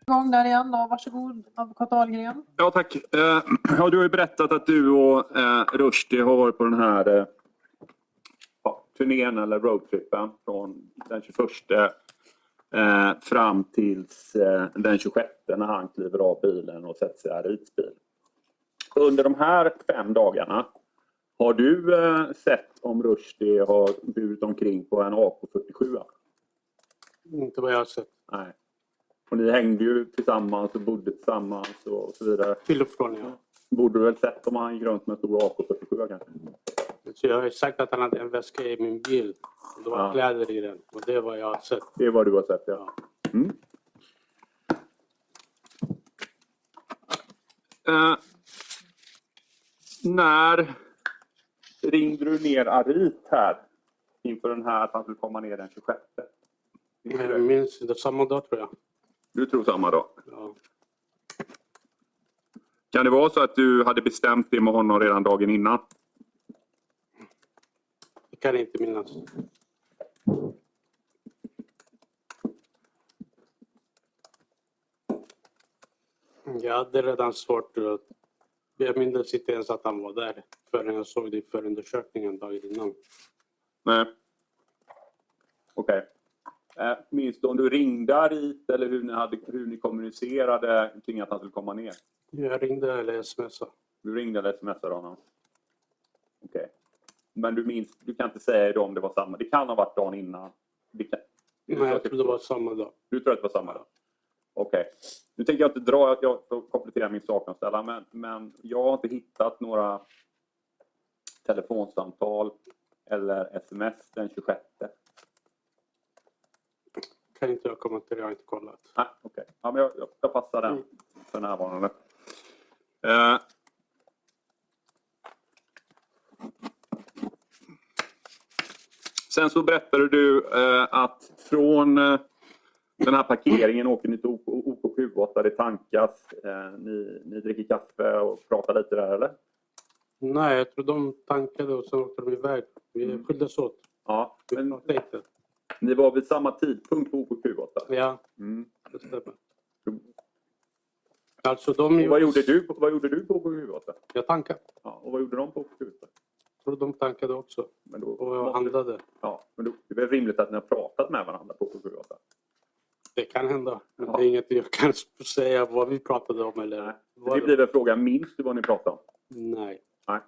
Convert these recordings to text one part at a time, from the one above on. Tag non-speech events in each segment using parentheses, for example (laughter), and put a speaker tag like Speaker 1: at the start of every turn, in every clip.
Speaker 1: igång där igen. Då. Varsågod, advokat Ahlgren.
Speaker 2: Ja, tack. Eh, (clears throat) ja, du har ju berättat att du och eh, Rushdie har varit på den här eh, ja, turnén eller roadtrippen från den 21 eh, fram tills eh, den 26 när han kliver av bilen och sätter sig i Arids bil. Under de här fem dagarna har du eh, sett om Rushdie har burit omkring på en AK47?
Speaker 3: Inte vad jag har sett.
Speaker 2: Nej. Och ni hängde ju tillsammans och bodde tillsammans och så vidare.
Speaker 3: Till och från ja.
Speaker 2: Borde du väl sett om han gick runt med en stor AK47 kanske?
Speaker 3: Så jag har ju sagt att han hade en väska i min bil. Det var
Speaker 2: Ja.
Speaker 3: kläder i den. Och det var jag har sett.
Speaker 2: Det är vad du har sett ja. Mm. Eh, när ringde du ner Arit här inför den här att han skulle komma ner den 26? Mm.
Speaker 3: Jag minns det. Samma dag tror jag.
Speaker 2: Du tror samma dag?
Speaker 3: Ja.
Speaker 2: Kan det vara så att du hade bestämt det med honom redan dagen innan?
Speaker 3: Jag kan inte minnas. Mm, Jag hade redan svårt att... Jag minns inte ens att han var där förrän jag såg det i förundersökningen dagen innan.
Speaker 2: Nej. Okej. Eh, Minns du om du ringde Arit eller hur ni, hade, hur ni kommunicerade kring att han skulle komma ner?
Speaker 3: Jag ringde eller smsade.
Speaker 2: Du ringde eller smsade honom? Okej. Men du minns, du kan inte säga idag om det var samma. Det kan ha varit dagen innan. Det kan, du,
Speaker 3: Nej, jag tror det var samma dag.
Speaker 2: du tror att det var samma dag? Okej. Nu tänker jag inte dra, att jag får komplettera min sakanställan, men, men jag har inte hittat några telefonsamtal eller sms den 26.
Speaker 3: Kan inte jag komma till det. Jag har inte kollat.
Speaker 2: Nej, Ah, okej. Ja, men jag, jag, jag passar den för närvarande. Eh. Sen så berättade du eh, att från eh, den här parkeringen åker ni till OK- OK7, det tankas. Eh, ni, ni dricker kaffe och pratar lite där, eller?
Speaker 3: Nej, jag tror de tankade och sen åkte de iväg. Vi
Speaker 2: Mm.
Speaker 3: skildes åt.
Speaker 2: Ja,
Speaker 3: Vi
Speaker 2: men
Speaker 3: pratade inte.
Speaker 2: ni var vid samma tidpunkt på OK7?
Speaker 3: Ja,
Speaker 2: Mm.
Speaker 3: det stämmer. Alltså de...
Speaker 2: Och vad, gjorde du, på- vad gjorde du på OK7?
Speaker 3: Jag tankade.
Speaker 2: Ja, och vad gjorde de på OK7?
Speaker 3: Jag tror de tankade också.
Speaker 2: Men då
Speaker 3: Och jag
Speaker 2: måste-
Speaker 3: handlade.
Speaker 2: Ja, men då, det är väl rimligt att ni har pratat med varandra på Kulturgatan?
Speaker 3: Det kan hända. Men
Speaker 2: Ja.
Speaker 3: det är inget jag kan säga vad vi pratade om eller...
Speaker 2: Nej.
Speaker 3: vad
Speaker 2: Det blir väl frågan, minns du vad ni pratade om?
Speaker 3: Nej.
Speaker 2: Nej,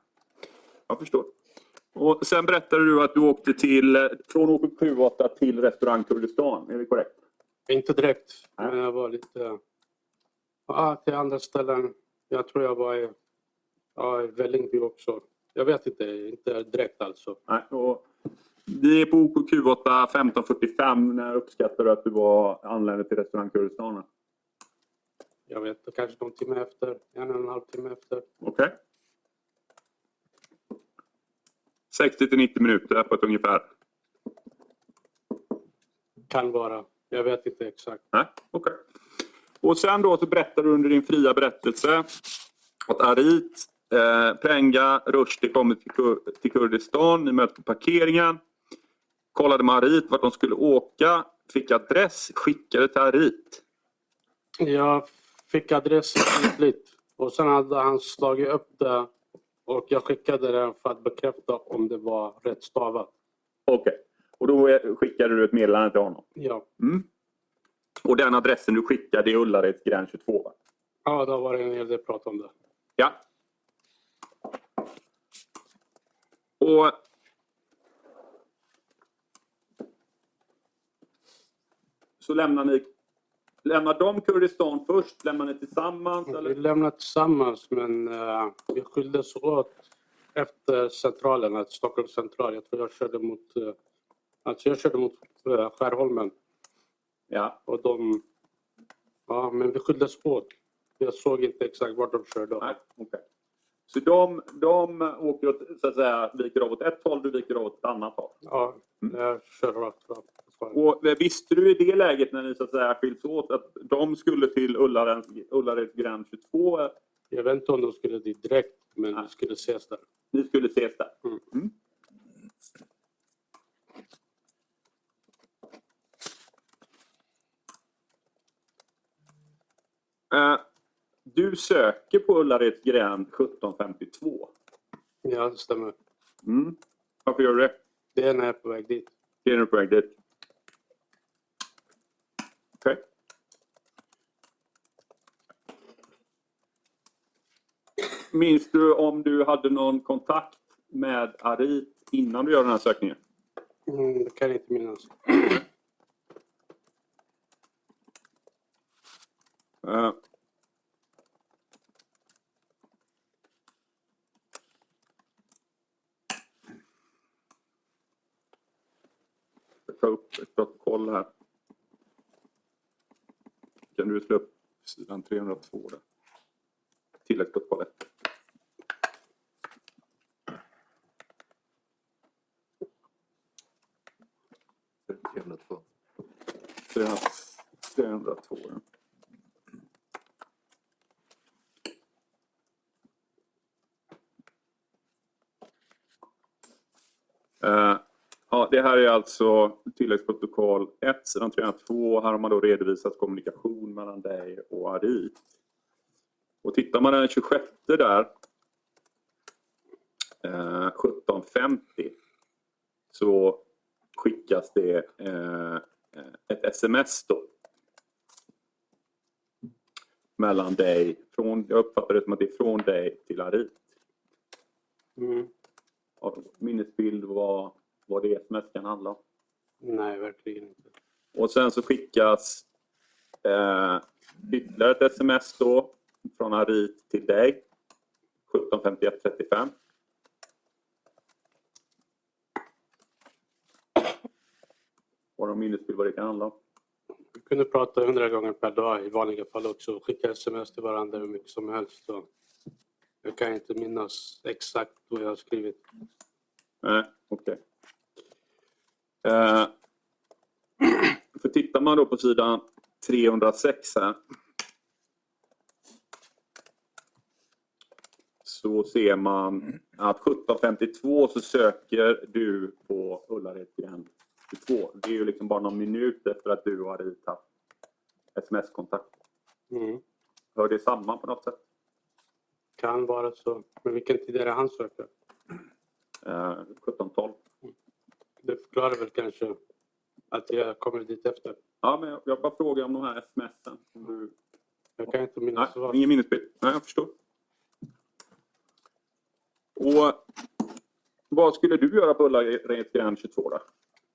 Speaker 2: jag förstår. Och sen berättade du att du åkte till, eh, från OK78 till restaurang Kurdistan, är det korrekt?
Speaker 3: Inte direkt.
Speaker 2: Nej.
Speaker 3: Men jag var lite... Ja, till andra ställen. Jag tror jag var i... Ja, i Vällingby också. Jag vet inte. Inte direkt alltså.
Speaker 2: Nej, och vi är på OKQ8 1545. När uppskattar du att du var anlände till restaurang Kurdistan?
Speaker 3: Jag vet inte. Kanske någon timme efter. En och en halv timme efter.
Speaker 2: Okej. 60 till 90 minuter på ett ungefär.
Speaker 3: Kan vara. Jag vet inte exakt.
Speaker 2: Nej, okej. Och sen då så berättar du under din fria berättelse att Arit, eh, Prenga, Rushdie kommer till, Kur- till Kurdistan. Ni möts på parkeringen. Kollade med Arit vart de skulle åka. Fick adress, skickade till Arit.
Speaker 3: Jag fick adressen skriftligt och sen hade han slagit upp det och jag skickade den för att bekräfta om det var rätt stavat.
Speaker 2: Okej. Och då eh, skickade du ett meddelande till honom.
Speaker 3: Ja,
Speaker 2: Mm. Och den adressen du skickade är Ullareds gräns 22 va?
Speaker 3: ja då var det en hel del prat om det.
Speaker 2: Ja. Och... Så lämnar ni... Lämnar de Kurdistan först? Lämnar ni tillsammans?
Speaker 3: Vi
Speaker 2: Eller?
Speaker 3: lämnade tillsammans men eh, vi skildes åt efter centralen, alltså Stockholms central. Jag tror jag körde mot, eh, alltså jag körde mot eh, Skärholmen
Speaker 2: Ja,
Speaker 3: och de, ja men vi skildes åt. Jag såg inte exakt vart de körde.
Speaker 2: nej, okej. Så de, de åker åt, så att säga, viker av åt ett håll, du viker av åt ett annat håll.
Speaker 3: Ja, jag kör rakt fram.
Speaker 2: Och eh, visste du i det läget när ni så att säga skiljs åt att de skulle till Ullarens, Ullareds gränd 22? eh,
Speaker 3: Jag vet inte om de skulle dit direkt, men vi skulle ses där.
Speaker 2: Ni skulle ses där.
Speaker 3: Mm.
Speaker 2: Eh, Du söker på Ullareds gränd 1752.
Speaker 3: Ja, det stämmer.
Speaker 2: Mm. Varför gör du det?
Speaker 3: Det är när jag är på väg dit.
Speaker 2: Det är nog på väg dit. Okej. Minns du om du hade någon kontakt med Arit innan du gör den här sökningen?
Speaker 3: Mm, det kan jag inte minnas.
Speaker 2: Eh. Jag tar upp ett protokoll här. Kan du slå upp sidan 302 där? Tilläggsprotokollet.
Speaker 4: Jävla två.
Speaker 2: 302. ja. Eh, Ja, det här är alltså tilläggsprotokoll 1, sidan 302. Här har man då redovisat kommunikation mellan dig och Ari. Och tittar man den 26 där, eh, 17.50, så skickas det eh, ett sms då. Mellan dig, från, jag uppfattar det som att det är från dig till Arit.
Speaker 3: Mm.
Speaker 2: Har du minnesbild vad, vad det sms kan handla om?
Speaker 3: Nej, verkligen inte.
Speaker 2: Och sen så skickas eh, ytterligare ett sms då från Arit till dig. 175135. Har du minnesbild vad det kan handla om?
Speaker 3: Vi kunde prata hundra gånger per dag i vanliga fall också och skicka sms till varandra hur mycket som helst. Så jag kan inte minnas exakt vad jag har skrivit.
Speaker 2: Nej, okej. Eh, (clears throat) för tittar man då på sidan 306 här. Så ser man att 17.52 så söker du på Ullared igen 22. Det är ju liksom bara någon minut efter att du har ritat sms-kontakt.
Speaker 3: Mm.
Speaker 2: Hör det samman på något sätt?
Speaker 3: Kan vara så. Men vilken tid är det han söker?
Speaker 2: Eh, 17.12.
Speaker 3: Det förklarar väl kanske att jag kommer dit efter.
Speaker 2: Ja, men jag, jag bara frågar om de här sms'en. Om du
Speaker 3: Jag kan inte
Speaker 2: Nej,
Speaker 3: minnas vad.
Speaker 2: ingen minnesbild. Nej, jag förstår. Och vad skulle du göra på Ullareds gränd 22 då?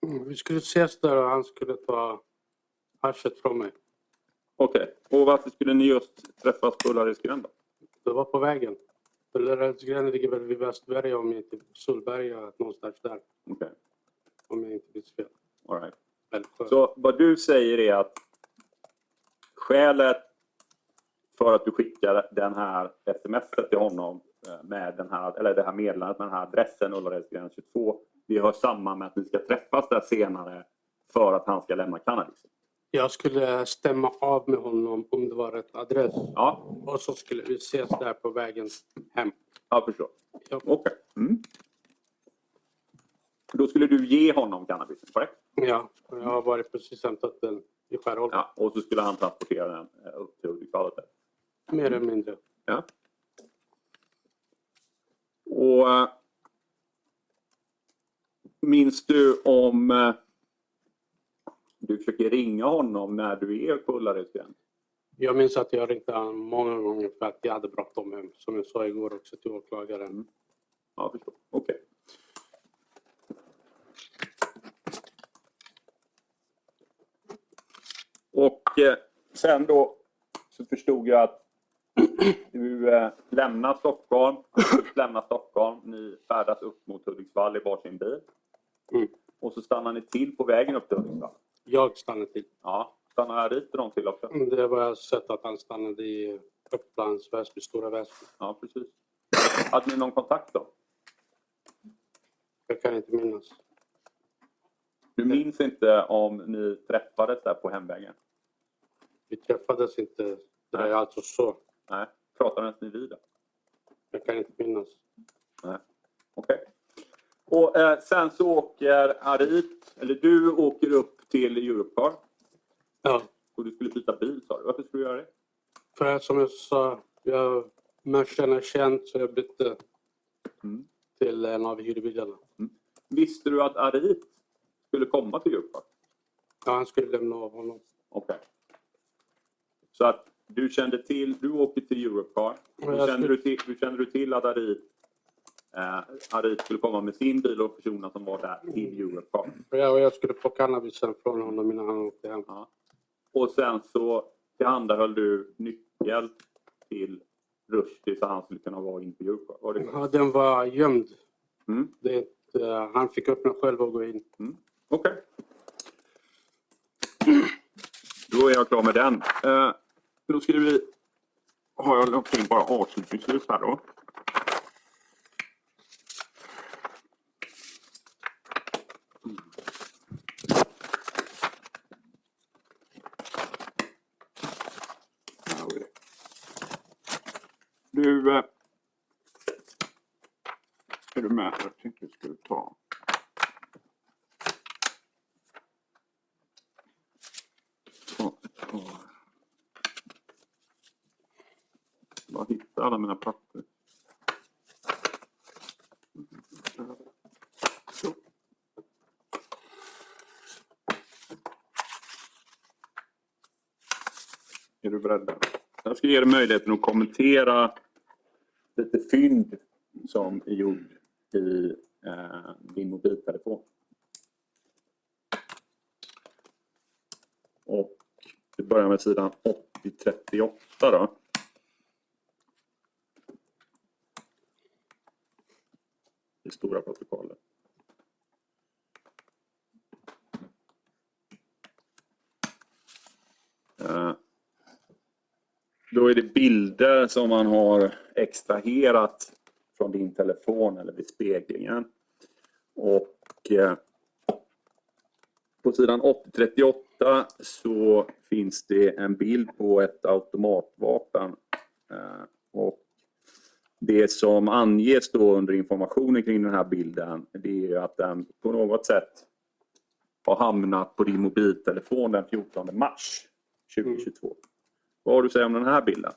Speaker 3: Mm, Vi skulle ses där och han skulle ta haschet från mig.
Speaker 2: Okej, och varför skulle ni just träffas på Ullareds gränd då?
Speaker 3: Det var på vägen. Ullaredsgränd ligger väl vid Västberga om jag inte... Solberga någonstans där.
Speaker 2: Okej,
Speaker 3: Om jag inte minns fel.
Speaker 2: all right.
Speaker 3: Älvsjö.
Speaker 2: Så vad du säger är att skälet för att du skickar den här smset till honom eh, med den här, eller det här meddelandet med den här adressen Ullaredsgränd 22, det hör samman med att ni ska träffas där senare för att han ska lämna cannabis.
Speaker 3: Jag skulle stämma av med honom om det var rätt adress.
Speaker 2: Ja,
Speaker 3: Och så skulle vi ses där på vägen hem.
Speaker 2: Jag förstår.
Speaker 3: Ja.
Speaker 2: Okej. Mm. Då skulle du ge honom cannabisen, korrekt?
Speaker 3: Ja, jag har varit precis hämtat den i Skärholmen.
Speaker 2: Ja. Och så skulle han transportera den eh, upp till Hudiksvall. där.
Speaker 3: Mer eller mindre.
Speaker 2: Ja. Och eh, minns du om eh, du försöker ringa honom när du är på Ullaredsgränd?
Speaker 3: Jag minns att jag ringde honom många gånger för att jag hade bråttom hem. Som jag sa igår också till åklagaren.
Speaker 2: Ja, jag förstår. Okej. Och eh, sen då så förstod jag att (clears throat) du eh, lämnar Stockholm, lämnar Stockholm, ni färdas upp mot Hudiksvall i varsin bil.
Speaker 3: Mm.
Speaker 2: Och så stannar ni till på vägen upp till Hudiksvall.
Speaker 3: Jag stannade till.
Speaker 2: Ja, stannar här dit och de till också?
Speaker 3: Det var jag sett att han stannade i Upplands Väsby, Stora Väsby.
Speaker 2: Ja, precis. Hade ni någon kontakt då?
Speaker 3: Jag kan inte minnas.
Speaker 2: Du minns inte om ni träffades där på hemvägen?
Speaker 3: Vi träffades inte. Det är
Speaker 2: Nej.
Speaker 3: alltså så.
Speaker 2: Nej. Pratades ni vid det?
Speaker 3: Jag kan inte minnas.
Speaker 2: Okej. Och eh, sen så åker Arit, eller du åker upp till Europcar
Speaker 3: Ja,
Speaker 2: och du skulle byta bil sa du. Varför skulle du göra det?
Speaker 3: för som jag sa, jag, människan är känd så jag bytte
Speaker 2: Mm.
Speaker 3: till en av hyrbilarna.
Speaker 2: Visste du att Arit skulle komma till Europcar?
Speaker 3: Ja, han skulle lämna av honom.
Speaker 2: Okej. Så att du kände till, du åker till Europcar.
Speaker 3: Ja,
Speaker 2: Hur
Speaker 3: jag
Speaker 2: kände,
Speaker 3: skulle-
Speaker 2: du till, hur kände du till att Arit, eh, Arit skulle komma med sin bil och personerna som var där till Europcar?
Speaker 3: Och jag, och jag skulle få cannabisen från honom innan han åkte hem.
Speaker 2: Och sen så tillhandahöll du nyckel till Rushdie så han skulle kunna vara in på Europcar. Var det så?
Speaker 3: Ja, den var gömd.
Speaker 2: Mm.
Speaker 3: Det, är inte- han fick öppna själv och gå in.
Speaker 2: Okej. Då är jag klar med den. Eh, då ska vi... Har jag lagt in bara avslutningsvis här då? Mm. Du... eh, Är du med? Jag tänkte jag skulle ta... ta, ta. Bara hitta alla mina papper. Så. Är du beredd? Jag ska ge dig möjligheten att kommentera lite fynd som är gjord i eh, din mobiltelefon. Och vi börjar med sidan 80-38 då. Det stora protokollet. Eh, Då är det bilder som man har extraherat från din telefon eller vid speglingen. Och eh, på sidan 80-38 så finns det en bild på ett automatvapen. Eh, Och det som anges då under informationen kring den här bilden det är ju att den på något sätt har hamnat på din mobiltelefon den 14 mars 2022. Vad har du att säga om den här bilden?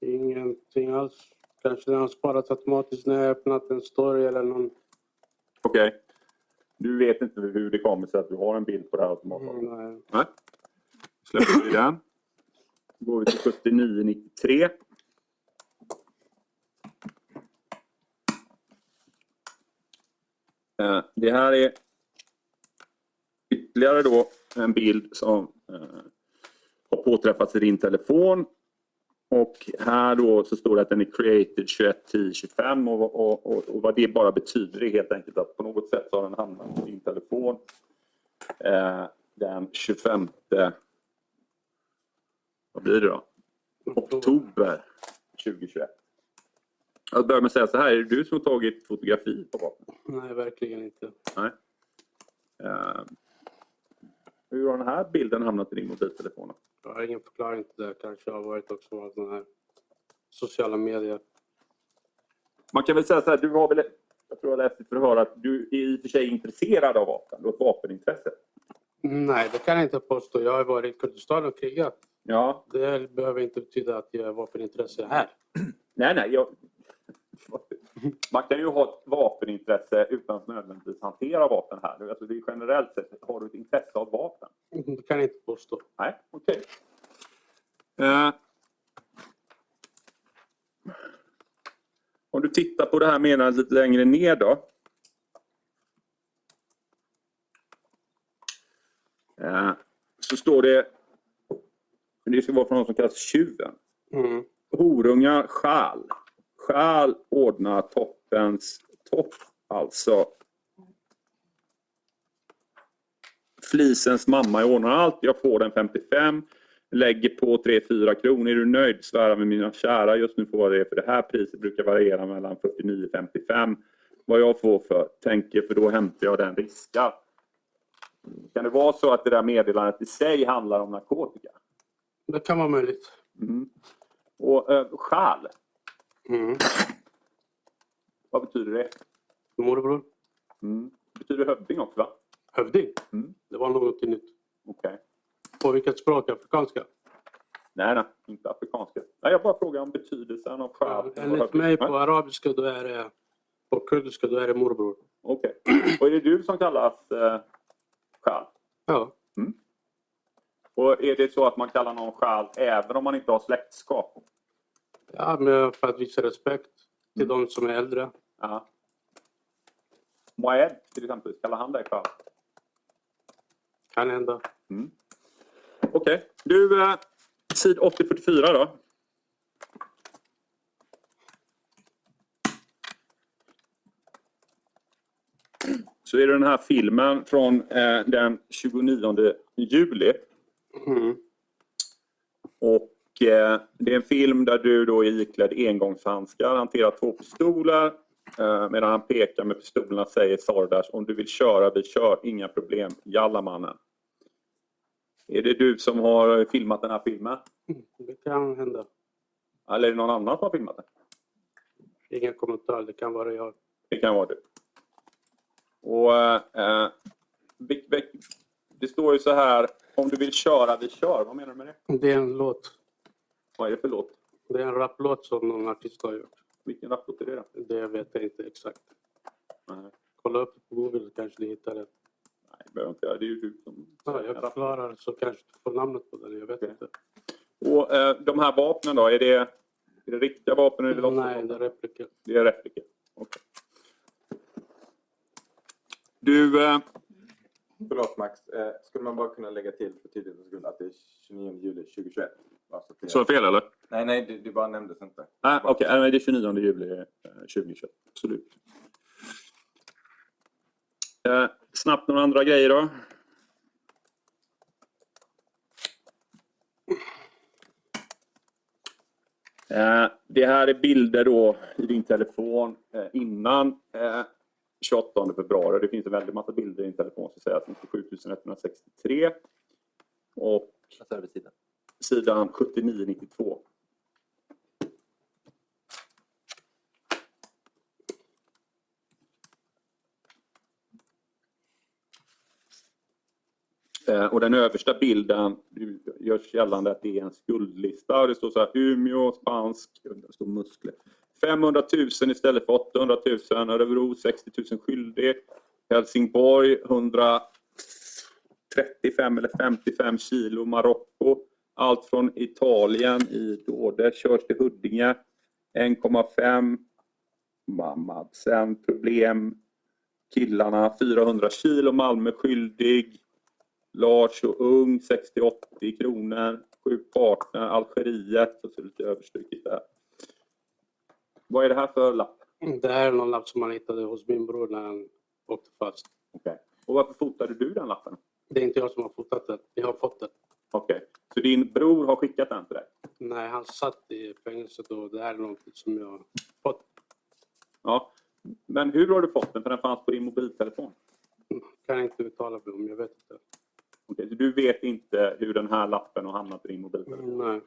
Speaker 3: Ingenting alls. Kanske den har sparats automatiskt när jag öppnat en story eller någon.
Speaker 2: Okej. Du vet inte hur det kommer sig att du har en bild på det här automatvapnet?
Speaker 3: Mm.
Speaker 2: Nej. Släpper vi den. Då går vi till 7993. Eh, Det här är ytterligare då en bild som eh, har påträffats i din telefon. Och här då så står det att den är created 21 10 25 och, och, och, och vad det bara betyder är helt enkelt att på något sätt så har den hamnat i din telefon eh, den 25... Vad blir det då? Oktober 2021. Jag börjar med att säga så här, är det du som har tagit fotografi på vapnet?
Speaker 3: Nej, verkligen inte.
Speaker 2: Nej. Eh, hur har den här bilden hamnat i din mobiltelefon? då?
Speaker 3: Jag har ingen förklaring till det. Kanske har varit också av den här sociala medier.
Speaker 2: Man kan väl säga så här, du har väl, jag tror jag läste i förhör att du är i och för sig intresserad av vapen, du har ett vapenintresse.
Speaker 3: Nej, det kan jag inte påstå. Jag har varit i Kurdistan och krigat.
Speaker 2: Ja,
Speaker 3: Det behöver inte betyda att jag har vapenintresse här.
Speaker 2: nej, nej. Jag... Man kan ju ha ett vapenintresse utan att nödvändigtvis hantera vapen här. Alltså det är generellt sett, har du ett intresse av vapen?
Speaker 3: Det kan jag inte påstå.
Speaker 2: Nej, okej. Eh, om du tittar på det här meddelandet lite längre ner då. Eh, så står det, det ska vara från någon som kallas Tjuven.
Speaker 3: Mm.
Speaker 2: Horungar själ. Själ ordnar toppens topp, alltså. Flisens mamma ordnar allt. Jag får den 55. lägger på 3-4 kronor. Är du nöjd? Svära med mina kära. Just nu får vad det är för det här priset brukar variera mellan 49-55. Vad jag får för tänker för då hämtar jag den riskar. Kan det vara så att det där meddelandet i sig handlar om narkotika?
Speaker 3: Det kan vara möjligt.
Speaker 2: Mm. Och eh, skäl,
Speaker 3: Mm.
Speaker 2: vad betyder det?
Speaker 3: Morbror,
Speaker 2: Mm. Det betyder hövding också va?
Speaker 3: hövding.
Speaker 2: Mm.
Speaker 3: Det var någonting nytt.
Speaker 2: Okej.
Speaker 3: På vilket språk? Afrikanska?
Speaker 2: Nej, nej, inte afrikanska. Nej, jag bara frågar om betydelsen av skäl.
Speaker 3: Enligt mig på arabiska då är det... På kurdiska då är det morbror.
Speaker 2: Okej. Och är det du som kallas eh, skäl?
Speaker 3: Ja,
Speaker 2: Och är det så att man kallar någon skäl även om man inte har släktskap?
Speaker 3: ja men för att visa respekt till
Speaker 2: Mm.
Speaker 3: de som är äldre.
Speaker 2: Ja. Moed till exempel, kallar han dig skäl?
Speaker 3: Kan hända.
Speaker 2: Okej. Du, eh, sid 8044 då. Så är det den här filmen från eh, den 29 juli.
Speaker 3: Mm.
Speaker 2: Och eh, det är en film där du då är iklädd engångshandskar, hanterar två pistoler eh, medan han pekar med pistolerna säger Sardas om du vill köra, vi kör, inga problem, jalla mannen. Är det du som har filmat den här filmen?
Speaker 3: Mm, Det kan hända.
Speaker 2: Eller är det någon annan som har filmat den?
Speaker 3: Ingen kommentar. Det kan vara jag.
Speaker 2: Det kan vara du. Och eh, eh, Vic- Vic, det står ju så här, om du vill köra, vi kör. Vad menar du med det?
Speaker 3: Det är en låt.
Speaker 2: Vad är det för låt?
Speaker 3: Det är en raplåt som någon artist har gjort.
Speaker 2: Vilken rapplåt är det då?
Speaker 3: Det vet jag inte exakt.
Speaker 2: Nej,
Speaker 3: Kolla upp på Google kanske du hittar det.
Speaker 2: nej, det behöver jag inte göra. Det är ju du som...
Speaker 3: Ja, jag förklarar så kanske du får namnet på den. Jag vet
Speaker 2: Okej.
Speaker 3: inte.
Speaker 2: Och eh, de här vapnen då, är det, är det riktiga vapen eller är det
Speaker 3: Nej,
Speaker 2: låtsasvapen?
Speaker 3: det är repliker.
Speaker 2: Det är repliker. Okej. Du, eh,
Speaker 5: Förlåt Max, eh, skulle man bara kunna lägga till för tydlighetens skull att det är 29 juli 2021? Bara så att det-
Speaker 2: sa jag fel eller?
Speaker 5: Nej, nej, det, det bara nämndes inte.
Speaker 2: Nej, okej. nej, Det är 29 juli eh, 2021. Absolut. Eh, snabbt några andra grejer då? Eh, det här är bilder då i din telefon eh, innan eh, 28 februari. Det finns en väldig massa bilder i din telefon. Så att säga, 7163 och
Speaker 4: Alltså översidan.
Speaker 2: sidan 7992. Eh, Och den översta bilden det görs gällande att det är en skuldlista. Och Det står så här, Umeå, spansk, det står muskler. 500 000 istället för 800 000. Örebro 60 000 skyldig. Helsingborg 135 eller 55 kilo. Marocko allt från Italien i Dåde körs till Huddinge. 1,5. Mamma, sen problem. Killarna 400 kilo. Malmö skyldig. Lars och Ung 60-80 kronor. Sju partner. Algeriet. Så ser det lite överstruket där. Vad är det här för lapp?
Speaker 3: Det här är någon lapp som man hittade hos min bror när han åkte fast.
Speaker 2: Okay. Och varför fotade du den lappen?
Speaker 3: Det är inte jag som har fotat den. Jag har fått den.
Speaker 2: Okej, så din bror har skickat den till dig?
Speaker 3: Nej, han satt i fängelset och det här är någonting som jag har fått.
Speaker 2: Ja. Men hur har du fått den? För den fanns på din mobiltelefon.
Speaker 3: Kan jag inte uttala mig om. Jag vet inte.
Speaker 2: Okej, så du vet inte hur den här lappen har hamnat i din mobiltelefon?
Speaker 3: Nej.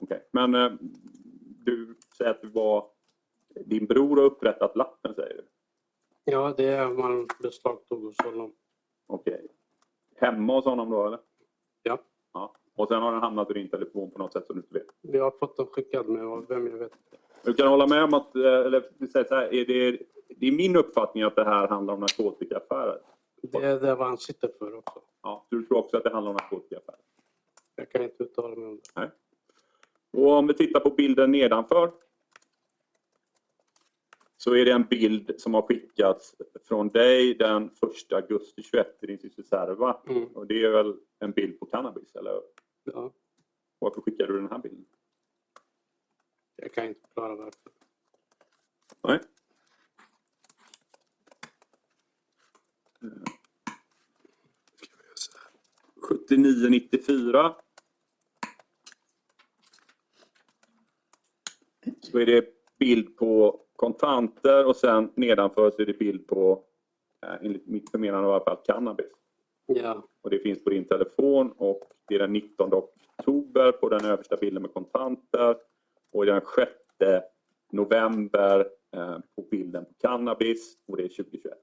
Speaker 2: Okej, Men eh, du säger att det var din bror har upprättat lappen, säger du?
Speaker 3: Ja, det är man beslagtog hos honom.
Speaker 2: Okej. Hemma hos honom då, eller?
Speaker 3: Ja.
Speaker 2: ja. Och sen har den hamnat i din telefon på något sätt som du inte vet?
Speaker 3: Jag har fått den skickad men av vem jag vet inte.
Speaker 2: Du kan hålla med om att, eh, eller vi säger så här, är det, det är min uppfattning att det här handlar om narkotikaaffärer.
Speaker 3: Det är det vad han sitter för också.
Speaker 2: Ja, du tror också att det handlar om narkotikaaffärer?
Speaker 3: Jag kan inte uttala mig om det.
Speaker 2: Och om vi tittar på bilden nedanför så är det en bild som har skickats från dig den 1 augusti 21 till din syster Serva.
Speaker 3: Mm.
Speaker 2: Och det är väl en bild på cannabis, eller
Speaker 3: Ja,
Speaker 2: varför skickade du den här bilden?
Speaker 3: jag kan inte förklara varför.
Speaker 2: Nej. 7994. Så är det bild på kontanter och sen nedanför så är det bild på, eh, enligt mitt förmenande i alla fall, cannabis.
Speaker 3: Ja,
Speaker 2: Och det finns på din telefon och det är den 19 oktober på den översta bilden med kontanter och den 6 november eh, på bilden på cannabis och det är 2021.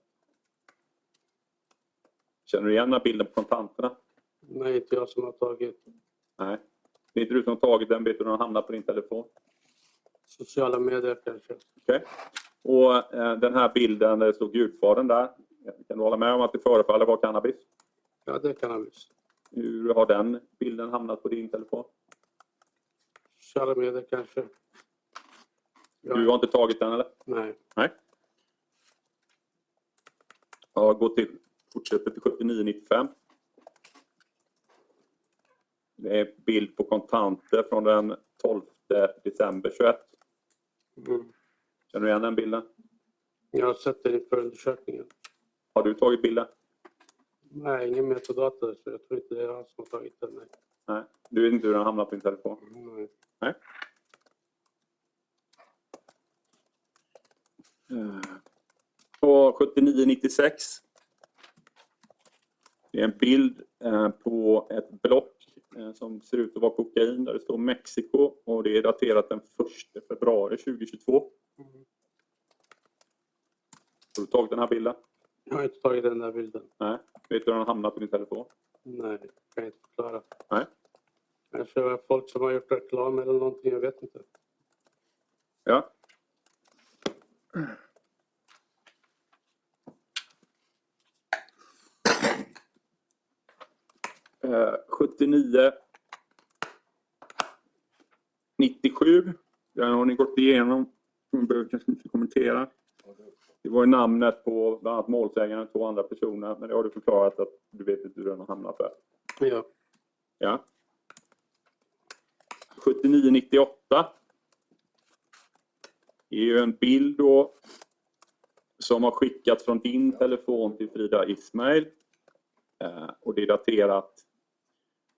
Speaker 2: Känner du igen den här bilden på kontanterna?
Speaker 3: nej inte jag som har tagit
Speaker 2: Nej. Det är inte du som har tagit den, vet du när den hamnar på din telefon?
Speaker 3: sociala medier kanske.
Speaker 2: Okej. Och eh, den här bilden där det stod Gudfadern där. Kan du hålla med om att det förefaller vara cannabis?
Speaker 3: Ja, det är cannabis.
Speaker 2: Hur har den bilden hamnat på din telefon?
Speaker 3: Sociala medier kanske. Ja,
Speaker 2: Du har inte tagit den eller?
Speaker 3: Nej.
Speaker 2: Ja, gå till, fortsätter till 7995. Det är bild på kontanter från den 12 december 21.
Speaker 3: Mm.
Speaker 2: Känner du igen den bilden?
Speaker 3: Jag har sett det inför undersökningen.
Speaker 2: Har du tagit bilden?
Speaker 3: Nej, ingen metadata så jag tror inte det är han som har tagit den. Nej.
Speaker 2: Nej. Du vet inte hur den hamnat på din telefon?
Speaker 3: Nej.
Speaker 2: På 7996. Det är en bild eh, på ett block eh, som ser ut att vara kokain där det står Mexiko och det är daterat den 1 februari 2022.
Speaker 3: Mm.
Speaker 2: Har du tagit den här bilden?
Speaker 3: Jag har inte tagit den där bilden.
Speaker 2: Nej. Vet du hur den hamnat på din telefon?
Speaker 3: Nej, det kan jag inte förklara.
Speaker 2: Nej.
Speaker 3: Kanske det var folk som har gjort reklam eller någonting, jag vet inte.
Speaker 2: Ja. Eh, 79 97. Den har ni gått igenom. Man behöver kanske inte kommentera. Det var ju namnet på bland annat målsägaren och två andra personer. Men det har du förklarat att du vet inte hur den har hamnat där.
Speaker 3: Ja,
Speaker 2: Ja. 7998. Det är ju en bild då som har skickats från din telefon till Frida Ismail. Eh, och det är daterat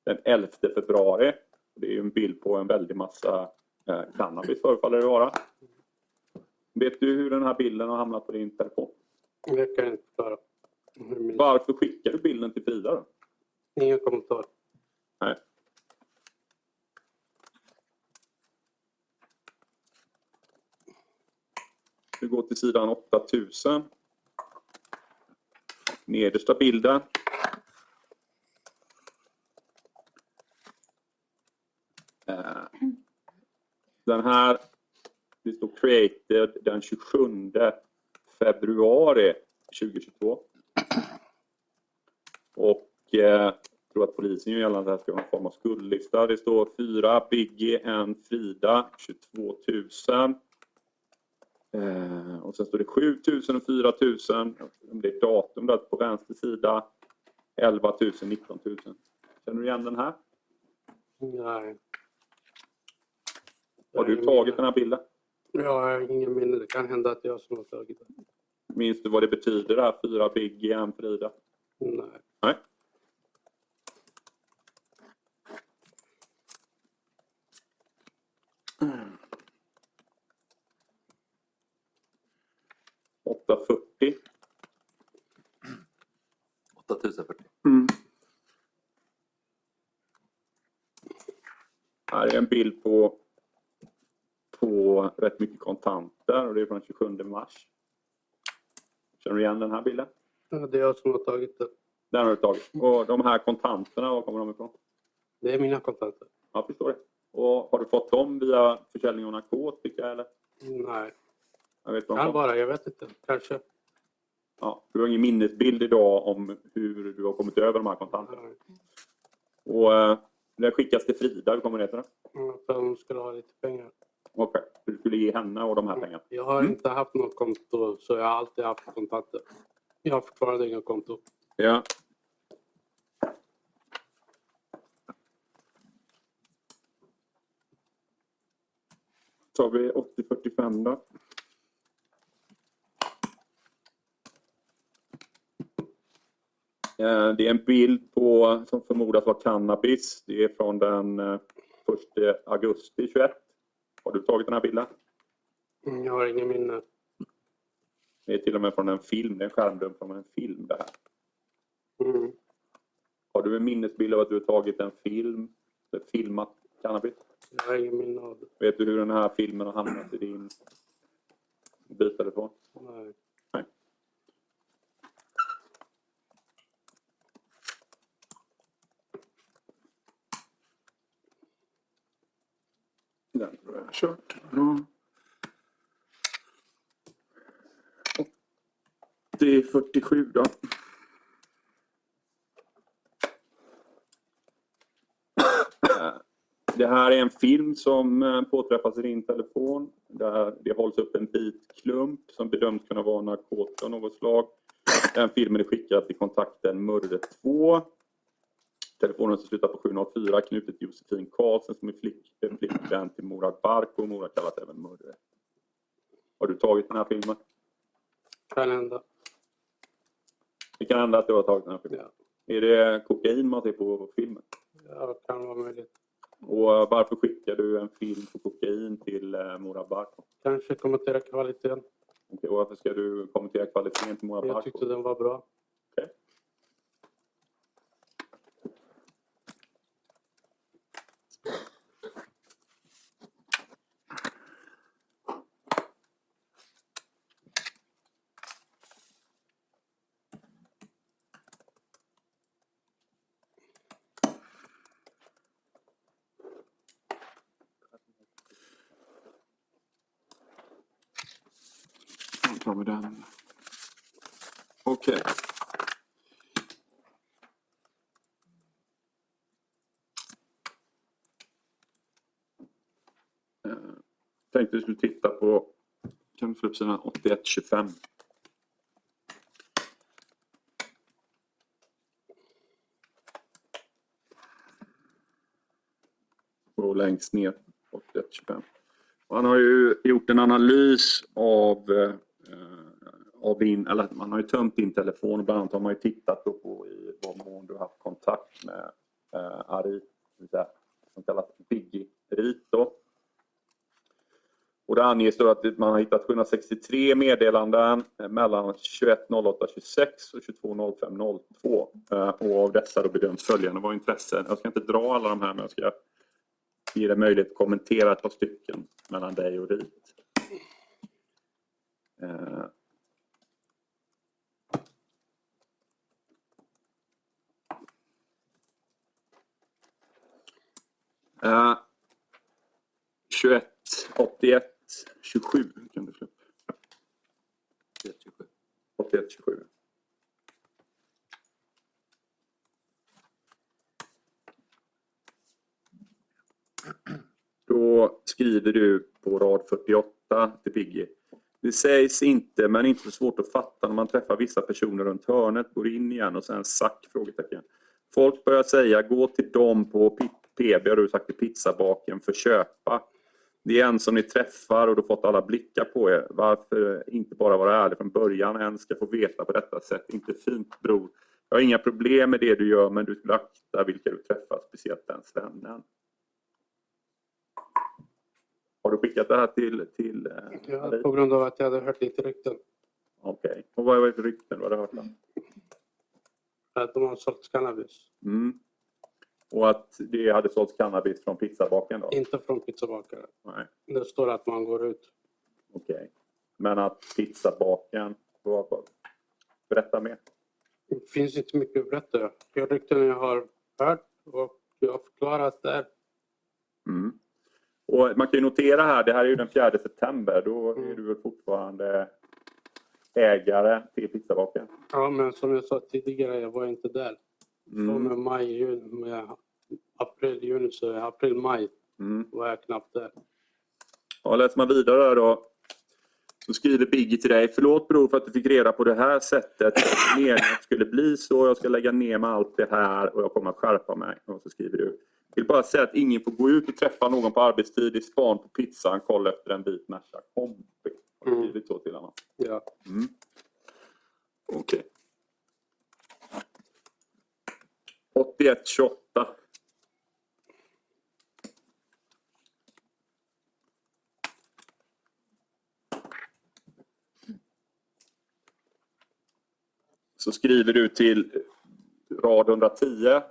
Speaker 2: den 11 februari. Det är ju en bild på en väldig massa eh, cannabis förefaller det vara. Vet du hur den här bilden har hamnat på din telefon?
Speaker 3: det kan jag inte förklara. Jag minns-
Speaker 2: Varför skickar du bilden till Frida då?
Speaker 3: Ingen kommentar.
Speaker 2: Nej. Vi går till sidan 8000. Nedersta bilden. Eh, Den här, det står created den 27 februari 2022. Och eh, jag tror att polisen gör gällande att det här ska vara någon form av skuldlista. Det står fyra Biggie, en Frida, 22 000. Eh, och sen står det 7 000 och 4 000. Jag vet inte Om det är datum där på vänster sida. 11 000, 19 000. Känner du igen den här?
Speaker 3: Nej.
Speaker 2: Har du tagit den här bilden?
Speaker 3: Ja, jag har ingen minne. Det kan hända att jag som har tagit den.
Speaker 2: Minns du vad det betyder det här? Fyra Biggie, en Frida.
Speaker 3: Nej.
Speaker 2: Nej. Mm. 840.
Speaker 4: 8040.
Speaker 2: Mm. Här är en bild på, på rätt mycket kontanter och det är från den 27 mars. Känner du igen den här bilden?
Speaker 3: Ja, det är jag som har tagit den.
Speaker 2: Den har du tagit. Och de här kontanterna, var kommer de ifrån?
Speaker 3: Det är mina kontanter.
Speaker 2: Jag förstår det. Och har du fått dem via försäljning av narkotika eller?
Speaker 3: Nej.
Speaker 2: Jag vet inte om
Speaker 3: Kan vara. Jag vet inte. Kanske.
Speaker 2: Ja, du har ingen minnesbild idag om hur du har kommit över de här kontanterna.
Speaker 3: Nej.
Speaker 2: Och eh, det skickas till Frida, hur kommer det heta då?
Speaker 3: Ja, För hon skulle ha lite pengar.
Speaker 2: Okej, du skulle ge henne och de här pengarna.
Speaker 3: Jag har inte haft något konto, så jag har alltid haft kontanter. Jag har fortfarande inget konto.
Speaker 2: Ja. tar vi 80-45 då. Eh, Eh, Det är en bild på, som förmodas vara cannabis. Det är från den eh, 1 augusti 21. Har du tagit den här bilden?
Speaker 3: Mm, Jag har ingen minne.
Speaker 2: Det är till och med från en film. Det är en skärmdump från en film det här.
Speaker 3: Mm.
Speaker 2: Har du en minnesbild av att du har tagit en film, eller filmat cannabis?
Speaker 3: Jag har ingen minne av det.
Speaker 2: Vet du hur den här filmen har hamnat i din mobiltelefon?
Speaker 3: Nej.
Speaker 2: Den tror jag har kört. Ja. 80-47 då. Eh, Det här är en film som eh, påträffas i din telefon. Där det hålls upp en bit klump som bedöms kunna vara narkotika av något slag. Den filmen är skickad till kontakten Mörde 2. Telefonen som slutar på 704 knutet till Josefin Karlsson som är flick, eh, flickvän till Mora Barko. Mora kallas även Murre. Har du tagit den här filmen?
Speaker 3: Kan hända.
Speaker 2: Det kan hända att du har tagit den här filmen. Är det kokain man ser på filmen?
Speaker 3: Ja, kan vara möjligt.
Speaker 2: Och eh, varför skickar du en film på kokain till eh, Mora Barko?
Speaker 3: Kanske kommentera kvaliteten.
Speaker 2: Okej, Och varför ska du kommentera kvaliteten till Mora
Speaker 3: Jag
Speaker 2: Barko?
Speaker 3: tyckte den var bra.
Speaker 2: Då tar vi den. Okej. Eh, Tänkte vi skulle titta på, kan du få upp sidan 81-25? Och längst ner, 81-25. Och Han har ju gjort en analys av, eh, av din, eller man har ju tömt din telefon och bland annat har man ju tittat då på i vad mån du har haft kontakt med eh, Arit, det vill säga, som kallas Biggie Rit då. Och det anges då att man har hittat 763 meddelanden eh, mellan 21.08.26 och 22.05.02. Eh, Och av dessa då bedöms följande vara intressen. Jag ska inte dra alla de här men jag ska ge dig möjlighet att kommentera ett par stycken mellan dig och Rit. Eh. Eh, 21, 81, 27 kan du slå upp.
Speaker 4: 37.
Speaker 2: 81, 27. Då skriver du på rad 48 till Biggie. Det sägs inte, men inte så svårt att fatta när man träffar vissa personer runt hörnet, går in igen och sen sack? Frågetecken. Folk börjar säga gå till dem på P- PB, har du sagt till pizzabaken, för köpa. Det är en som ni träffar och då fått alla blickar på er. Varför inte bara vara ärlig från början? En ska få veta på detta sätt. Inte fint bror. Jag har inga problem med det du gör men du skulle akta vilka du träffar, speciellt den svennen. Har du skickat det här till... till eh,
Speaker 3: Ja,
Speaker 2: Marie?
Speaker 3: på grund av att jag hade hört lite rykten.
Speaker 2: Okej. Och vad var det för rykten du hade hört? Då?
Speaker 3: Att de har sålt cannabis.
Speaker 2: Mm. Och att det hade sålts cannabis från pizzabaken då?
Speaker 3: Inte från pizzabakare.
Speaker 2: Nej.
Speaker 3: Det står att man går ut.
Speaker 2: Okej. Men att pizzabaken... vad- vad- Berätta mer.
Speaker 3: Det finns inte mycket att berätta. Jag rykten jag har hört och jag har förklarat där.
Speaker 2: Mm. Och man kan ju notera här, det här är ju den 4 september. Då är
Speaker 3: Mm.
Speaker 2: du väl fortfarande ägare till pizzabaken?
Speaker 3: Ja, men som jag sa tidigare, jag var inte där.
Speaker 2: Mm.
Speaker 3: Från och med maj, juni, med april, juni, så april, maj
Speaker 2: Mm.
Speaker 3: var jag knappt där.
Speaker 2: Ja, läser man vidare här då. Så skriver Biggie till dig. Förlåt bror för att du fick reda på det här sättet. Meningen att det skulle bli så. Jag ska lägga ner med allt det här och jag kommer att skärpa mig. Och så skriver du. Vill bara säga att ingen får gå ut och träffa någon på arbetstid. I span på pizzan. Kolla efter en bit Nasha kompis. Har du
Speaker 3: Mm.
Speaker 2: skrivit så till honom?
Speaker 3: Ja.
Speaker 2: Okej. 8128. Så skriver du till rad 110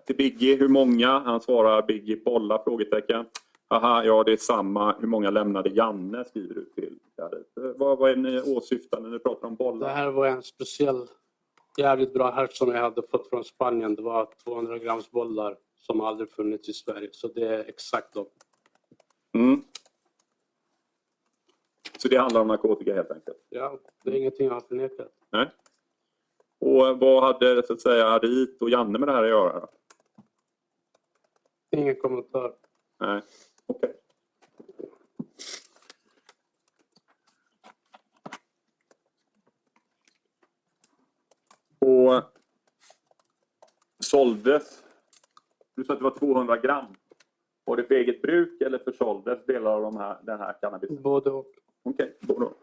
Speaker 2: till Biggie. Hur många? Han svarar Biggie bolla? Frågetecken. Haha, ja det är samma. Hur många lämnade Janne? Skriver du till Gareth. Vad, vad är ni åsyftar när ni pratar om
Speaker 3: Det
Speaker 2: bollar?
Speaker 3: här var en speciell jävligt bra häst som jag hade fått från Spanien. Det var 200 grams bollar som aldrig funnits i Sverige. Så det är exakt dem.
Speaker 2: Mm. Så det handlar om narkotika helt enkelt?
Speaker 3: Ja, det är ingenting jag har förnekat.
Speaker 2: Nej. Och vad hade så att säga Rit och Janne med det här att göra? då?
Speaker 3: Ingen kommentar.
Speaker 2: Nej, okej. Och såldes? Du sa att det var 200 gram. Var det för eget bruk eller försåldes delar av de här, den här cannabisen?
Speaker 3: Både och.
Speaker 2: Okej, både och.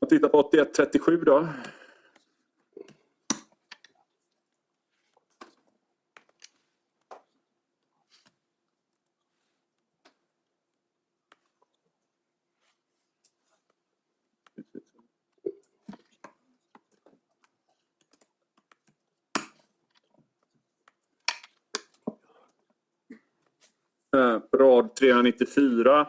Speaker 2: Och titta på 8137 då. Eh, rad 394.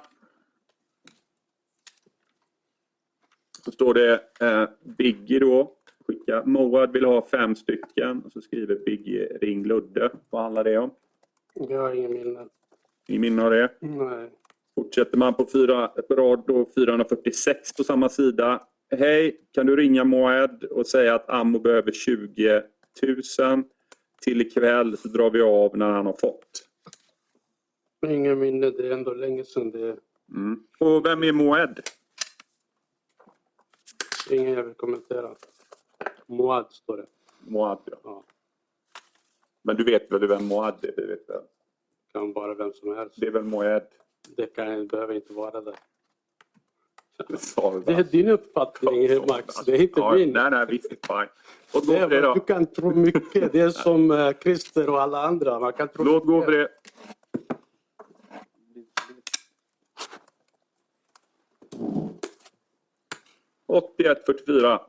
Speaker 2: Så står det eh, Biggie då. Skicka. Moad vill ha fem stycken. Och så skriver Biggie ring Ludde. Vad handlar det om?
Speaker 3: Jag har ingen minne.
Speaker 2: I minne av det.
Speaker 3: Nej.
Speaker 2: Fortsätter man på fyra, på rad då 446 på samma sida. Hej, kan du ringa Moed och säga att Ammo behöver 20 000 till ikväll så drar vi av när han har fått.
Speaker 3: Ingen minne. Det är ändå länge sedan det.
Speaker 2: Mm. Och vem är Moed?
Speaker 3: Ingen jag vill kommentera. Moad står det.
Speaker 2: Moad, ja.
Speaker 3: Ja,
Speaker 2: Men du vet väl vem Moad är? Du vet väl.
Speaker 3: kan vara vem som helst.
Speaker 2: Det är väl Moed?
Speaker 3: Det kan, behöver inte vara det.
Speaker 2: Det sa du
Speaker 3: Det är
Speaker 2: väl?
Speaker 3: din uppfattning, Max. Det är inte
Speaker 2: Ja,
Speaker 3: min.
Speaker 2: Nej, nej, visst. Fine. Låt gå
Speaker 3: Det är,
Speaker 2: för det
Speaker 3: vad
Speaker 2: då.
Speaker 3: du kan tro mycket. Det är som eh, Christer och alla andra. Man kan tro
Speaker 2: Låt gå för det. Åttioett, fyrtiofyra.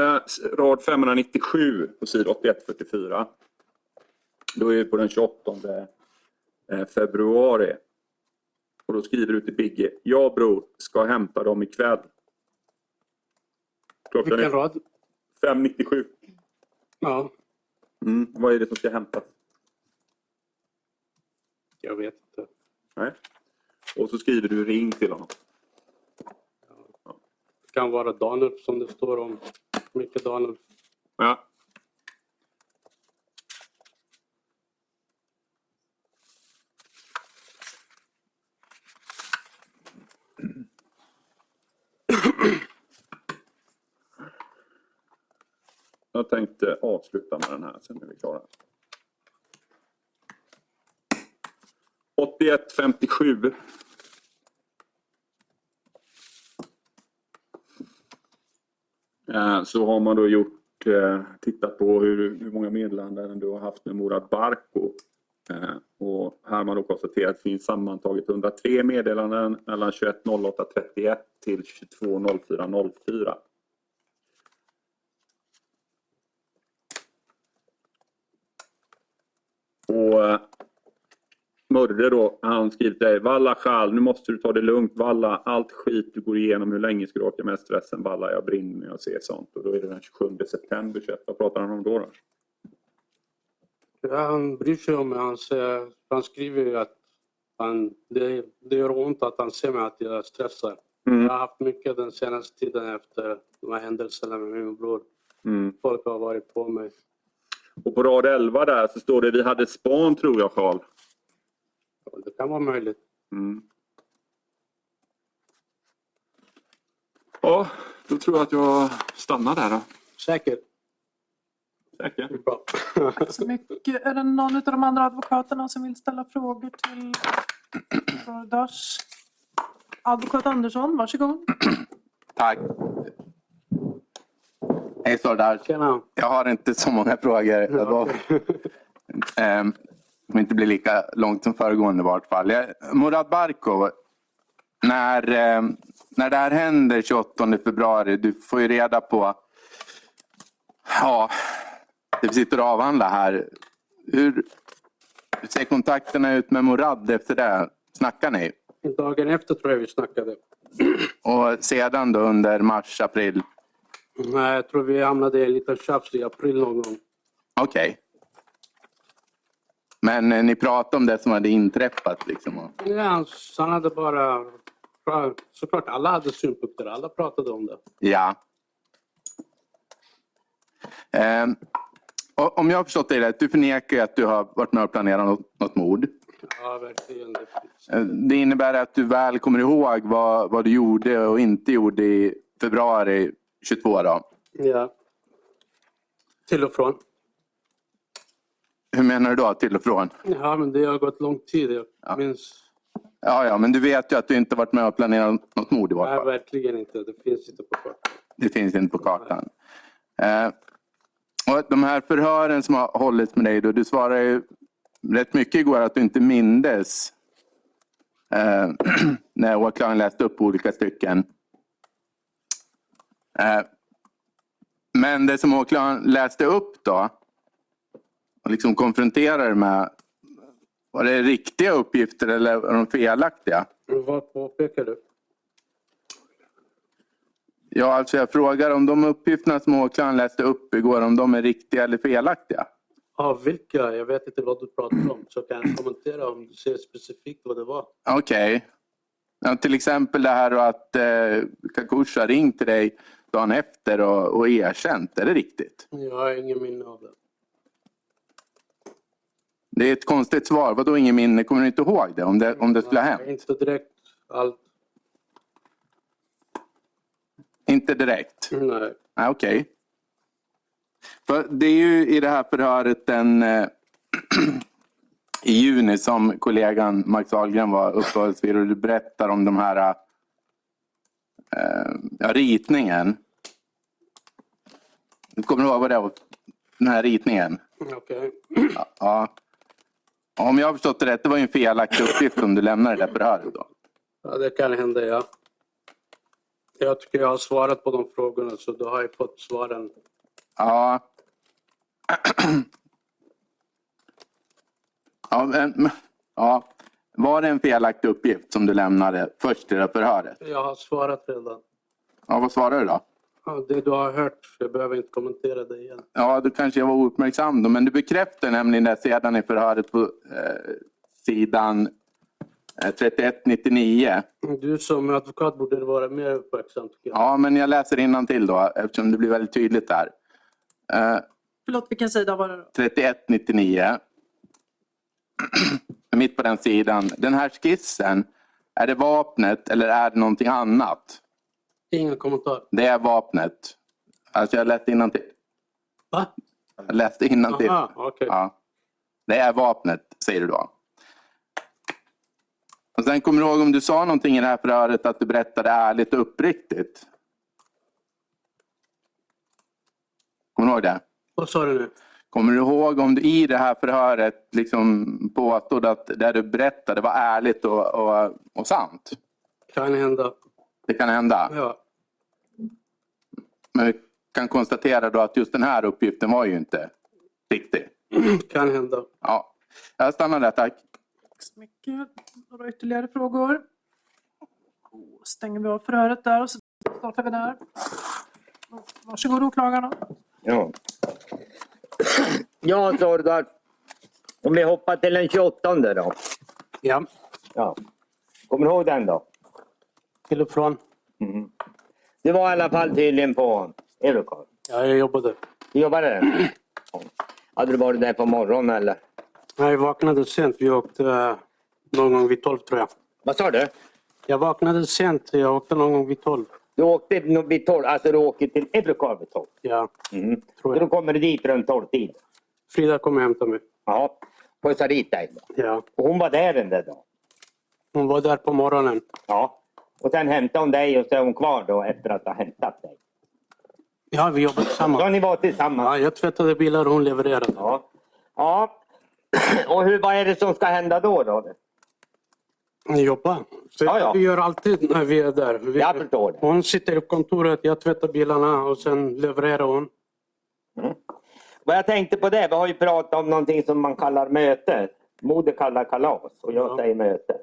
Speaker 2: Eh, Rad 597 på sida 8144. Då är vi på den 28 eh, februari. Och då skriver du till Bigge. Jag bror ska hämta dem ikväll. Klockan
Speaker 3: Vilken
Speaker 2: är
Speaker 3: rad?
Speaker 2: 5.97.
Speaker 3: Ja,
Speaker 2: Mm. Vad är det som ska hämtas?
Speaker 3: jag vet inte.
Speaker 2: Nej. Och så skriver du ring till honom.
Speaker 3: Det kan vara Danulf som det står om. Mycket Danulf.
Speaker 2: Ja. Jag tänkte avsluta med den här, sen är vi klara. 81.57. Eh, Så har man då gjort, eh, tittat på hur, hur många meddelanden du har haft med Murad Barko. Eh, Och här har man då konstaterat att det finns sammantaget 103 meddelanden mellan 21.08.31 till 22.04.04. Och eh, Mörre då, han skriver till dig. Valla själ, nu måste du ta det lugnt. Valla, allt skit du går igenom. Hur länge ska du orka med stressen? Valla, jag brinner när jag ser sånt. Och då är det den 27 september 21. Vad pratar han om då? då?
Speaker 3: Ja, han bryr sig om mig. Han, säger, han skriver ju att han, det, det gör ont att han ser mig att jag stressar.
Speaker 2: Mm.
Speaker 3: Jag har haft mycket den senaste tiden efter de här händelserna med min bror.
Speaker 2: Mm.
Speaker 3: Folk har varit på mig.
Speaker 2: Och på rad 11 där så står det vi hade span tror jag Karl. Mm.
Speaker 3: Och Det kan vara möjligt.
Speaker 2: Mm. Ja, då tror jag att jag stannar där. Då.
Speaker 3: Säkert.
Speaker 2: Säker?
Speaker 3: Det är bra. (laughs)
Speaker 1: Tack så mycket. Är det någon av de andra advokaterna som vill ställa frågor till Rodas? Advokat Andersson, varsågod.
Speaker 6: Tack. Hej Sardar.
Speaker 3: Tjena.
Speaker 6: Jag har inte så många frågor. Jag var, (laughs) ehm, om inte blir lika långt som föregående i vart fall. Jag, Murad Barkov, när, ehm, när det här händer 28 februari, du får ju reda på... Ja, det vi sitter och avhandlar här. Hur, hur ser kontakterna ut med Murad efter det? Snackar ni?
Speaker 3: Dagen efter tror jag vi snackade.
Speaker 6: Och sedan då under mars, april?
Speaker 3: Nej, jag tror vi hamnade i en liten tjafs i april någon gång.
Speaker 6: Okej. Men eh, ni pratade om det som hade inträffat liksom? och-
Speaker 3: Ja, han- han hade bara... Såklart, alla hade synpunkter. Alla pratade om det.
Speaker 6: Ja. Ehm, och om jag har förstått dig rätt, du förnekar ju att du har varit med och planerat något, något mord.
Speaker 3: Ja, verkligen. Det finns-
Speaker 6: Eh, Det innebär att du väl kommer ihåg vad, vad du gjorde och inte gjorde i februari 22 då?
Speaker 3: Ja. Till och från.
Speaker 6: Hur menar du då, till och från?
Speaker 3: Ja, men det har gått lång tid. Jag
Speaker 6: Ja.
Speaker 3: minns
Speaker 6: Ja, ja, men du vet ju att du inte varit med och planerat något mord i vart
Speaker 3: nej,
Speaker 6: fall.
Speaker 3: verkligen inte. Det finns inte på kartan.
Speaker 6: Det finns inte på kartan. Eh, och de här förhören som har hållits med dig, då, du svarade ju rätt mycket igår att du inte mindes eh, (clears throat) när åklagaren läste upp olika stycken. Eh, men det som åklagaren läste upp då och liksom konfronterade med, var det riktiga uppgifter eller var de felaktiga?
Speaker 3: Vad påpekar du?
Speaker 6: Ja, alltså jag frågar om de uppgifterna som åklagaren läste upp igår, om de är riktiga eller felaktiga?
Speaker 3: Av vilka? Jag vet inte vad du pratar om. Så kan jag kommentera om du ser specifikt vad det var.
Speaker 6: Okej. Ja, till exempel det här då att eh, Kakush har ringt till dig dagen efter och, och erkänt. Är det riktigt?
Speaker 3: Jag har ingen minne av det.
Speaker 6: Det är ett konstigt svar. Vadå ingen minne? Kommer du inte ihåg det om det, om det skulle ha hänt?
Speaker 3: Nej, Inte direkt allt.
Speaker 6: Inte direkt?
Speaker 3: Nej.
Speaker 6: Nej, Okej. För Det är ju i det här förhöret den, eh, (clears throat) i juni som kollegan Max Ahlgren var uppehållsvid och du berättar om de här eh, ja, ritningen. Du kommer ihåg vad det var? Den här ritningen?
Speaker 3: Okej.
Speaker 6: Ja. ja. Om jag har förstått det rätt, det var ju en felaktig uppgift som du lämnade i det här förhöret. Då.
Speaker 3: Ja, det kan hända, ja. Jag tycker jag har svarat på de frågorna så du har ju fått svaren.
Speaker 6: Ja. ja, men, ja. Var det en felaktig uppgift som du lämnade först i det här förhöret?
Speaker 3: Jag har svarat redan.
Speaker 6: Ja, vad svarade du då?
Speaker 3: Ja, det du har hört, jag behöver inte kommentera det igen.
Speaker 6: Ja, då kanske jag var ouppmärksam då, men du bekräftar nämligen det sedan i förhöret på eh, sidan eh, 3199.
Speaker 3: Du som advokat borde vara mer uppmärksam tycker jag.
Speaker 6: Ja, men jag läser till då eftersom det blir väldigt tydligt där. Eh,
Speaker 1: Förlåt, vilken sida var det då?
Speaker 6: 3199. (clears throat) Mitt på den sidan. Den här skissen, är det vapnet eller är det någonting annat?
Speaker 3: Ingen kommentar.
Speaker 6: Det är vapnet. Alltså jag läste innantill.
Speaker 3: Va?
Speaker 6: Jag läste innantill.
Speaker 3: Aha, okej.
Speaker 6: Ja. Det är vapnet, säger du då. Och sen kommer du ihåg om du sa någonting i det här förhöret att du berättade ärligt och uppriktigt? Kommer du ihåg det?
Speaker 3: Vad sa du nu?
Speaker 6: Kommer du ihåg om du i det här förhöret liksom påstod att det du berättade var ärligt och, och, och sant?
Speaker 3: Kan hända.
Speaker 6: Det kan hända.
Speaker 3: Ja.
Speaker 6: Men vi kan konstatera då att just den här uppgiften var ju inte riktig.
Speaker 3: Kan hända.
Speaker 6: Ja. Jag stannar där, tack.
Speaker 1: Tack så mycket. Några ytterligare frågor? Då stänger vi av förhöret där och så startar vi där. Varsågod åklagarna.
Speaker 7: Ja. Ja, Sordar. Om vi hoppar till den 28 då.
Speaker 3: Ja.
Speaker 7: Ja. Kommer du ihåg den då?
Speaker 3: Till och från.
Speaker 7: Det var i alla fall tydligen på Eurocard.
Speaker 3: Ja, jag jobbade.
Speaker 7: Du jobbade där? Ja. Hade du varit där på morgonen eller?
Speaker 3: Nej, Jag vaknade sent. Vi åkte eh, någon gång vid tolv tror jag.
Speaker 7: Vad sa du?
Speaker 3: Jag vaknade sent. Jag åkte någon gång vid tolv.
Speaker 7: Du åkte nog vid 12, alltså du åker till Eurocar vid 12.
Speaker 3: Ja,
Speaker 7: Mm.
Speaker 3: tror
Speaker 7: Så då
Speaker 3: jag.
Speaker 7: kommer du dit runt 12-tiden.
Speaker 3: Frida kommer hämta mig.
Speaker 7: Ja, pussar dit dig.
Speaker 3: Ja.
Speaker 7: Och hon var där den där dagen.
Speaker 3: Hon var där på morgonen.
Speaker 7: Ja. Och sen hämtade hon dig och så är hon kvar då efter att ha hämtat dig.
Speaker 3: Ja, vi jobbar
Speaker 7: Så
Speaker 3: tillsammans.
Speaker 7: ni var tillsammans.
Speaker 3: Ja, jag tvättade bilar och hon levererade.
Speaker 7: Ja. ja. (clears throat) Och hur, vad är det som ska hända då? då?
Speaker 3: Ni jobbar. Så
Speaker 7: Ja, ja.
Speaker 3: Vi gör alltid när vi är där. Vi,
Speaker 7: Jag förstår det.
Speaker 3: hon sitter i kontoret, jag tvättar bilarna och sen levererar hon.
Speaker 7: Vad jag tänkte på det, vi har ju pratat om någonting som man kallar möte. Moder kallar kalas och jag
Speaker 3: Ja.
Speaker 7: säger möte.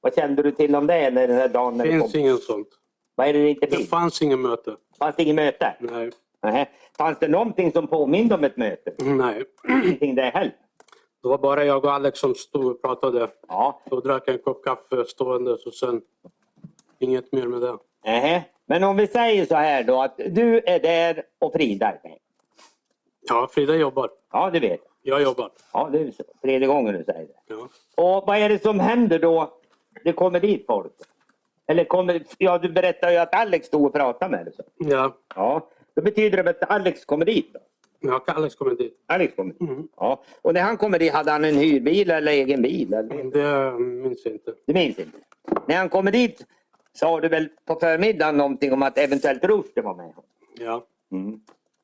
Speaker 7: Vad kände du till om det när den här dagen när
Speaker 3: Det
Speaker 7: det
Speaker 3: finns
Speaker 7: kom?
Speaker 3: inget sånt.
Speaker 7: Vad är det det inte
Speaker 3: Det
Speaker 7: finns?
Speaker 3: fanns inget möte.
Speaker 7: Fanns det inget möte?
Speaker 3: Nej.
Speaker 7: Nähä. Fanns det någonting som påminde om ett möte?
Speaker 3: Nej.
Speaker 7: Ingenting det heller?
Speaker 3: Det var bara jag och Alex som stod och pratade.
Speaker 7: Ja.
Speaker 3: Då drack jag en kopp kaffe stående och sen inget mer med det.
Speaker 7: Nähä. Men om vi säger så här då att du är där och Frida är där.
Speaker 3: Ja, Frida jobbar.
Speaker 7: Ja, du vet.
Speaker 3: Jag jobbar.
Speaker 7: Ja, det är så. tredje gången du säger det.
Speaker 3: Ja.
Speaker 7: Och vad är det som händer då? Det kommer dit folk? Eller kommer, ja, du berättar ju att Alex stod och pratade med dig. så.
Speaker 3: Ja.
Speaker 7: Ja, då betyder det väl att Alex kommer dit? Då.
Speaker 3: ja, Alex kommer dit.
Speaker 7: Alex kommer dit.
Speaker 3: Mm.
Speaker 7: Ja. Och när han kommer dit, hade han en hyrbil eller egen bil? Eller?
Speaker 3: Det minns jag inte.
Speaker 7: Du minns inte? När han kommer dit sa du väl på förmiddagen någonting om att eventuellt Rushdie var med? Mm.
Speaker 3: Ja.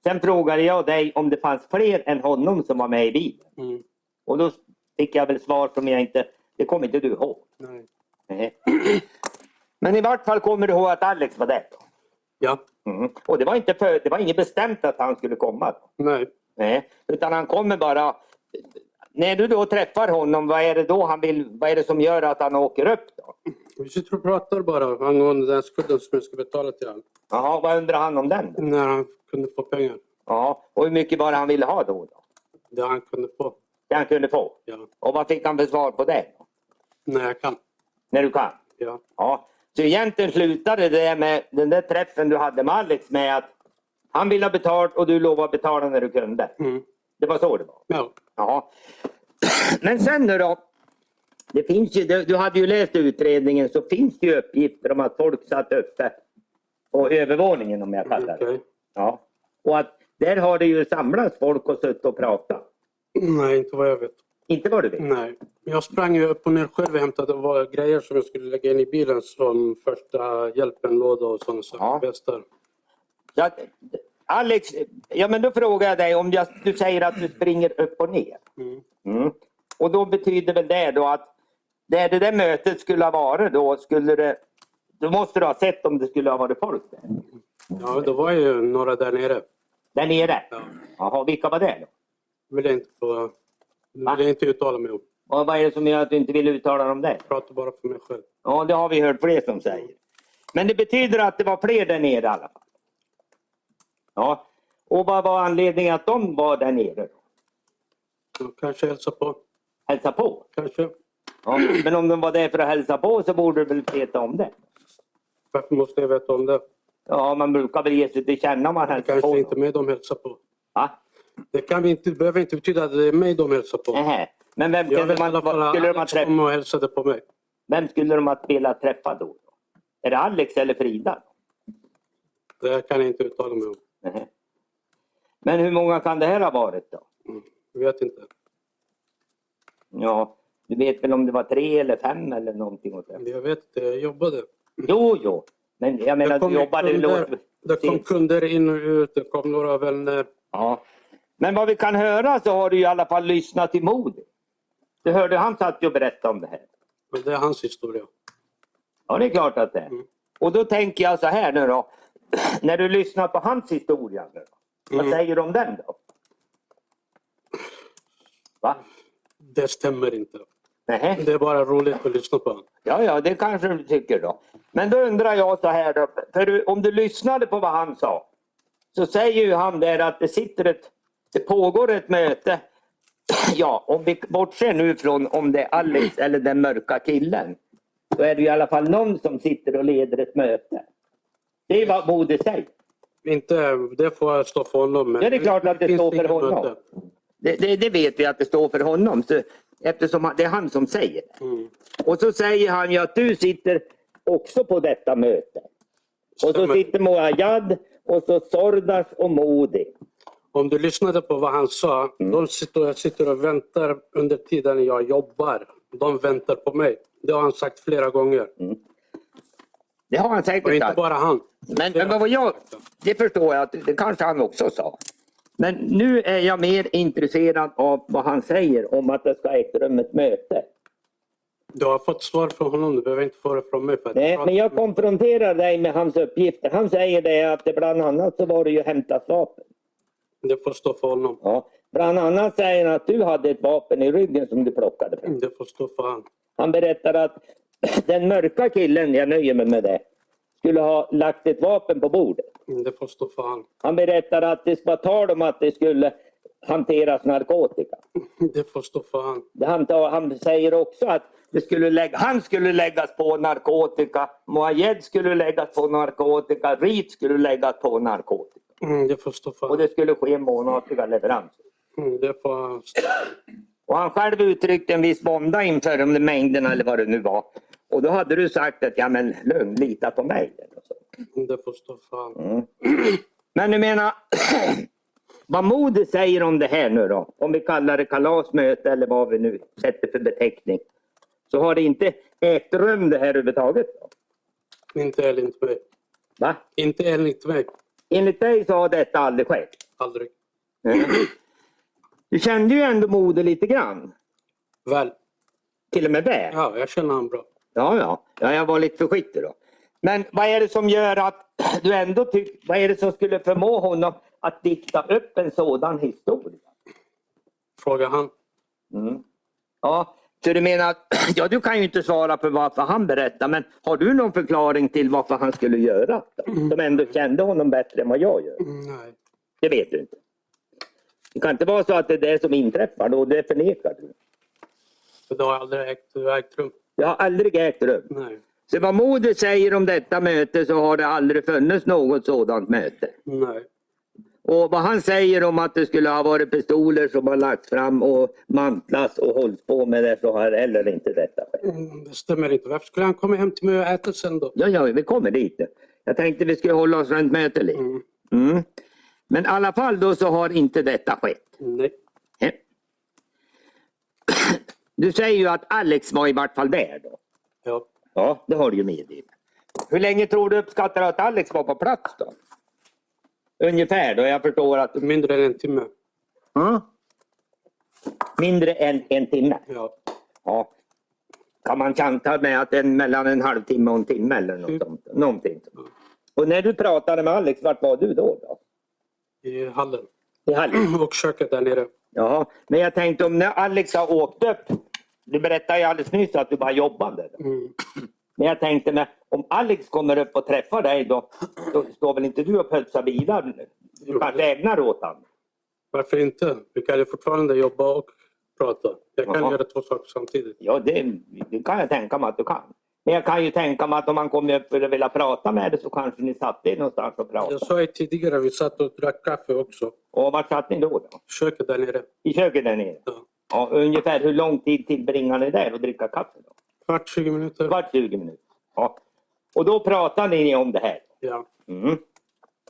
Speaker 7: Sen frågade jag dig om det fanns fler än honom som var med i bilen.
Speaker 3: Mm.
Speaker 7: Och då fick jag väl svar som jag inte... Det kommer inte du ihåg.
Speaker 3: Nej.
Speaker 7: Nej. Men i vart fall kommer du ihåg att Alex var där. då?
Speaker 3: Ja.
Speaker 7: Mm. Och det var, inte för, det var inget bestämt att han skulle komma. Då.
Speaker 3: Nej.
Speaker 7: Nej. Utan han kommer bara... När du då träffar honom, vad är det då han vill... Vad är det som gör att han åker upp? då?
Speaker 3: Vi sitter och pratar bara angående den skulden som jag ska betala till honom.
Speaker 7: Jaha, vad undrar han om den? Då?
Speaker 3: När han kunde få pengar.
Speaker 7: Jaha, och hur mycket var det han ville ha då? då?
Speaker 3: Det han kunde få.
Speaker 7: Det han kunde få.
Speaker 3: Ja.
Speaker 7: Och vad fick han för svar på det? Då?
Speaker 3: När jag kan.
Speaker 7: När du kan?
Speaker 3: Ja.
Speaker 7: Ja. Så egentligen slutade det med den där träffen du hade med Alex med att han ville ha betalt och du lovade att betala när du kunde.
Speaker 3: Mm.
Speaker 7: Det var så det var.
Speaker 3: ja.
Speaker 7: Ja. Men sen nu då. Det finns ju, du hade ju läst utredningen så finns det ju uppgifter om att folk satt uppe på övervåningen om jag kallar det.
Speaker 3: Okej.
Speaker 7: Ja. Och att där har det ju samlats folk och suttit och pratat.
Speaker 3: Nej, inte vad jag vet.
Speaker 7: Inte vad du vet?
Speaker 3: Nej. Jag sprang ju upp och ner själv och hämtade var- grejer som jag skulle lägga in i bilen som första hjälpenlåda och sådana saker.
Speaker 7: Ja.
Speaker 3: Västar.
Speaker 7: Så att, Alex, ja men då frågar jag dig om jag, du säger att du springer upp och ner.
Speaker 3: Mm.
Speaker 7: Mm. Och då betyder väl det då att där det där mötet skulle ha varit då skulle det, då måste du ha sett om det skulle ha varit folk där,
Speaker 3: Ja, det var ju några där nere.
Speaker 7: där nere.
Speaker 3: Ja.
Speaker 7: Jaha, vilka var det då?
Speaker 3: Vill jag inte, få, vill
Speaker 7: Va?
Speaker 3: jag inte uttala mig om.
Speaker 7: Och vad är det som gör att du inte vill uttala dig om det?
Speaker 3: Pratar bara för mig själv.
Speaker 7: Ja, det har vi hört fler som säger. Men det betyder att det var fler där nere i alla fall. Ja. Och vad var anledningen att de var där nere? Då?
Speaker 3: Jag kanske hälsa på.
Speaker 7: Hälsa på?
Speaker 3: Kanske.
Speaker 7: Ja. Men om de var där för att hälsa på så borde du väl veta om det?
Speaker 3: Varför måste jag veta om det?
Speaker 7: Ja, man brukar väl ge sig till känna om man hälsar på.
Speaker 3: Kanske inte
Speaker 7: någon.
Speaker 3: mig de hälsar på.
Speaker 7: Va?
Speaker 3: Det, kan vi inte, det behöver inte betyda att det är mig de hälsar på.
Speaker 7: Nähä. Mm. Men
Speaker 3: Jag
Speaker 7: vem skulle,
Speaker 3: vet i alla
Speaker 7: man,
Speaker 3: fall att
Speaker 7: skulle de ha
Speaker 3: Alex kom
Speaker 7: träff-
Speaker 3: och hälsade på mig.
Speaker 7: vem skulle de ha velat träffa då? Är det Alex eller Frida?
Speaker 3: Det kan jag inte uttala mig om.
Speaker 7: Nähä. Men hur många kan det här ha varit då?
Speaker 3: Jag vet inte.
Speaker 7: Ja, du vet väl om det var tre eller fem eller någonting åt det.
Speaker 3: Jag vet inte. Jag jobbade.
Speaker 7: Jo, jo. Men jag menar,
Speaker 3: Det kom,
Speaker 7: du jobbar, du
Speaker 3: kunder,
Speaker 7: låter...
Speaker 3: det kom kunder in och ut, det kom några eh, vänner.
Speaker 7: Ja. Men vad vi kan höra så har du i alla fall lyssnat till Modi. Du hörde han satt ju och berättade om det här.
Speaker 3: Men det är hans historia.
Speaker 7: Ja, det är klart att det är.
Speaker 3: Mm.
Speaker 7: Och då tänker jag så här nu då. (clears throat) När du lyssnar på hans historia, nu då, vad
Speaker 3: Mm.
Speaker 7: säger du om den då? Va?
Speaker 3: Det stämmer inte.
Speaker 7: Nähä.
Speaker 3: Det är bara roligt att lyssna på honom.
Speaker 7: Ja, ja, det kanske du tycker då. Men då undrar jag så här då, för du, om du lyssnade på vad han sa. Så säger ju han där att det sitter ett, det pågår ett möte. (clears throat) Ja, om vi bortser nu från om det är
Speaker 3: (clears throat)
Speaker 7: Alex eller den mörka killen. Då är det ju i alla fall någon som sitter och leder ett möte. Det är vad Modi säger.
Speaker 3: Inte, det får stå för honom. men
Speaker 7: Ja, det är klart att det
Speaker 3: finns
Speaker 7: står för
Speaker 3: inget
Speaker 7: honom.
Speaker 3: möte.
Speaker 7: Det, det, det vet vi att det står för honom. Så, eftersom han, det är han som säger det.
Speaker 3: Mm.
Speaker 7: Och så säger han ju att du sitter också på detta möte. Och så sitter Mojad och så Sordas och Modi.
Speaker 3: Om du lyssnade på vad han sa,
Speaker 7: Mm.
Speaker 3: de sitter, sitter och väntar under tiden jag jobbar. De väntar på mig. Det har han sagt flera gånger.
Speaker 7: Mm. Det har han
Speaker 3: Och
Speaker 7: säkert
Speaker 3: inte
Speaker 7: sagt.
Speaker 3: bara han.
Speaker 7: Men, men vad jag, det förstår jag att det kanske han också sa. Men nu är jag mer intresserad av vad han säger om att det ska ägt rum ett möte.
Speaker 3: Du har fått svar från honom, du behöver inte få det från mig. För att
Speaker 7: Nej, men jag konfronterar dig med hans uppgifter. Han säger det att det bland annat så var det ju hämtat vapen.
Speaker 3: Det får stå för honom.
Speaker 7: Ja. Bland annat säger han att du hade ett vapen i ryggen som du plockade fram.
Speaker 3: Det får stå för han.
Speaker 7: Han berättar att (clears throat) den mörka killen, jag nöjer mig med det, skulle ha lagt ett vapen på bordet.
Speaker 3: Det får stå för han.
Speaker 7: Han berättar att det var tal om att det skulle hanteras narkotika.
Speaker 3: Det får stå för han.
Speaker 7: Det Han, tar- han säger också att det skulle lägga, han skulle läggas på narkotika, Moayed skulle läggas på narkotika, Rit skulle läggas på narkotika.
Speaker 3: Mm, Det får stå för
Speaker 7: Och
Speaker 3: han.
Speaker 7: det skulle ske månatliga leveranser.
Speaker 3: Mm, Det får han. stå-
Speaker 7: Och han själv uttryckte en viss vånda inför de där mängderna eller vad det nu var. Och då hade du sagt att ja men lugn, lita på mig. Och så.
Speaker 3: Mm, Det får stå för han.
Speaker 7: Men du menar, (clears throat) vad Modi säger om det här nu då, om vi kallar det kalasmöte eller vad vi nu sätter för beteckning. Så har det inte ägt rum det här överhuvudtaget? Då.
Speaker 3: Inte enligt mig.
Speaker 7: Va?
Speaker 3: Inte enligt mig.
Speaker 7: Enligt dig så har detta aldrig skett.
Speaker 3: Aldrig.
Speaker 7: Du kände ju ändå Modi lite grann,
Speaker 3: Väl.
Speaker 7: till och med väl.
Speaker 3: Ja, jag känner han bra.
Speaker 7: Ja, ja. ja jag var lite försiktig då. Men vad är det som gör att (clears throat) du ändå tycker, vad är det som skulle förmå honom att dikta upp en sådan historia?
Speaker 3: Frågar han.
Speaker 7: Ja, så du menar att, (clears throat) ja du kan ju inte svara för varför han berättar men har du någon förklaring till varför han skulle göra det? Som ändå kände honom bättre än vad jag gör.
Speaker 3: Mm, Nej.
Speaker 7: Det vet du inte. Det kan inte vara så att det är det som inträffar då, det förnekar du.
Speaker 3: För det har aldrig ägt, ägt rum.
Speaker 7: Det har aldrig ägt rum.
Speaker 3: Nej.
Speaker 7: Så vad Moder säger om detta möte så har det aldrig funnits något sådant möte.
Speaker 3: Nej.
Speaker 7: Och vad han säger om att det skulle ha varit pistoler som har lagts fram och mantlas och hållits på med det så har heller inte detta skett.
Speaker 3: Mm, Det stämmer inte. Varför skulle han komma hem till mig och äta sen då?
Speaker 7: Ja, ja, vi kommer dit. Jag tänkte vi skulle hålla oss runt mötet lite. Mm. Men i alla fall då så har inte detta skett.
Speaker 3: Nej.
Speaker 7: Eh. (clears throat) Du säger ju att Alex var i vart fall där då.
Speaker 3: Ja.
Speaker 7: Ja, det har du ju medgivit. Hur länge tror du uppskattar att Alex var på plats då? Ungefär då, jag förstår att
Speaker 3: Mindre än en timme.
Speaker 7: Ja. mindre än en timme.
Speaker 3: Ja.
Speaker 7: Ja. Kan man chanta med att en, mellan en halvtimme och en timme eller något
Speaker 3: Mm.
Speaker 7: sånt. Någonting. Och när du pratade med Alex, vart var du då? då?
Speaker 3: I hallen.
Speaker 7: I Hallen?
Speaker 3: (clears throat) Och köket där nere.
Speaker 7: Jaha, men jag tänkte om när Alex har åkt upp. Du berättade ju alldeles nyss att du bara jobbade. Då.
Speaker 3: Mm.
Speaker 7: Men jag tänkte med, om Alex kommer upp och träffar dig då, då står väl inte du och putsar bilar? nu? Du kanske ägnar åt honom?
Speaker 3: Varför inte? Vi kan ju fortfarande jobba och prata. Jag kan
Speaker 7: Jaha.
Speaker 3: göra två saker samtidigt.
Speaker 7: Ja, det, det kan jag tänka mig att du kan. Men jag kan ju tänka mig att om han kommer upp för att vilja prata med dig så kanske ni satt er någonstans och pratade.
Speaker 3: Jag sa ju tidigare, vi satt och drack kaffe också.
Speaker 7: Och vart satt ni då? då?
Speaker 3: Köket där nere.
Speaker 7: I köket där nere?
Speaker 3: Ja.
Speaker 7: Ja, ungefär hur lång tid tillbringar ni där och dricka kaffe? Då?
Speaker 3: Kvart, 20 minuter.
Speaker 7: Kvart 20 minuter. Ja. Och då pratar ni om det här?
Speaker 3: Ja.
Speaker 7: Mm.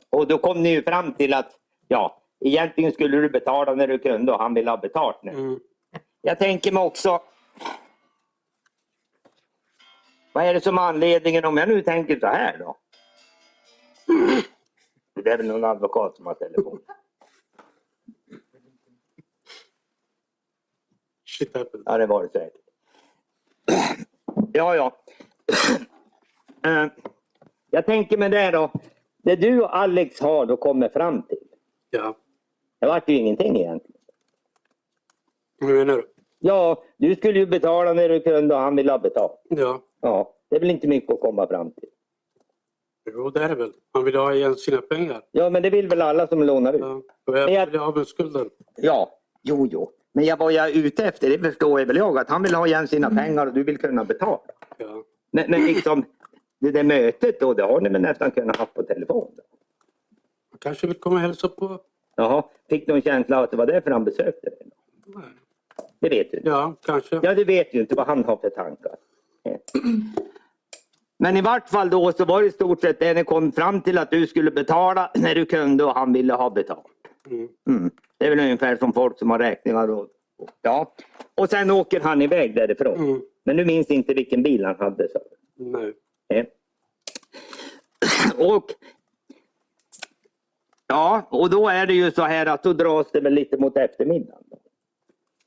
Speaker 7: Och då kom ni ju fram till att ja, egentligen skulle du betala när du kunde och han ville ha betalt nu.
Speaker 3: Mm.
Speaker 7: Jag tänker mig också. Vad är det som är anledningen om jag nu tänker så här då? Det är väl någon advokat som har telefon.
Speaker 3: Shit happened.
Speaker 7: Ja, det var det säkert. Ja, ja. Eh, Jag tänker med det då. Det du och Alex har då kommer fram till.
Speaker 3: Ja.
Speaker 7: Det vart ju ingenting egentligen.
Speaker 3: Hur menar du?
Speaker 7: Ja, du skulle ju betala när du kunde och han ville ha betalt.
Speaker 3: Ja.
Speaker 7: Ja, det är väl inte mycket att komma fram till.
Speaker 3: Jo, det är det väl. Han vill ha igen sina pengar.
Speaker 7: Ja, men det vill väl alla som lånar ut?
Speaker 3: Ja. Och jag
Speaker 7: jag-
Speaker 3: vill ha med skulden.
Speaker 7: Ja, jo, jo. Men jag, vad jag är ute efter, det förstår jag väl jag, att han vill ha igen sina pengar och du vill kunna betala.
Speaker 3: Ja.
Speaker 7: Men, men liksom, det där mötet då, det har ni väl nästan kunnat ha på telefon? Då.
Speaker 3: Han kanske vill komma och hälsa på.
Speaker 7: Jaha, fick du en känsla av att det var därför han besökte dig? då?
Speaker 3: Nej.
Speaker 7: Det vet du inte.
Speaker 3: Ja, kanske.
Speaker 7: Ja, du vet ju inte vad han har för tankar. Eh. Men i vart fall då så var det i stort sett det ni kom fram till att du skulle betala (clears throat) när du kunde och han ville ha betalt.
Speaker 3: Mm.
Speaker 7: Mm. Det är väl ungefär som folk som har räkningar. Och, ja. och sen åker han iväg därifrån.
Speaker 3: Mm.
Speaker 7: Men du minns inte vilken bil han hade. Så.
Speaker 3: Nej.
Speaker 7: Nej. (clears throat) Och Ja, och då är det ju så här att då dras det väl lite mot eftermiddagen.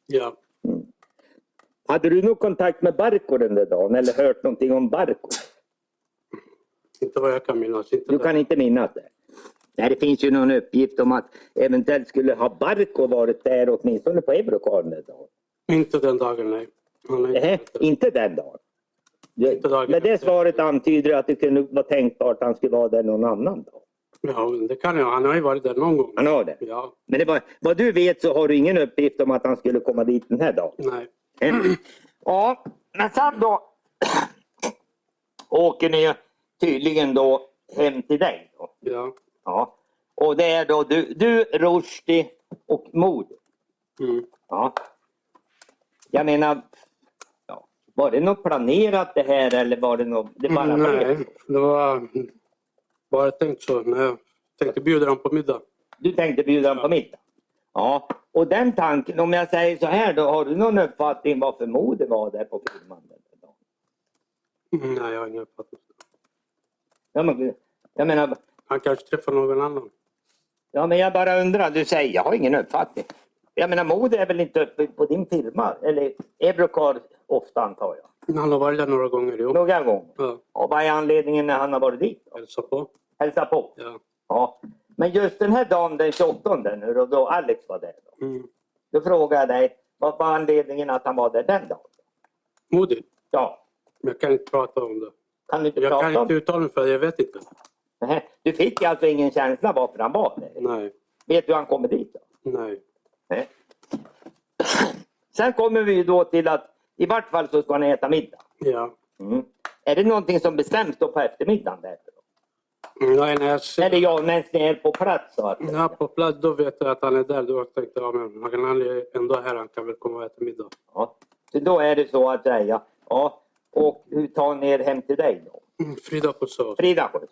Speaker 3: Ja.
Speaker 7: Hade du någon kontakt med Barko den där dagen eller hört någonting om Barko?
Speaker 3: Inte vad jag kan minnas. Inte
Speaker 7: Du
Speaker 3: det.
Speaker 7: kan inte minnas det? Nej, det finns ju någon uppgift om att eventuellt skulle ha Barko varit där åtminstone på Eurocarn den dagen.
Speaker 3: Inte den dagen, nej. Han är
Speaker 7: Nej,
Speaker 3: inte-
Speaker 7: inte den dagen.
Speaker 3: Inte dagen
Speaker 7: Men det
Speaker 3: efter.
Speaker 7: svaret antyder att det kunde vara tänkbart att han skulle vara där någon annan dag.
Speaker 3: Ja, men det kan jag. Han har ju varit där någon gång.
Speaker 7: Han har det.
Speaker 3: Ja,
Speaker 7: Men det var, vad du vet så har du ingen uppgift om att han skulle komma dit den här dagen.
Speaker 3: nej.
Speaker 7: Mm. Ja, men sen då (clears throat) åker ni ju tydligen då hem till dig. Då.
Speaker 3: Ja.
Speaker 7: Ja. Och det är då du, du Rushdie och Mod.
Speaker 3: Mm.
Speaker 7: Ja. Jag menar, ja. var det något planerat det här eller var det något, det bara blev?
Speaker 3: Mm, nej, det var bara tänkt så. Nej. jag Tänkte bjuda dem på middag.
Speaker 7: Du tänkte bjuda dem på middag? Ja. Och den tanken, om jag säger så här då, har du någon uppfattning varför Mod var där på filmen? den där dagen?
Speaker 3: Mm, Nej, jag har ingen uppfattning.
Speaker 7: Ja, men, jag menar,
Speaker 3: Han kanske träffar någon annan.
Speaker 7: Ja, men jag bara undrar. Du säger jag har ingen uppfattning. Jag menar, mode är väl inte uppe på din firma? Eller Eurocar ofta antar jag.
Speaker 3: Han har varit där några gånger, jo.
Speaker 7: Några gånger.
Speaker 3: Ja,
Speaker 7: Och vad är anledningen när han har varit dit? Då?
Speaker 3: hälsa på.
Speaker 7: Hälsa på.
Speaker 3: Ja.
Speaker 7: Ja. Men just den här dagen den 28 nu då, då Alex var där. Då,
Speaker 3: Mm.
Speaker 7: då frågar jag dig, vad var anledningen att han var där den dagen?
Speaker 3: Modig.
Speaker 7: Ja.
Speaker 3: Jag kan inte prata om det.
Speaker 7: Kan du inte
Speaker 3: Jag
Speaker 7: prata
Speaker 3: kan
Speaker 7: om
Speaker 3: inte
Speaker 7: det?
Speaker 3: uttala mig för det. Jag vet inte.
Speaker 7: Nej. Du fick alltså ingen känsla varför han var där?
Speaker 3: Nej,
Speaker 7: Vet du hur han kommer dit? Då?
Speaker 3: nej.
Speaker 7: Nej. Sen kommer vi ju då till att i vart fall så ska ni äta middag.
Speaker 3: Ja.
Speaker 7: Mm. Är det någonting som bestäms då på eftermiddagen? Där?
Speaker 3: Mm, Nej, när jag
Speaker 7: Eller
Speaker 3: ser
Speaker 7: ja, när ni är på plats? Så att,
Speaker 3: ja, på plats, då vet jag att han är där. Då tänkte jag, men han är ändå här. Han kan väl komma och äta middag.
Speaker 7: ja. Så då är det så att säga. Ja. Och hur tar ni er hem till dig då?
Speaker 3: Mm, Frida på så.
Speaker 7: Frida skjutsar.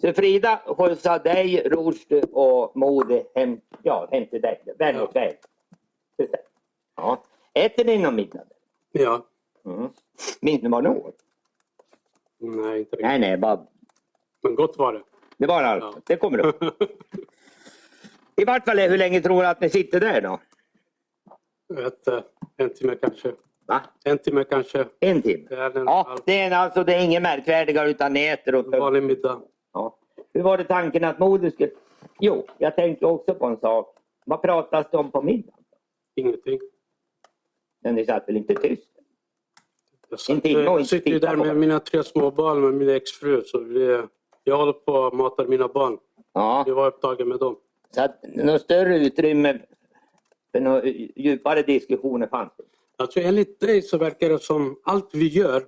Speaker 7: Så Frida skjutsar dig, Rushdie och Modi hem, ja, hem till dig. Vän och
Speaker 3: Ja.
Speaker 7: väg. Precis. Ja. Äter ni någon middag?
Speaker 3: Ja.
Speaker 7: Mm. Minns ni vad ni åt?
Speaker 3: Nej, inte riktigt.
Speaker 7: Nej, nej, bara
Speaker 3: Men gott var det. (laughs)
Speaker 7: Det var allt.
Speaker 3: Ja.
Speaker 7: Det kommer upp. I vart fall, hur länge tror du att ni sitter där då?
Speaker 3: Jag vet inte. eh, En timme kanske.
Speaker 7: Va?
Speaker 3: En timme kanske.
Speaker 7: En timme?
Speaker 3: Det är en
Speaker 7: Ja, det är, alltså, det är inget märkvärdigare utan ni äter och
Speaker 3: vanlig middag.
Speaker 7: ja. Hur var det tanken att Moder skulle... Jo, jag tänkte också på en sak. Vad pratas det om på middagen?
Speaker 3: Ingenting.
Speaker 7: Men ni satt väl inte tyst?
Speaker 3: Jag
Speaker 7: En timme och
Speaker 3: jag
Speaker 7: inte
Speaker 3: sitter ju
Speaker 7: titta
Speaker 3: där
Speaker 7: på
Speaker 3: med
Speaker 7: varandra.
Speaker 3: mina tre små barn med min exfru. Så vi, jag håller på och matar mina barn.
Speaker 7: Ja,
Speaker 3: Jag var upptagen med dem.
Speaker 7: så att något större utrymme för några djupare diskussioner fanns inte.
Speaker 3: Alltså enligt dig så verkar det som allt vi gör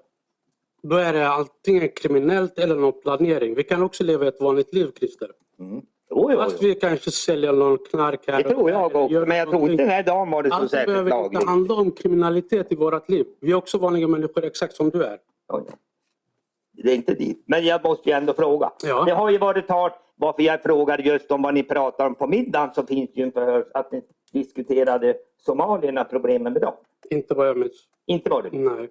Speaker 3: då är det antingen kriminellt eller någon planering. Vi kan också leva ett vanligt liv, Christer.
Speaker 7: Jo, jo,
Speaker 3: Fast
Speaker 7: jo.
Speaker 3: vi kanske säljer någon knark här
Speaker 7: Det
Speaker 3: och
Speaker 7: tror
Speaker 3: där,
Speaker 7: jag också,
Speaker 3: gör
Speaker 7: men jag tror
Speaker 3: någonting.
Speaker 7: inte den här dagen var det så
Speaker 3: Allt
Speaker 7: särskilt
Speaker 3: behöver inte
Speaker 7: lagligt.
Speaker 3: handla om kriminalitet i vårt liv. Vi är också vanliga människor exakt som du är.
Speaker 7: Ja, ja. Det är inte dit. Men jag måste ju ändå fråga.
Speaker 3: Ja.
Speaker 7: Det har ju varit tal, varför jag frågar just om vad ni pratar om på middagen så finns det ju en förhör att ni diskuterade somalierna, problemen med dem.
Speaker 3: Inte vad jag minns.
Speaker 7: Inte var det
Speaker 3: Nej.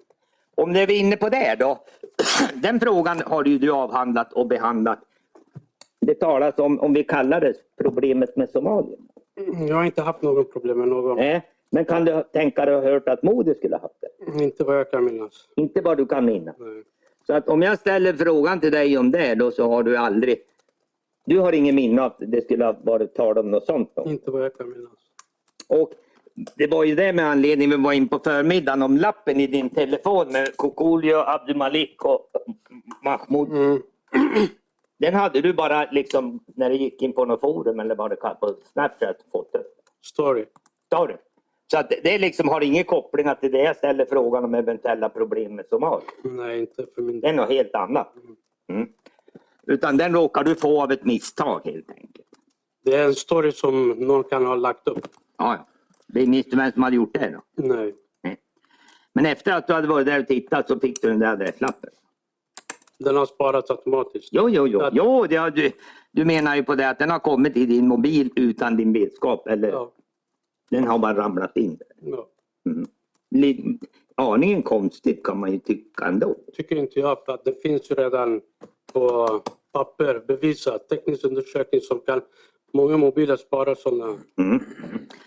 Speaker 7: Om ni är inne på det då. (clears throat) Den frågan har ju du avhandlat och behandlat. Det talas om, om vi kallar det problemet med somalierna.
Speaker 3: Mm, Jag har inte haft något problem med någon.
Speaker 7: Nej. Men kan du tänka dig att ha hört att Modi skulle ha haft det?
Speaker 3: Mm, Inte vad jag kan minnas.
Speaker 7: Inte vad du kan minnas.
Speaker 3: Nej.
Speaker 7: Så att om jag ställer frågan till dig om det då så har du aldrig... Du har ingen minne att det skulle ha varit tal om något sånt då.
Speaker 3: Inte vad jag kan minnas.
Speaker 7: Och det var ju det med anledning vi var in på förmiddagen om lappen i din telefon med Kokolio, Abdumalik och Mahmoud.
Speaker 3: Mm.
Speaker 7: Den hade du bara liksom när du gick in på något forum eller vad det kallas på Snapchat fått upp.
Speaker 3: Story.
Speaker 7: Sa du? Så att det liksom har ingen koppling till det jag ställer frågan om eventuella problem med Somalia.
Speaker 3: Nej, inte för min
Speaker 7: Det
Speaker 3: del.
Speaker 7: är något helt annat. Mm. Utan den råkar du få av ett misstag helt enkelt.
Speaker 3: Det är en story som någon kan ha lagt upp.
Speaker 7: Ja, ja. det är inte vem som hade gjort det då.
Speaker 3: Nej.
Speaker 7: Men efter att du hade varit där och tittat så fick du den där adresslappen.
Speaker 3: Den har sparats automatiskt.
Speaker 7: Jo, jo, jo. jo det har, du, du menar ju på det att den har kommit i din mobil utan din vetskap. Eller?
Speaker 3: Ja,
Speaker 7: Den har bara ramlat in. där.
Speaker 3: ja.
Speaker 7: Li- Aningen konstigt kan man ju tycka ändå.
Speaker 3: Tycker inte jag för att det finns ju redan på papper bevisat teknisk undersökning som kan Många mobiler sparar sådana.
Speaker 7: Mm.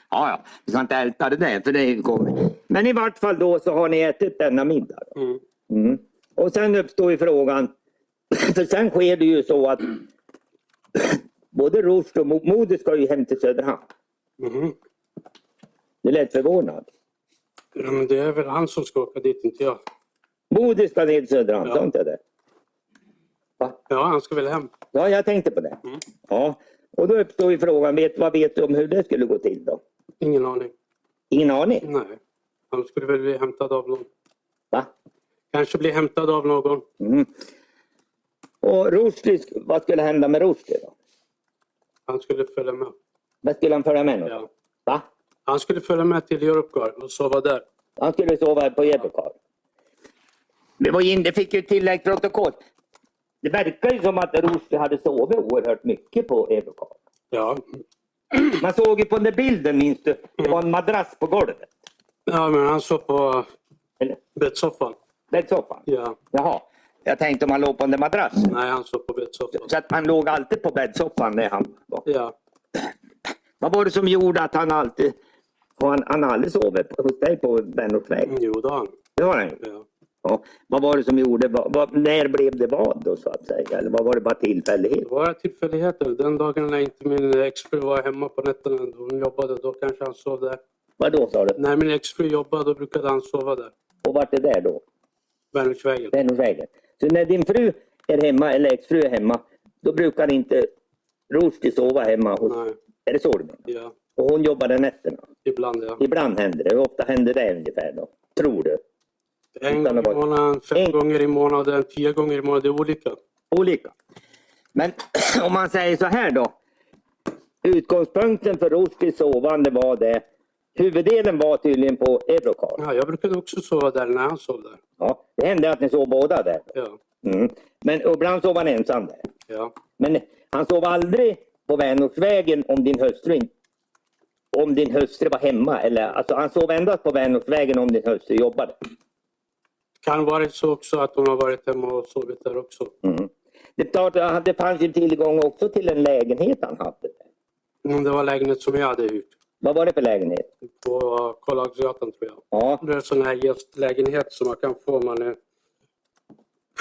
Speaker 7: Ja, ja, vi ska inte älta det där för det kommer. Men i vart fall då så har ni ätit denna middag. Då.
Speaker 3: Mm.
Speaker 7: Mm. Och sen uppstår ju frågan, (clears throat) för sen sker det ju så att (clears throat) både Rushdie och Mo- Modi ska ju hem till Söderhamn.
Speaker 3: Mhm.
Speaker 7: Du lät förvånad.
Speaker 3: Ja, men det är väl han som ska åka dit, inte jag.
Speaker 7: Modi ska ner till Söderhamn,
Speaker 3: Ja.
Speaker 7: sa inte jag det?
Speaker 3: Ja, han ska väl hem.
Speaker 7: Ja, jag tänkte på det.
Speaker 3: Mm.
Speaker 7: Ja. Och då uppstår ju frågan, vet, vad vet du om hur det skulle gå till då?
Speaker 3: Ingen aning.
Speaker 7: Ingen aning?
Speaker 3: Nej. Han skulle väl bli hämtad av någon.
Speaker 7: Va?
Speaker 3: Kanske bli hämtad av någon.
Speaker 7: Mm. Och Rushdie, sk- vad skulle hända med Rushdie då?
Speaker 3: Han skulle följa med.
Speaker 7: Vad skulle han föra med någonstans?
Speaker 3: Ja.
Speaker 7: Va?
Speaker 3: Han skulle följa med till Europcar och sova där.
Speaker 7: Han skulle sova på Jeppekar. Det var ju in, det fick ju ett tilläggsprotokoll. Det verkar ju som att Rushdie hade sovit oerhört mycket på Jeppekar.
Speaker 3: Ja.
Speaker 7: Man såg ju på den där bilden, minns du? Det var en madrass på golvet.
Speaker 3: ja, men han sov på
Speaker 7: Eller
Speaker 3: bäddsoffan.
Speaker 7: bäddsoffan.
Speaker 3: Ja.
Speaker 7: Jaha. Jag tänkte om han låg på den där madrassen.
Speaker 3: Nej, han sov på bäddsoffan.
Speaker 7: Så att han låg alltid på bäddsoffan när han var.
Speaker 3: Ja.
Speaker 7: Vad var det som gjorde att han alltid... och Han, han aldrig sovit på- hos dig på Vänortsväg?
Speaker 3: Jo, det har han.
Speaker 7: Det har han ju.
Speaker 3: Ja.
Speaker 7: Ja. Vad var det som gjorde... Vad, vad, när blev det vad då så att säga? Eller vad var det bara tillfällighet?
Speaker 3: Det var tillfälligheter. Den dagen när inte min exfru var hemma på nätterna, då hon jobbade, då kanske han sov där.
Speaker 7: Vad då sa du?
Speaker 3: När min exfru jobbade, då brukade han sova där.
Speaker 7: Och vart är det då?
Speaker 3: Vänersvägen.
Speaker 7: Vänortsvägen. Så när din fru är hemma eller exfru är hemma, då brukar inte Rushdie sova hemma hos...
Speaker 3: Nej.
Speaker 7: Är det så du menar?
Speaker 3: Ja.
Speaker 7: Och hon jobbade nätterna?
Speaker 3: Ibland, ja.
Speaker 7: Ibland händer det. Hur ofta händer det ungefär då? Tror du?
Speaker 3: En gång
Speaker 7: Utan det Mm.
Speaker 3: i
Speaker 7: var-
Speaker 3: månaden, fem
Speaker 7: En-
Speaker 3: gånger i månaden, tio gånger i månaden. Det är olika.
Speaker 7: olika. Men (clears throat) om man säger så här då. Utgångspunkten för Rostis sovande var det. Huvuddelen var tydligen på Eurocar.
Speaker 3: Ja, jag brukade också sova där när han sov där.
Speaker 7: Ja, det hände att ni sov båda där.
Speaker 3: Ja.
Speaker 7: Mm. Men ibland sov han ensam där.
Speaker 3: ja.
Speaker 7: Men han sov aldrig på Vänortsvägen om din hustru in- om din hustru var hemma. Eller, alltså, han sov endast på Vänortsvägen om din hustru jobbade.
Speaker 3: Kan vara så också att hon har varit hemma och sovit där också.
Speaker 7: Mm. Det, är klart, att det fanns ju tillgång också till en lägenhet han hade.
Speaker 3: Om det var lägenhet som jag hade hyrt.
Speaker 7: Vad var det för lägenhet?
Speaker 3: På Karlhagsgatan tror jag.
Speaker 7: Ja,
Speaker 3: Det är en sån här gästlägenhet som man kan få om man är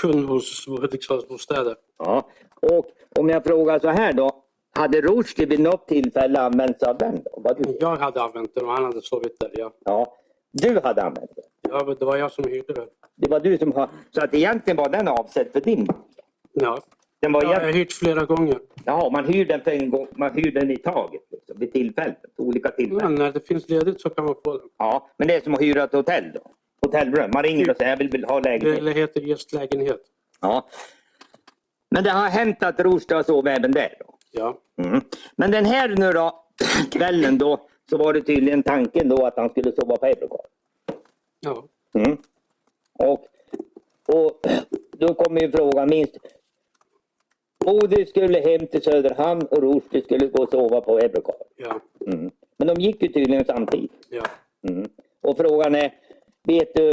Speaker 3: kund hos Hudiksvalls bostäder.
Speaker 7: Ja, och om jag frågar så här då. Hade Rushdie vid något tillfälle använt sig av den? Då? Vad du,
Speaker 3: Jag hade använt den och han hade sovit där. Ja.
Speaker 7: ja, du hade använt den.
Speaker 3: Ja, men det var jag som hyrde den.
Speaker 7: Det var du som har... Så att egentligen var den avsedd för din.
Speaker 3: Ja.
Speaker 7: Den var
Speaker 3: Jag har
Speaker 7: ja,
Speaker 3: hyrt flera gånger.
Speaker 7: ja, man hyr den för en gång, man hyr den i taget. Liksom, vid tillfället, olika
Speaker 3: Ja,
Speaker 7: tillfällen.
Speaker 3: när det finns ledigt så kan man få den.
Speaker 7: Ja, men det är som att hyra ett hotell då. Hotellrum. Man ringer och säger jag vill, vill ha lägenhet.
Speaker 3: Det heter gästlägenhet.
Speaker 7: Ja. Men det har hänt att Rushdie har sovit även där då?
Speaker 3: Ja.
Speaker 7: Mm. Men den här nu då, (clears throat) kvällen då, så var det tydligen tanken då att han skulle sova på Eurocar.
Speaker 3: ja.
Speaker 7: Mm. Och, och (clears throat) då kommer ju frågan minst. Bodil skulle hem till Söderhamn och Rushdie skulle gå och sova på Eurocar.
Speaker 3: Ja.
Speaker 7: Mm. Men de gick ju tydligen samtidigt.
Speaker 3: Ja.
Speaker 7: Mm. Och frågan är, vet du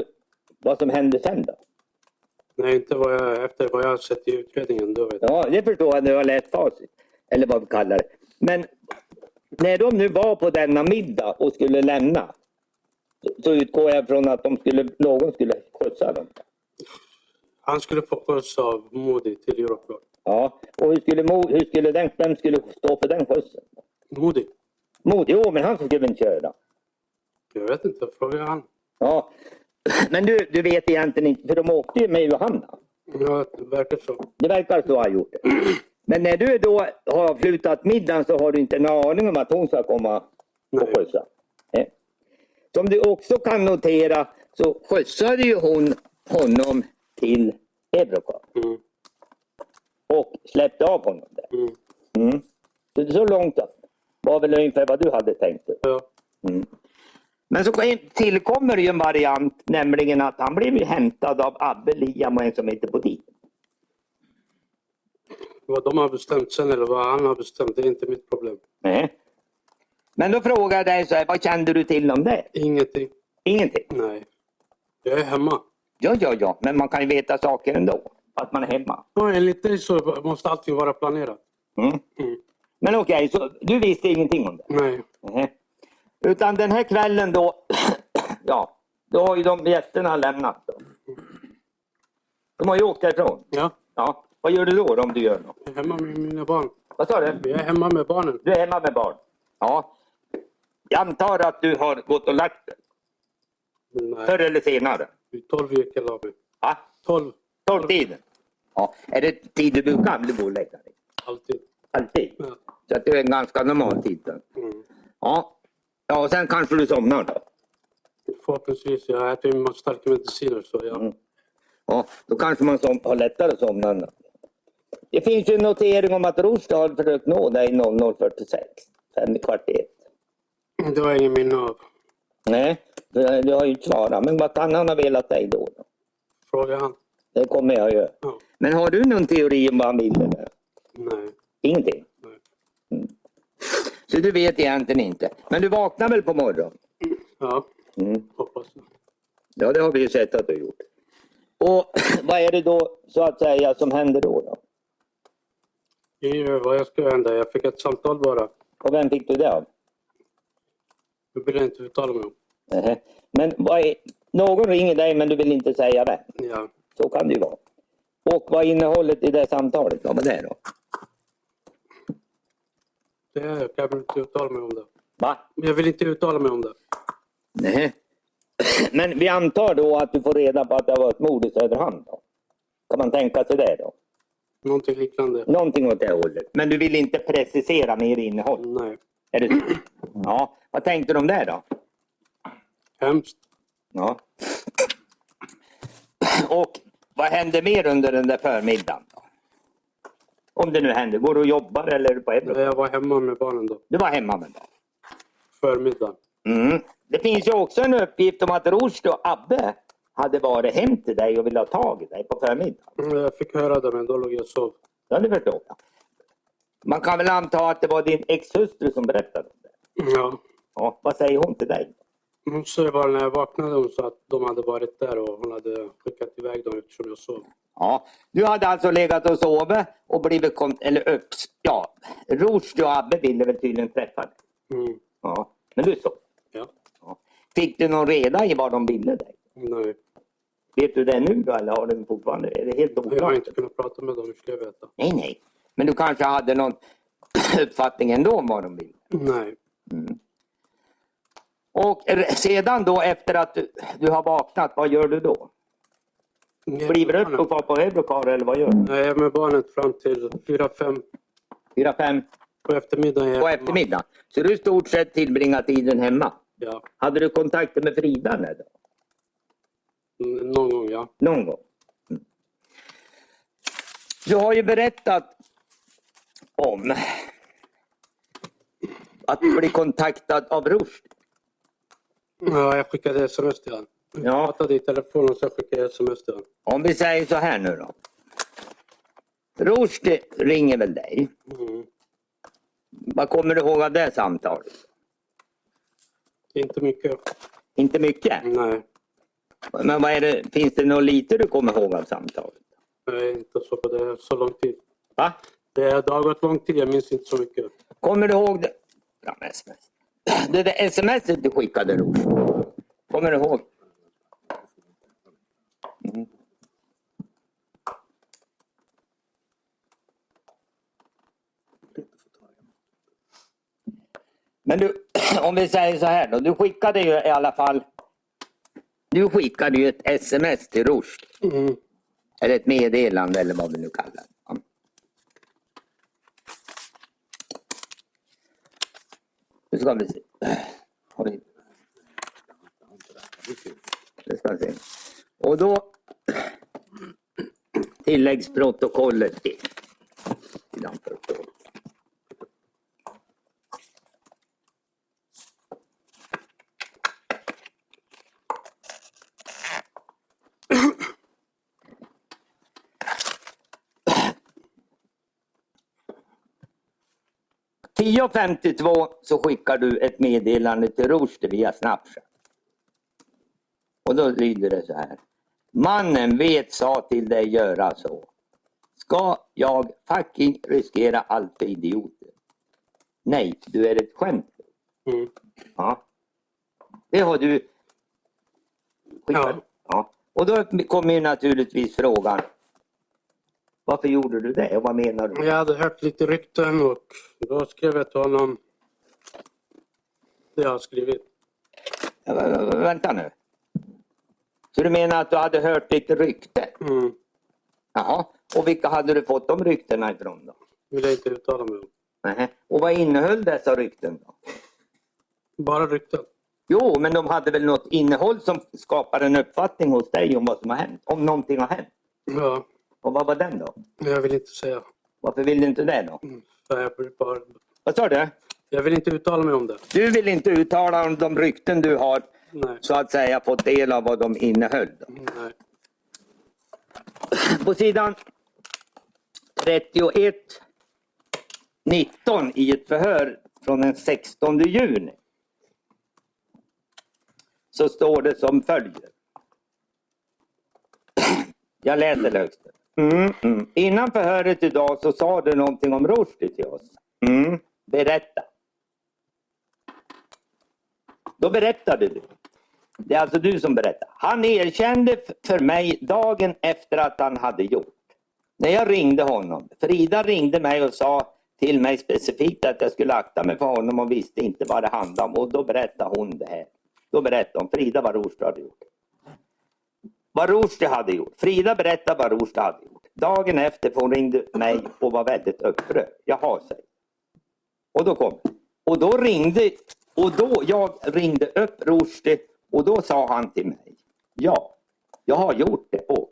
Speaker 7: vad som hände sen då?
Speaker 3: Nej, inte vad jag, efter vad jag har sett i utredningen. Då vet jag.
Speaker 7: Ja, det förstår jag när jag har läst facit. Eller vad vi kallar det. Men när de nu var på denna middag och skulle lämna. så- Så utgår jag från att de skulle, någon skulle skjutsa dem.
Speaker 3: Han skulle få skjuts av Modi till Europol.
Speaker 7: Ja, och hur skulle, Mo- hur skulle den, vem skulle stå för den skjutsen?
Speaker 3: Modi?
Speaker 7: Mot, jo, men han skulle väl inte köra.
Speaker 3: Jag vet inte, fråga han.
Speaker 7: Ja. Men du, du vet egentligen inte, för de åkte ju med Johanna.
Speaker 3: Ja, det verkar så.
Speaker 7: Det verkar så ha gjort det. Men när du då har avslutat middagen så har du inte en aning om att hon ska komma och
Speaker 3: Nej.
Speaker 7: skjutsa. Nej. Som du också kan notera så skjutsade ju hon honom till Eurocar
Speaker 3: Mm,
Speaker 7: och släppte av honom där.
Speaker 3: mm,
Speaker 7: Mm. Så, så långt då. var väl ungefär vad du hade tänkt dig.
Speaker 3: ja.
Speaker 7: Men så tillkommer ju en variant, nämligen att han blev ju hämtad av Abbe Liam och en som heter Bodin.
Speaker 3: Vad de har bestämt sen eller vad han har bestämt, det är inte mitt problem.
Speaker 7: Nej. Eh. Men då frågar jag dig så här, vad kände du till om det?
Speaker 3: Ingenting.
Speaker 7: Ingenting?
Speaker 3: Nej. Jag är hemma.
Speaker 7: Ja, ja, ja, men man kan ju veta saker ändå. Att man är hemma.
Speaker 3: Och enligt dig så måste allting vara planerat.
Speaker 7: Mm.
Speaker 3: Mm.
Speaker 7: Men okej, så du visste ingenting om det?
Speaker 3: Nej.
Speaker 7: Nej. Utan den här kvällen då, (clears throat) ja, då har ju de gästerna lämnat. Då. De har ju åkt därifrån.
Speaker 3: Ja,
Speaker 7: Ja. Vad gör du då, då om du gör något?
Speaker 3: jag är hemma med mina barn.
Speaker 7: Vad sa du?
Speaker 3: Jag är hemma med barnen.
Speaker 7: Du är hemma med barn? Ja. Jag antar att du har gått och lagt dig,
Speaker 3: Nej,
Speaker 7: förr eller senare?
Speaker 3: det är 12 veckor la mig.
Speaker 7: Va?
Speaker 3: 12,
Speaker 7: Tolvtiden? Ja. Är det tid du brukar gå och lägga dig?
Speaker 3: alltid.
Speaker 7: Alltid?
Speaker 3: Ja.
Speaker 7: Så att det är en ganska normal tid. då.
Speaker 3: Mm.
Speaker 7: Ja. Ja, och sen kanske du somnar då?
Speaker 3: Förhoppningsvis. Jag äter ju starka mediciner så jag...
Speaker 7: Mm. Ja, då kanske man som, har lättare att somna. än- Det finns ju en notering om att Rushdie har försökt nå dig 00.46. Fem i kvart i ett.
Speaker 3: Det var ingen minne av.
Speaker 7: Nej, du, du har ju inte svarat. Men vad kan han ha velat dig då? då?
Speaker 3: Fråga han.
Speaker 7: Det kommer jag ju.
Speaker 3: Ja.
Speaker 7: Men har du någon teori om vad han ville? Där?
Speaker 3: Nej.
Speaker 7: Ingenting?
Speaker 3: Nej.
Speaker 7: Mm. Så du vet egentligen inte. Men du vaknar väl på morgonen?
Speaker 3: Ja,
Speaker 7: Mm.
Speaker 3: hoppas jag.
Speaker 7: Ja, det har vi ju sett att du har gjort. Och (clears throat) vad är det då så att säga som händer då? då?
Speaker 3: Det är ju vad jag ska hända. Jag fick ett samtal bara.
Speaker 7: Och vem fick du det av?
Speaker 3: Det vill jag inte uttala mig om.
Speaker 7: Nähä. Eh, Men vad är, någon ringer dig men du vill inte säga vem.
Speaker 3: Ja.
Speaker 7: Så kan det ju vara. Och vad är innehållet i det samtalet? Vad var det då?
Speaker 3: Det här, jag kan väl inte uttala mig om det.
Speaker 7: Va?
Speaker 3: Men Jag vill inte uttala mig om det.
Speaker 7: Nähä. Men vi antar då att du får reda på att det har varit mord i Söderhamn? Då. Kan man tänka sig det då?
Speaker 3: Någonting liknande.
Speaker 7: Någonting åt det hållet. Men du vill inte precisera mer innehåll?
Speaker 3: Nej.
Speaker 7: Är det så? Ja. Vad tänkte du om det då?
Speaker 3: Hemskt.
Speaker 7: Ja. Och vad hände mer under den där förmiddagen? Då? Om det nu hände, går du och jobbar eller är du på
Speaker 3: När
Speaker 7: Ebro?
Speaker 3: Jag var hemma med barnen då.
Speaker 7: Du var hemma med dem.
Speaker 3: Förmiddagen.
Speaker 7: Mm. Det finns ju också en uppgift om att Rushdie och Abbe hade varit hem till dig och ville ha tag i dig på förmiddagen.
Speaker 3: Mm, Jag fick höra det men då låg jag och sov.
Speaker 7: Ja, det förstår jag. Man kan väl anta att det var din exhustru som berättade om det?
Speaker 3: Ja.
Speaker 7: Ja, vad säger hon till dig?
Speaker 3: Hon sa bara när jag vaknade hon sa att de hade varit där och hon hade skickat iväg dem eftersom jag sov.
Speaker 7: Ja, du hade alltså legat och sovit och blivit kont- eller upps. Ja, Rushdie och Abbe ville väl tydligen träffa dig.
Speaker 3: Mm.
Speaker 7: Ja, men du sov.
Speaker 3: Ja.
Speaker 7: Fick du någon reda i vad de ville dig?
Speaker 3: Nej.
Speaker 7: Vet du det nu då eller har du fortfarande? Är det helt
Speaker 3: Jag har
Speaker 7: oklart?
Speaker 3: inte kunnat prata med dem. Hur ska jag veta?
Speaker 7: Nej, nej. Men du kanske hade någon (clears throat) uppfattning ändå om vad de ville?
Speaker 3: Nej.
Speaker 7: Och r- sedan då efter att du, du har vaknat, vad gör du då? Kliver du upp och far på Eurokar eller vad gör du?
Speaker 3: Nej, jag är med barnet fram till fyra fem
Speaker 7: Fyra, fem
Speaker 3: på eftermiddagen. är jag
Speaker 7: på
Speaker 3: hemma.
Speaker 7: eftermiddagen. Så du i stort sett tillbringar tiden hemma.
Speaker 3: Ja.
Speaker 7: Hade du kontakter med Frida när då?
Speaker 3: Mm, Någon gång ja.
Speaker 7: Någon gång? Mm. Du har ju berättat om att bli kontaktad av Rush.
Speaker 3: ja. Jag skickade sms till honom. Vi
Speaker 7: Ja.
Speaker 3: pratade i telefon och sen skickade jag sms till honom.
Speaker 7: Om vi säger så här nu då. Rushdie ringer väl dig?
Speaker 3: Mm.
Speaker 7: Vad kommer du ihåg av det samtalet?
Speaker 3: Inte mycket.
Speaker 7: Inte mycket.
Speaker 3: Nej.
Speaker 7: Men vad är det, finns det något lite du kommer ihåg av samtalet?
Speaker 3: Jag är inte så på det här så lång tid.
Speaker 7: Va?
Speaker 3: Det, det har gått lång tid. Jag minns inte så mycket.
Speaker 7: Kommer du ihåg det? Fram med sms. Det där smset du skickade Roger. Kommer du ihåg? Mm. Men du, (clears throat) om vi säger så här då. Du skickade ju i alla fall. Du skickade ju ett sms till Roger.
Speaker 3: Mm.
Speaker 7: Eller ett meddelande eller vad vi nu kallar det. Ja. Nu ska vi se. Har vi- Nu ska vi se. Och då tilläggsprotokollet till. sidan 48. 10.52 så skickar du ett meddelande till Rushdie via Snapchat. Och då lyder det så här. Mannen vet sa till dig göra så. Ska jag fucking riskera allt för idioter? Nej, du är ett skämt.
Speaker 3: Mm.
Speaker 7: Ja. Det har du skickat. Ja.
Speaker 3: Ja.
Speaker 7: Och då kommer ju naturligtvis frågan. Varför gjorde du det och vad menar du?
Speaker 3: Jag hade hört lite rykten och då skrev jag till honom det jag har skrivit.
Speaker 7: Ja, vä- vä- Vänta nu. Så du menar att du hade hört lite rykte?
Speaker 3: Mm.
Speaker 7: Jaha. Och vilka hade du fått de ryktena ifrån då?
Speaker 3: Vill jag inte uttala mig om.
Speaker 7: Nähä. Och vad innehöll dessa rykten då?
Speaker 3: Bara rykten.
Speaker 7: Jo, men de hade väl något innehåll som skapar en uppfattning hos dig om vad som har hänt? Om någonting har hänt?
Speaker 3: Ja,
Speaker 7: Och vad var den då?
Speaker 3: men jag vill inte säga.
Speaker 7: Varför vill du inte det då?
Speaker 3: För jag, blir bara...
Speaker 7: Vad sa du?
Speaker 3: jag vill inte uttala mig om det.
Speaker 7: Du vill inte uttala om de rykten du har
Speaker 3: Nej.
Speaker 7: så att säga fått del av vad de innehöll. Då.
Speaker 3: Nej.
Speaker 7: På sidan 31, 19 i ett förhör från den 16 juni. Så står det som följer. Jag läser högst. Mm, mm. Innan förhöret idag så sa du någonting om Rushdie till oss. Mm. Berätta. Då berättade du. Det är alltså du som berättar. Han erkände f- för mig dagen efter att han hade gjort. När jag ringde honom. Frida ringde mig och sa till mig specifikt att jag skulle akta mig för honom och visste inte vad det handlade om. Och då berättade hon det här. Då berättade hon Frida vad Rushdie hade gjort. Vad Rushdie hade gjort. Frida berättade vad Rushdie hade gjort. Dagen efter för hon ringde mig och var väldigt upprörd. Jaha, säger och då kom Och då ringde, och då jag ringde upp Rushdie och då sa han till mig. Ja, jag har gjort det och.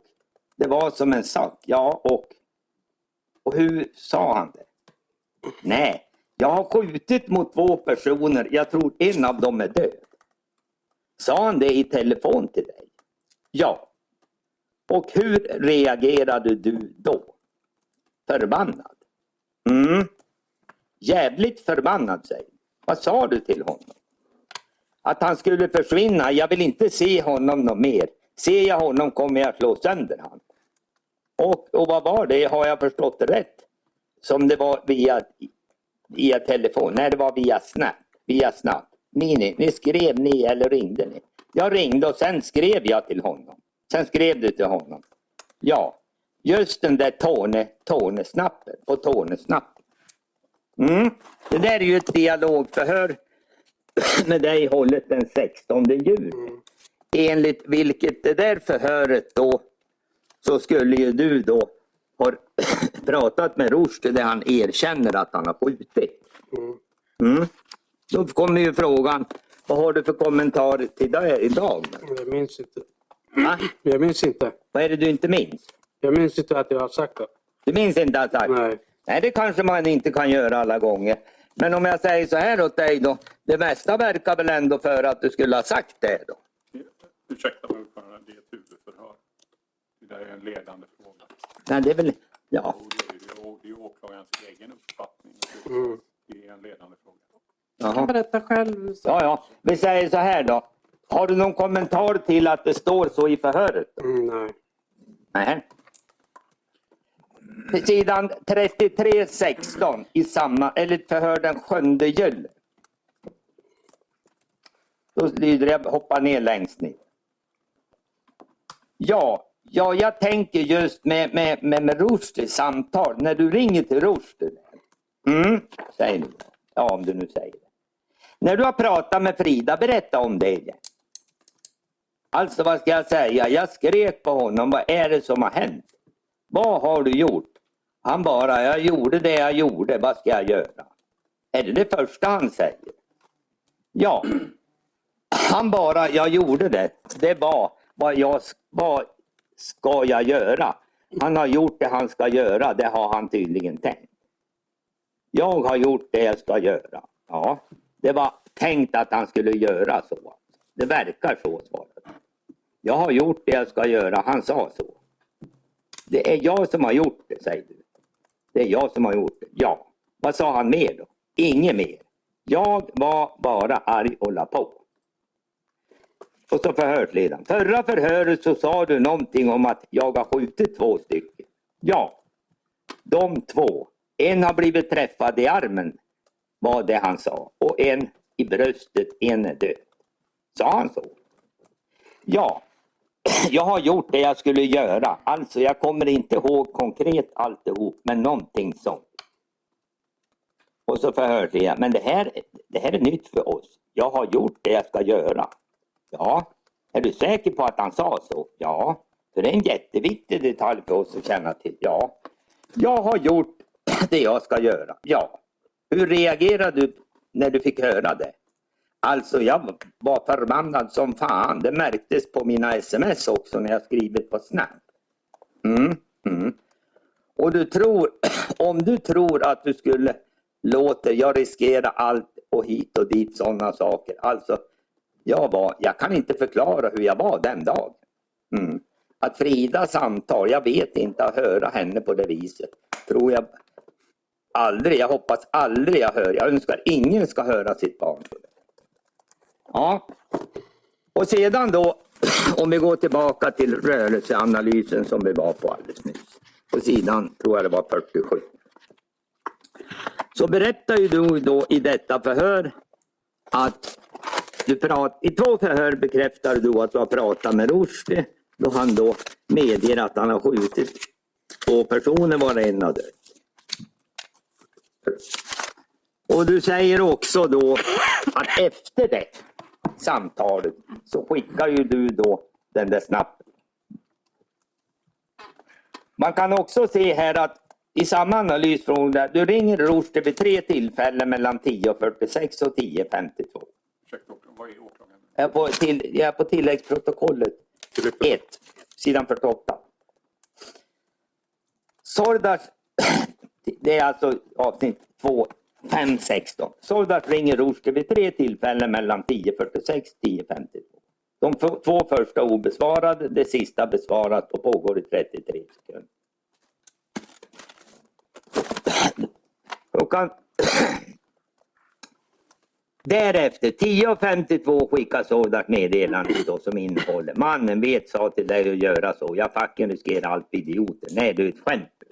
Speaker 7: Det var som en sak, ja och. Och hur sa han det? Nej, jag har skjutit mot två personer. Jag tror en av dem är död. Sa han det i telefon till dig? Ja. Och hur reagerade du då? Förbannad? Mm. Jävligt förbannad sig. Vad sa du till honom? Att han skulle försvinna. Jag vill inte se honom något mer. Ser jag honom kommer jag slå sönder han. Och, och vad var det? Har jag förstått det rätt? Som det var via, via telefon? Nej, det var via Snap. Via Snap. Ni, ni, ni skrev ni eller ringde ni? Jag ringde och sen skrev jag till honom. Sen skrev du till honom. Ja, just den där Tone, Tone-snappen. På Tone-snappen. Mm. Det där är ju ett dialogförhör (clears throat) med dig hållet den 16 juni. Enligt vilket det där förhöret då så skulle ju du då ha (clears throat) pratat med Rushdie där han erkänner att han har skjutit. Mm. Då kommer ju frågan, vad har du för kommentar till det idag?
Speaker 3: Jag minns inte.
Speaker 7: Va?
Speaker 3: Jag minns inte.
Speaker 7: Vad är det du inte minns?
Speaker 3: Jag minns inte att jag har sagt det.
Speaker 7: Du minns inte att sagt?
Speaker 3: Nej.
Speaker 7: Nej, det kanske man inte kan göra alla gånger. Men om jag säger så här åt dig då. Det mesta verkar väl ändå för att du skulle ha sagt det då?
Speaker 2: Ursäkta mig ordförande, det är ett huvudförhör. Det där är en ledande fråga.
Speaker 7: Nej, det är väl... Ja.
Speaker 2: Och det är ju- det är åklagarens egen uppfattning.
Speaker 3: Mm.
Speaker 2: Det är en ledande fråga.
Speaker 1: Jag kan
Speaker 7: Jaha.
Speaker 1: berätta själv. Så.
Speaker 7: Ja, ja. Vi säger så här då. Har du någon kommentar till att det står så i förhöret?
Speaker 3: Mm, nej.
Speaker 7: Nej. Sidan 33.16 i samma, eller förhör den 7 juli. Då lyder jag, hoppar ner längst ner. Ja, ja jag tänker just med, med, med, med Rushdies samtal, när du ringer till Rushdie. Mm, säger du. Ja, om du nu säger det. När du har pratat med Frida, berätta om det igen. Alltså vad ska jag säga? Jag skrek på honom. Vad är det som har hänt? Vad har du gjort? Han bara, jag gjorde det jag gjorde. Vad ska jag göra? Är det det första han säger? Ja. Han bara, jag gjorde det. Det var vad jag vad ska jag göra. Han har gjort det han ska göra. Det har han tydligen tänkt. Jag har gjort det jag ska göra. Ja, det var tänkt att han skulle göra så. Det verkar så, svarade han. Jag har gjort det jag ska göra. Han sa så. Det är jag som har gjort det, säger du. Det är jag som har gjort det. Ja. Vad sa han mer då? Inget mer. Jag var bara arg och la på. Och så förhörsledaren. Förra förhöret så sa du någonting om att jag har skjutit två stycken. Ja, de två. En har blivit träffad i armen, var det han sa. Och en i bröstet, en är död. Sa han så? Ja, (clears throat) jag har gjort det jag skulle göra. Alltså jag kommer inte ihåg konkret alltihop, men någonting sånt. Och så förhörde jag, men det här, det här är nytt för oss. Jag har gjort det jag ska göra. Ja, är du säker på att han sa så? Ja, för det är en jätteviktig detalj för oss att känna till. Ja, jag har gjort (clears throat) det jag ska göra. Ja, hur reagerade du när du fick höra det? Alltså jag var förbannad som fan. Det märktes på mina sms också när jag skrivit på Snap. Mm, mm. Och du tror, (clears throat) om du tror att du skulle låter jag riskera allt och hit och dit sådana saker. Alltså, jag, var, jag kan inte förklara hur jag var den dagen. Mm. Att Frida samtal, jag vet inte, att höra henne på det viset tror jag aldrig, jag hoppas aldrig jag hör. Jag önskar ingen ska höra sitt barn. på det. Ja. Och sedan då, (clears throat) om vi går tillbaka till rörelseanalysen som vi var på alldeles nyss. På sidan, tror jag det var 47. Så berättar ju du då i detta förhör att du prat, i två förhör bekräftar du att du har pratat med Rushdie då han då medger att han har skjutit två personer varav en har dött. Och du säger också då att efter det samtalet så skickar ju du då den där snappen. Man kan också se här att i samma analys från där, du ringer Rushdie vid tre tillfällen mellan 10.46 och 10.52.
Speaker 2: Ursäkta, åklagaren, vad är åklagaren?
Speaker 7: Jag är på, till, jag är på tilläggsprotokollet 1, sidan 48. Sordars, (clears throat) det är alltså avsnitt 2, 5, 16. Sordars ringer Rushdie vid tre tillfällen mellan 10.46 och 10.52. De f- två första obesvarade, det sista besvarat och pågår i 33 sekunder. (clears throat) Klockan (clears throat) Därefter 10.52 skickas sådant meddelande då som innehåller Mannen vet sa till dig att göra så. Jag fucking riskerar allt för idioter. Nej, du är ett skämt.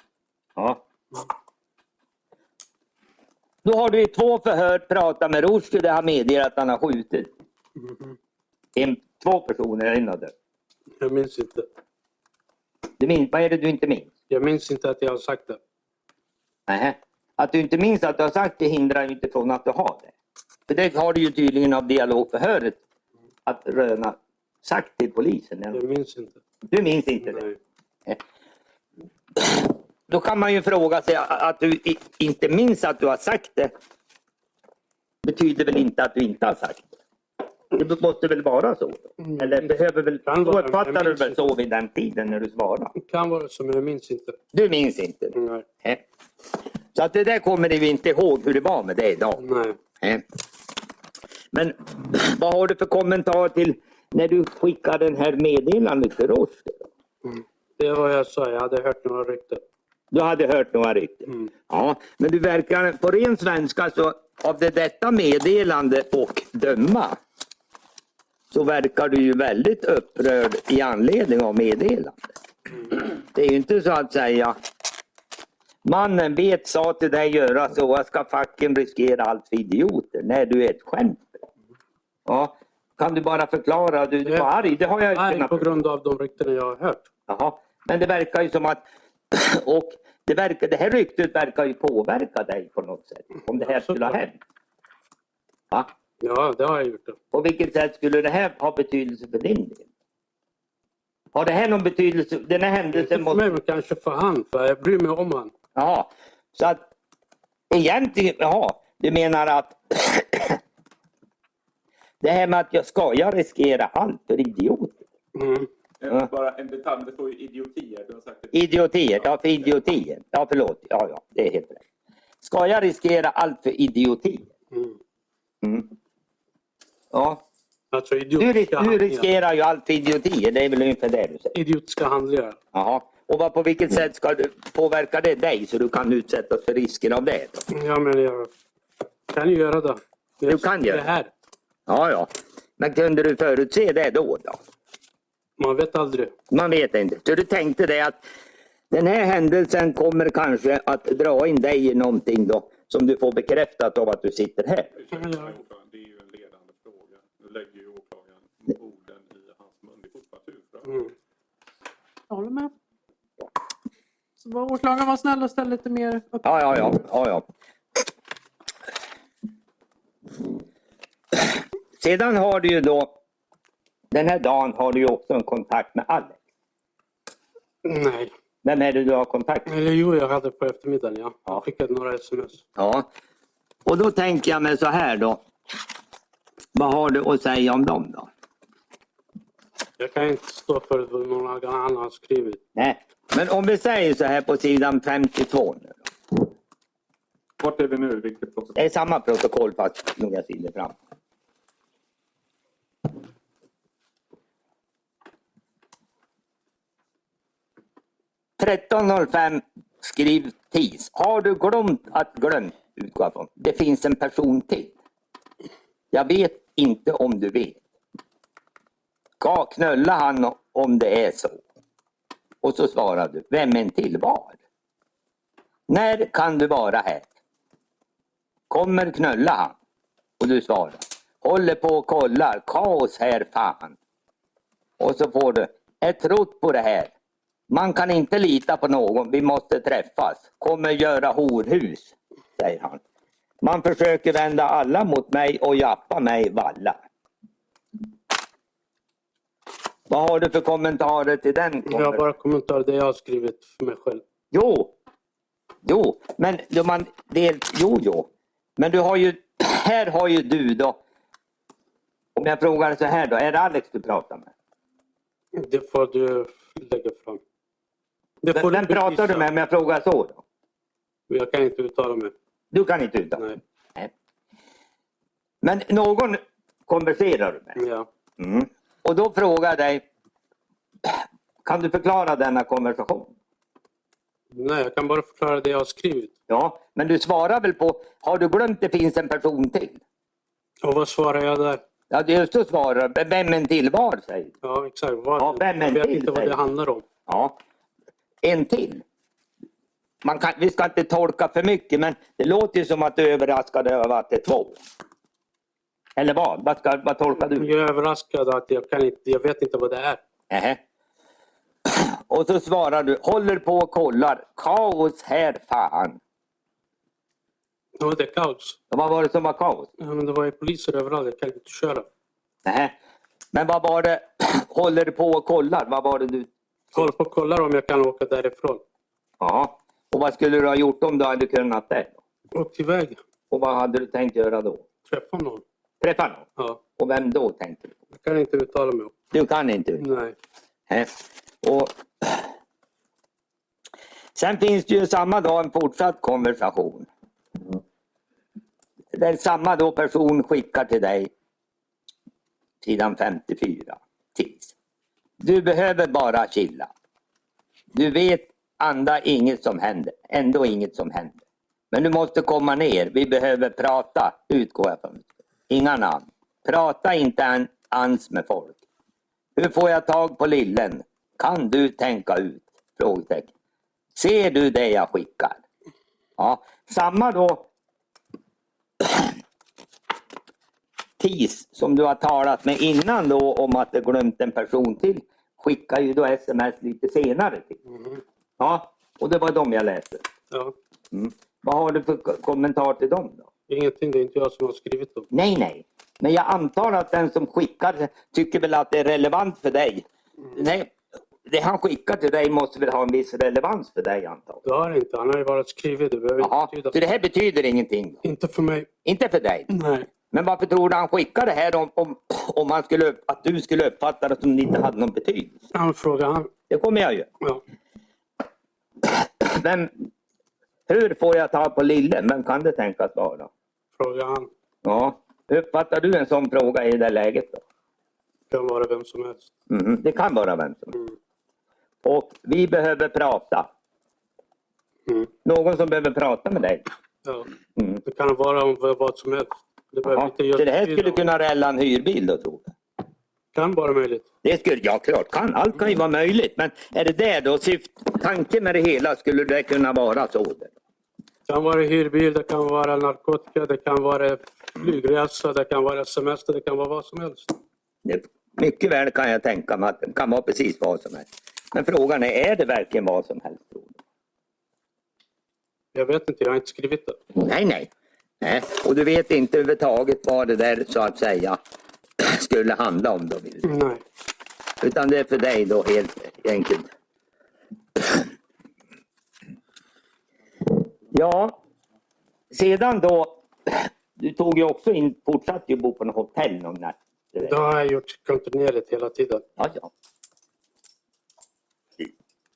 Speaker 7: Ja. Då har du i två förhör pratat med Rushdie där han medger att han har skjutit en, två personer. En av dem.
Speaker 3: Jag minns inte.
Speaker 7: Du minns, vad är det du inte minns?
Speaker 3: Jag minns inte att jag har sagt det.
Speaker 7: Nähä. Att du inte minns att du har sagt det hindrar ju inte från att du har det. För det har du ju tydligen av dialogförhöret att Röna sagt till polisen.
Speaker 3: Jag minns inte.
Speaker 7: Du minns inte det.
Speaker 3: Nej.
Speaker 7: Då kan man ju fråga sig att du i- inte minns att du har sagt det. Betyder väl inte att du inte har sagt det. Det måste väl vara så?
Speaker 3: Mm.
Speaker 7: Eller behöver väl,
Speaker 3: Kan
Speaker 7: då
Speaker 3: vara,
Speaker 7: uppfattar
Speaker 3: jag
Speaker 7: du
Speaker 3: minns
Speaker 7: väl
Speaker 3: inte.
Speaker 7: så vid den tiden när du svarar?
Speaker 3: Det kan vara så, men jag minns inte.
Speaker 7: Du minns inte det.
Speaker 3: Nej.
Speaker 7: Nej. Så att det där kommer vi inte ihåg hur det var med det idag.
Speaker 3: Nej.
Speaker 7: Nej. Eh. Men (clears throat) vad har du för kommentar till när du skickar den här meddelandet till oss?
Speaker 3: Det var jag sa, jag hade hört några rykten.
Speaker 7: Du hade hört några rykten.
Speaker 3: Mm.
Speaker 7: Ja, men du verkar på ren svenska så av det detta meddelande och döma så verkar du ju väldigt upprörd i anledning av meddelandet.
Speaker 3: Mm.
Speaker 7: Det är ju inte så att säga Mannen vet sa till dig göra så, jag ska fucking riskera allt för idioter. Nej, du är ett skämt.
Speaker 3: Mm.
Speaker 7: Ja, kan du bara förklara, du, du var arg, det har jag ju
Speaker 3: Arg
Speaker 7: kunnat
Speaker 3: på grund av de rykten jag har hört.
Speaker 7: Jaha. Men det verkar ju som att (clears throat) och det, verkar, det här ryktet verkar ju påverka dig på något sätt. Om det här skulle ha hänt. Va?
Speaker 3: Ja, det har jag gjort. Det.
Speaker 7: På vilket sätt skulle det här ha betydelse för din del? Har det här någon betydelse? Den här
Speaker 3: Inte
Speaker 7: händelsen
Speaker 3: för
Speaker 7: måste...
Speaker 3: mig, men kanske för han. För jag bryr mig om han.
Speaker 7: Jaha. Så att egentligen, jaha. Du menar att (clears throat) det här med att jag ska, jag riskerar allt för idioter.
Speaker 3: Mm.
Speaker 7: Ja.
Speaker 5: Eh, Bara en detalj, det står ju idiotier. Du har sagt det.
Speaker 7: Idiotier, ja för idiotier. Ja förlåt, ja ja, det är helt rätt. Ska jag riskera allt för idiotier?
Speaker 3: Mm.
Speaker 7: Mm. Ja.
Speaker 3: Alltså
Speaker 7: Du,
Speaker 3: idiotiska
Speaker 7: ris- du
Speaker 3: handlingar.
Speaker 7: riskerar ju allt för idiotier, det är väl ungefär det du säger?
Speaker 3: Idiotiska handlingar.
Speaker 7: Jaha. Och vad, på vilket sätt ska du påverka det dig så du kan utsättas för risker av det? Då?
Speaker 3: Ja, men jag kan ju göra det. det
Speaker 7: Du kan göra
Speaker 3: det.
Speaker 7: det.
Speaker 3: här.
Speaker 7: Ja, ja. Men kunde du förutse det då? då?
Speaker 3: Man vet aldrig.
Speaker 7: Man vet inte. Så du tänkte det att den här händelsen kommer kanske att dra in dig i någonting då som du får bekräftat av att du sitter här.
Speaker 2: Det är ju en ledande fråga. Nu lägger ju åklagaren orden i hans mun. Det är fortfarande huvudfrågan.
Speaker 3: Mm.
Speaker 1: Jag håller med. Så var åklagaren var snäll och ställde lite mer upp.
Speaker 7: Ja, ja, ja. ja, ja. Sedan har du ju då, den här dagen har du ju också en kontakt med Alex.
Speaker 3: Nej.
Speaker 7: Vem är det du har kontakt med?
Speaker 3: Eller jo, jag hade på eftermiddagen. Ja.
Speaker 7: Ja.
Speaker 3: Jag skickade några sms.
Speaker 7: Ja. Och då tänker jag mig så här då. Vad har du att säga om dem då?
Speaker 3: Jag kan inte stå för vad någon annan har skrivit.
Speaker 7: Nej. Men om vi säger så här på sidan 52 nu. då.
Speaker 2: Vart är vi nu? Vilket protokoll?
Speaker 7: Det är samma protokoll fast några sidor fram. .13.05 skriv TIS. Har du glömt att glömt utgå från. Det finns en person till. Jag vet inte om du vet. Ska knulla han om det är så? Och så svarar du, vem en till var? När kan du vara här? Kommer knulla han? Och du svarar. Håller på och kollar. Kaos här fan. Och så får du. Är trott på det här. Man kan inte lita på någon. Vi måste träffas. Kommer göra horhus. Säger han. Man försöker vända alla mot mig och jappa mig valla. Vad har du för kommentarer till den?
Speaker 3: Jag har bara kommentarer det jag har skrivit för mig själv.
Speaker 7: Jo. Jo, men då man del, jo, jo. Men du har ju, (clears throat) här har ju du då. Om jag frågar så här då, är det Alex du pratar med?
Speaker 3: Det får du lägga fram. Det
Speaker 7: Vem, vem pratar du med om jag frågar så? Då?
Speaker 3: Jag kan inte uttala mig.
Speaker 7: Du kan inte utan.
Speaker 3: Nej.
Speaker 7: Men någon konverserar du med.
Speaker 3: Ja.
Speaker 7: Mm. Och då frågar jag dig, (clears throat) kan du förklara denna konversation?
Speaker 3: Nej, jag kan bara förklara det jag har skrivit.
Speaker 7: Ja, men du svarar väl på, har du glömt det finns en person till?
Speaker 3: Och vad svarar jag där?
Speaker 7: Ja, det är just du svarar, vem en till var säger du.
Speaker 3: Ja, exakt. Vad,
Speaker 7: Ja, vem är
Speaker 3: jag vet
Speaker 7: till
Speaker 3: inte vad
Speaker 7: dig?
Speaker 3: det handlar om.
Speaker 7: Ja. En till. Man kan, vi ska inte tolka för mycket men det låter ju som att du är överraskad över att det är två. Eller vad? Vad, ska, vad tolkar du?
Speaker 3: Jag är överraskad att jag, kan inte, jag vet inte vad det är.
Speaker 7: Nähä. Och så svarar du, håller på och kollar. Kaos här fan.
Speaker 3: Ja, det är kaos.
Speaker 7: Vad var det som var kaos?
Speaker 3: Ja, men det var ju poliser överallt. Jag kan inte köra.
Speaker 7: Nähä. Men vad var det, (clears throat) håller på och kollar? Vad var det du...
Speaker 3: Håller på och kollar om jag kan åka därifrån.
Speaker 7: Ja. Och vad skulle du ha gjort om du hade kunnat det?
Speaker 3: Åkt iväg.
Speaker 7: Och vad hade du tänkt göra då?
Speaker 3: Träffa någon.
Speaker 7: Träffa någon?
Speaker 3: Ja,
Speaker 7: Och vem då tänkte du?
Speaker 3: jag kan inte uttala mig om.
Speaker 7: Du kan inte uttala
Speaker 3: Nej.
Speaker 7: Nej. Och Sen finns det ju samma dag en fortsatt konversation. Där samma då person skickar till dig sidan 54. Tills. Du behöver bara chilla. Du vet anda inget som händer. Ändå inget som händer. Men du måste komma ner. Vi behöver prata. Utgår jag från. Inga namn. Prata inte an- ans med folk. Hur får jag tag på lillen? Kan du tänka ut? Frågetecken. Ser du det jag skickar? Ja, samma då TIS som du har talat med innan då om att du glömt en person till skickar ju då sms lite senare. Till. Ja, och det var de jag läste.
Speaker 3: Ja.
Speaker 7: Vad har du för ko- kommentar till dem då?
Speaker 3: Ingenting. Det är inte jag som har skrivit dem.
Speaker 7: Nej, nej. Men jag antar att den som skickar tycker väl att det är relevant för dig. Nej, det han skickar till dig måste väl ha en viss relevans för dig antar
Speaker 3: Det har jag inte. Han har ju bara skrivit. Det behöver
Speaker 7: jag. Jaha,
Speaker 3: inte
Speaker 7: så
Speaker 3: betyda.
Speaker 7: det här betyder ingenting? då?
Speaker 3: Inte för mig.
Speaker 7: Inte för dig?
Speaker 3: Nej.
Speaker 7: Men varför tror du han skickar det här om, om, om han skulle, upp- att du skulle uppfatta det som det inte hade någon betydelse?
Speaker 3: Han frågar han.
Speaker 7: Det kommer jag ju.
Speaker 3: Ja.
Speaker 7: Vem, hur får jag tag på Lille? Vem kan det tänkas vara?
Speaker 3: Frågar han.
Speaker 7: Ja, hur uppfattar du en sån fråga i det där läget? Då?
Speaker 3: Kan vara vem som helst.
Speaker 7: Mhm, Det kan vara vem som helst. Och vi behöver prata.
Speaker 3: Mm.
Speaker 7: Någon som behöver prata med dig.
Speaker 3: Ja.
Speaker 7: Mm.
Speaker 3: Det kan vara om vad som helst. Det behöver
Speaker 7: Ja.
Speaker 3: inte
Speaker 7: Så det här
Speaker 3: göras-
Speaker 7: skulle kunna rälla en hyrbil då tror jag.
Speaker 3: kan vara möjligt.
Speaker 7: Det skulle, ja klart kan, allt kan ju vara möjligt. Men är det det då, syft, tanken med det hela, skulle det kunna vara så?
Speaker 3: Det kan vara hyrbil, det kan vara narkotika, det kan vara flygresa, det kan vara semester, det kan vara vad som helst.
Speaker 7: Det, mycket väl kan jag tänka mig att det kan vara precis vad som helst. Men frågan är, är det verkligen vad som helst? tror du?
Speaker 3: Jag vet inte, jag har inte skrivit det.
Speaker 7: Nej, nej. nej. Och du vet inte överhuvudtaget vad det där så att säga (clears throat) skulle handla om då? Vill.
Speaker 3: Nej.
Speaker 7: Utan det är för dig då helt enkelt. Ja, sedan då. Du tog ju också in, fortsatte ju bo på något hotell någon natt.
Speaker 3: Det har jag gjort kontinuerligt hela tiden.
Speaker 7: Ja, ja.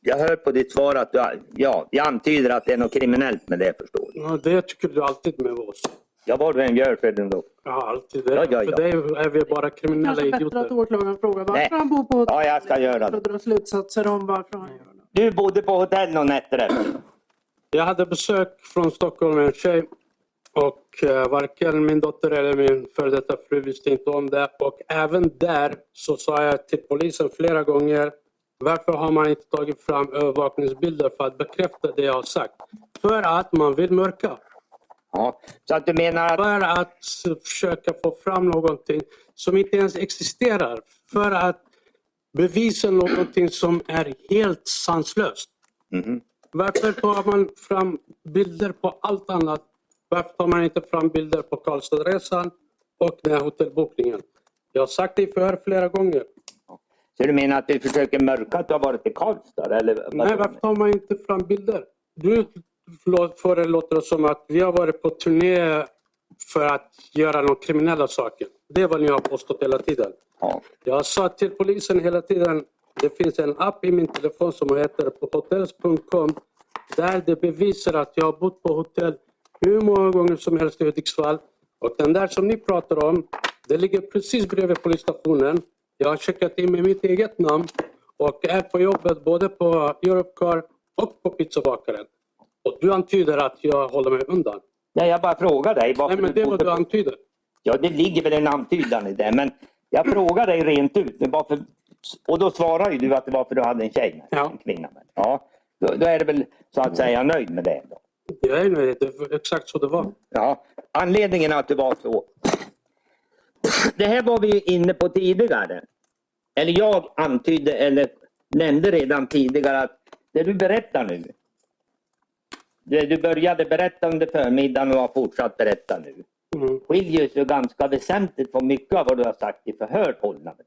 Speaker 7: Jag hör på ditt svar att du, har- ja, jag antyder att det är något kriminellt med det förstår du.
Speaker 3: Ja, det tycker du alltid med oss.
Speaker 7: Ja, vad du än gör så är det ändå.
Speaker 3: Ja, alltid. Det.
Speaker 7: Ja, ja, ja.
Speaker 3: För dig är vi bara kriminella
Speaker 1: Kanske bättre att
Speaker 3: idioter.
Speaker 1: åklagaren frågar
Speaker 7: Nej.
Speaker 1: varför han bor på
Speaker 7: Ja, jag ska göra
Speaker 1: för
Speaker 7: det.
Speaker 1: att dra slutsatser om varför han gör det.
Speaker 7: Du bodde på hotell någon nätter efter.
Speaker 3: Jag hade besök från Stockholm med en tjej och eh, varken min dotter eller min före detta fru visste inte om det. Och även där så sa jag till polisen flera gånger varför har man inte tagit fram övervakningsbilder för att bekräfta det jag har sagt? För att man vill mörka.
Speaker 7: Ja, så att du menar att,
Speaker 3: För att försöka få fram någonting som inte ens existerar. För att bevisa någonting som är helt sanslöst.
Speaker 7: Mhm.
Speaker 3: Varför tar man fram bilder på allt annat? Varför tar man inte fram bilder på Karlstadresan och den här hotellbokningen? Jag har sagt det för flera gånger.
Speaker 7: så du menar att du försöker mörka att du har varit i Karlstad? Eller, vad
Speaker 3: Nej,
Speaker 7: du
Speaker 3: varför tar man inte fram bilder? Du lå- får det låta som att vi har varit på turné för att göra några kriminella saker. Det är vad ni har påstått hela tiden.
Speaker 7: Ja.
Speaker 3: Jag sa till polisen hela tiden, det finns en app i min telefon som heter på hotels.com där det bevisar att jag har bott på hotell hur många gånger som helst i Hudiksvall. Och den där som ni pratar om, det ligger precis bredvid polisstationen. Jag har checkat in med mitt eget namn och är på jobbet både på Europcar och på pizzabakaren. Och du antyder att jag håller mig undan.
Speaker 7: Nej, jag bara frågar dig varför
Speaker 3: Nej men det är
Speaker 7: du
Speaker 3: vad
Speaker 7: bodde
Speaker 3: du
Speaker 7: på...
Speaker 3: antyder.
Speaker 7: Ja, det ligger väl en antydan i det. Men jag frågar dig rent ut. men Varför... Och då svarar ju du att det var för du hade en tjej med
Speaker 3: Ja.
Speaker 7: en kvinna med. Ja, då, då är det väl så att säga nöjd med det. Då.
Speaker 3: Jag är nöjd, det var exakt så det var.
Speaker 7: Ja, anledningen att det var så. Det här var vi ju inne på tidigare. Eller jag antydde eller nämnde redan tidigare att det du berättar nu. Det du började berätta under förmiddagen och har fortsatt berätta nu.
Speaker 3: Mm.
Speaker 7: Skiljer sig ganska väsentligt från mycket av vad du har sagt i förhör hållna med dig.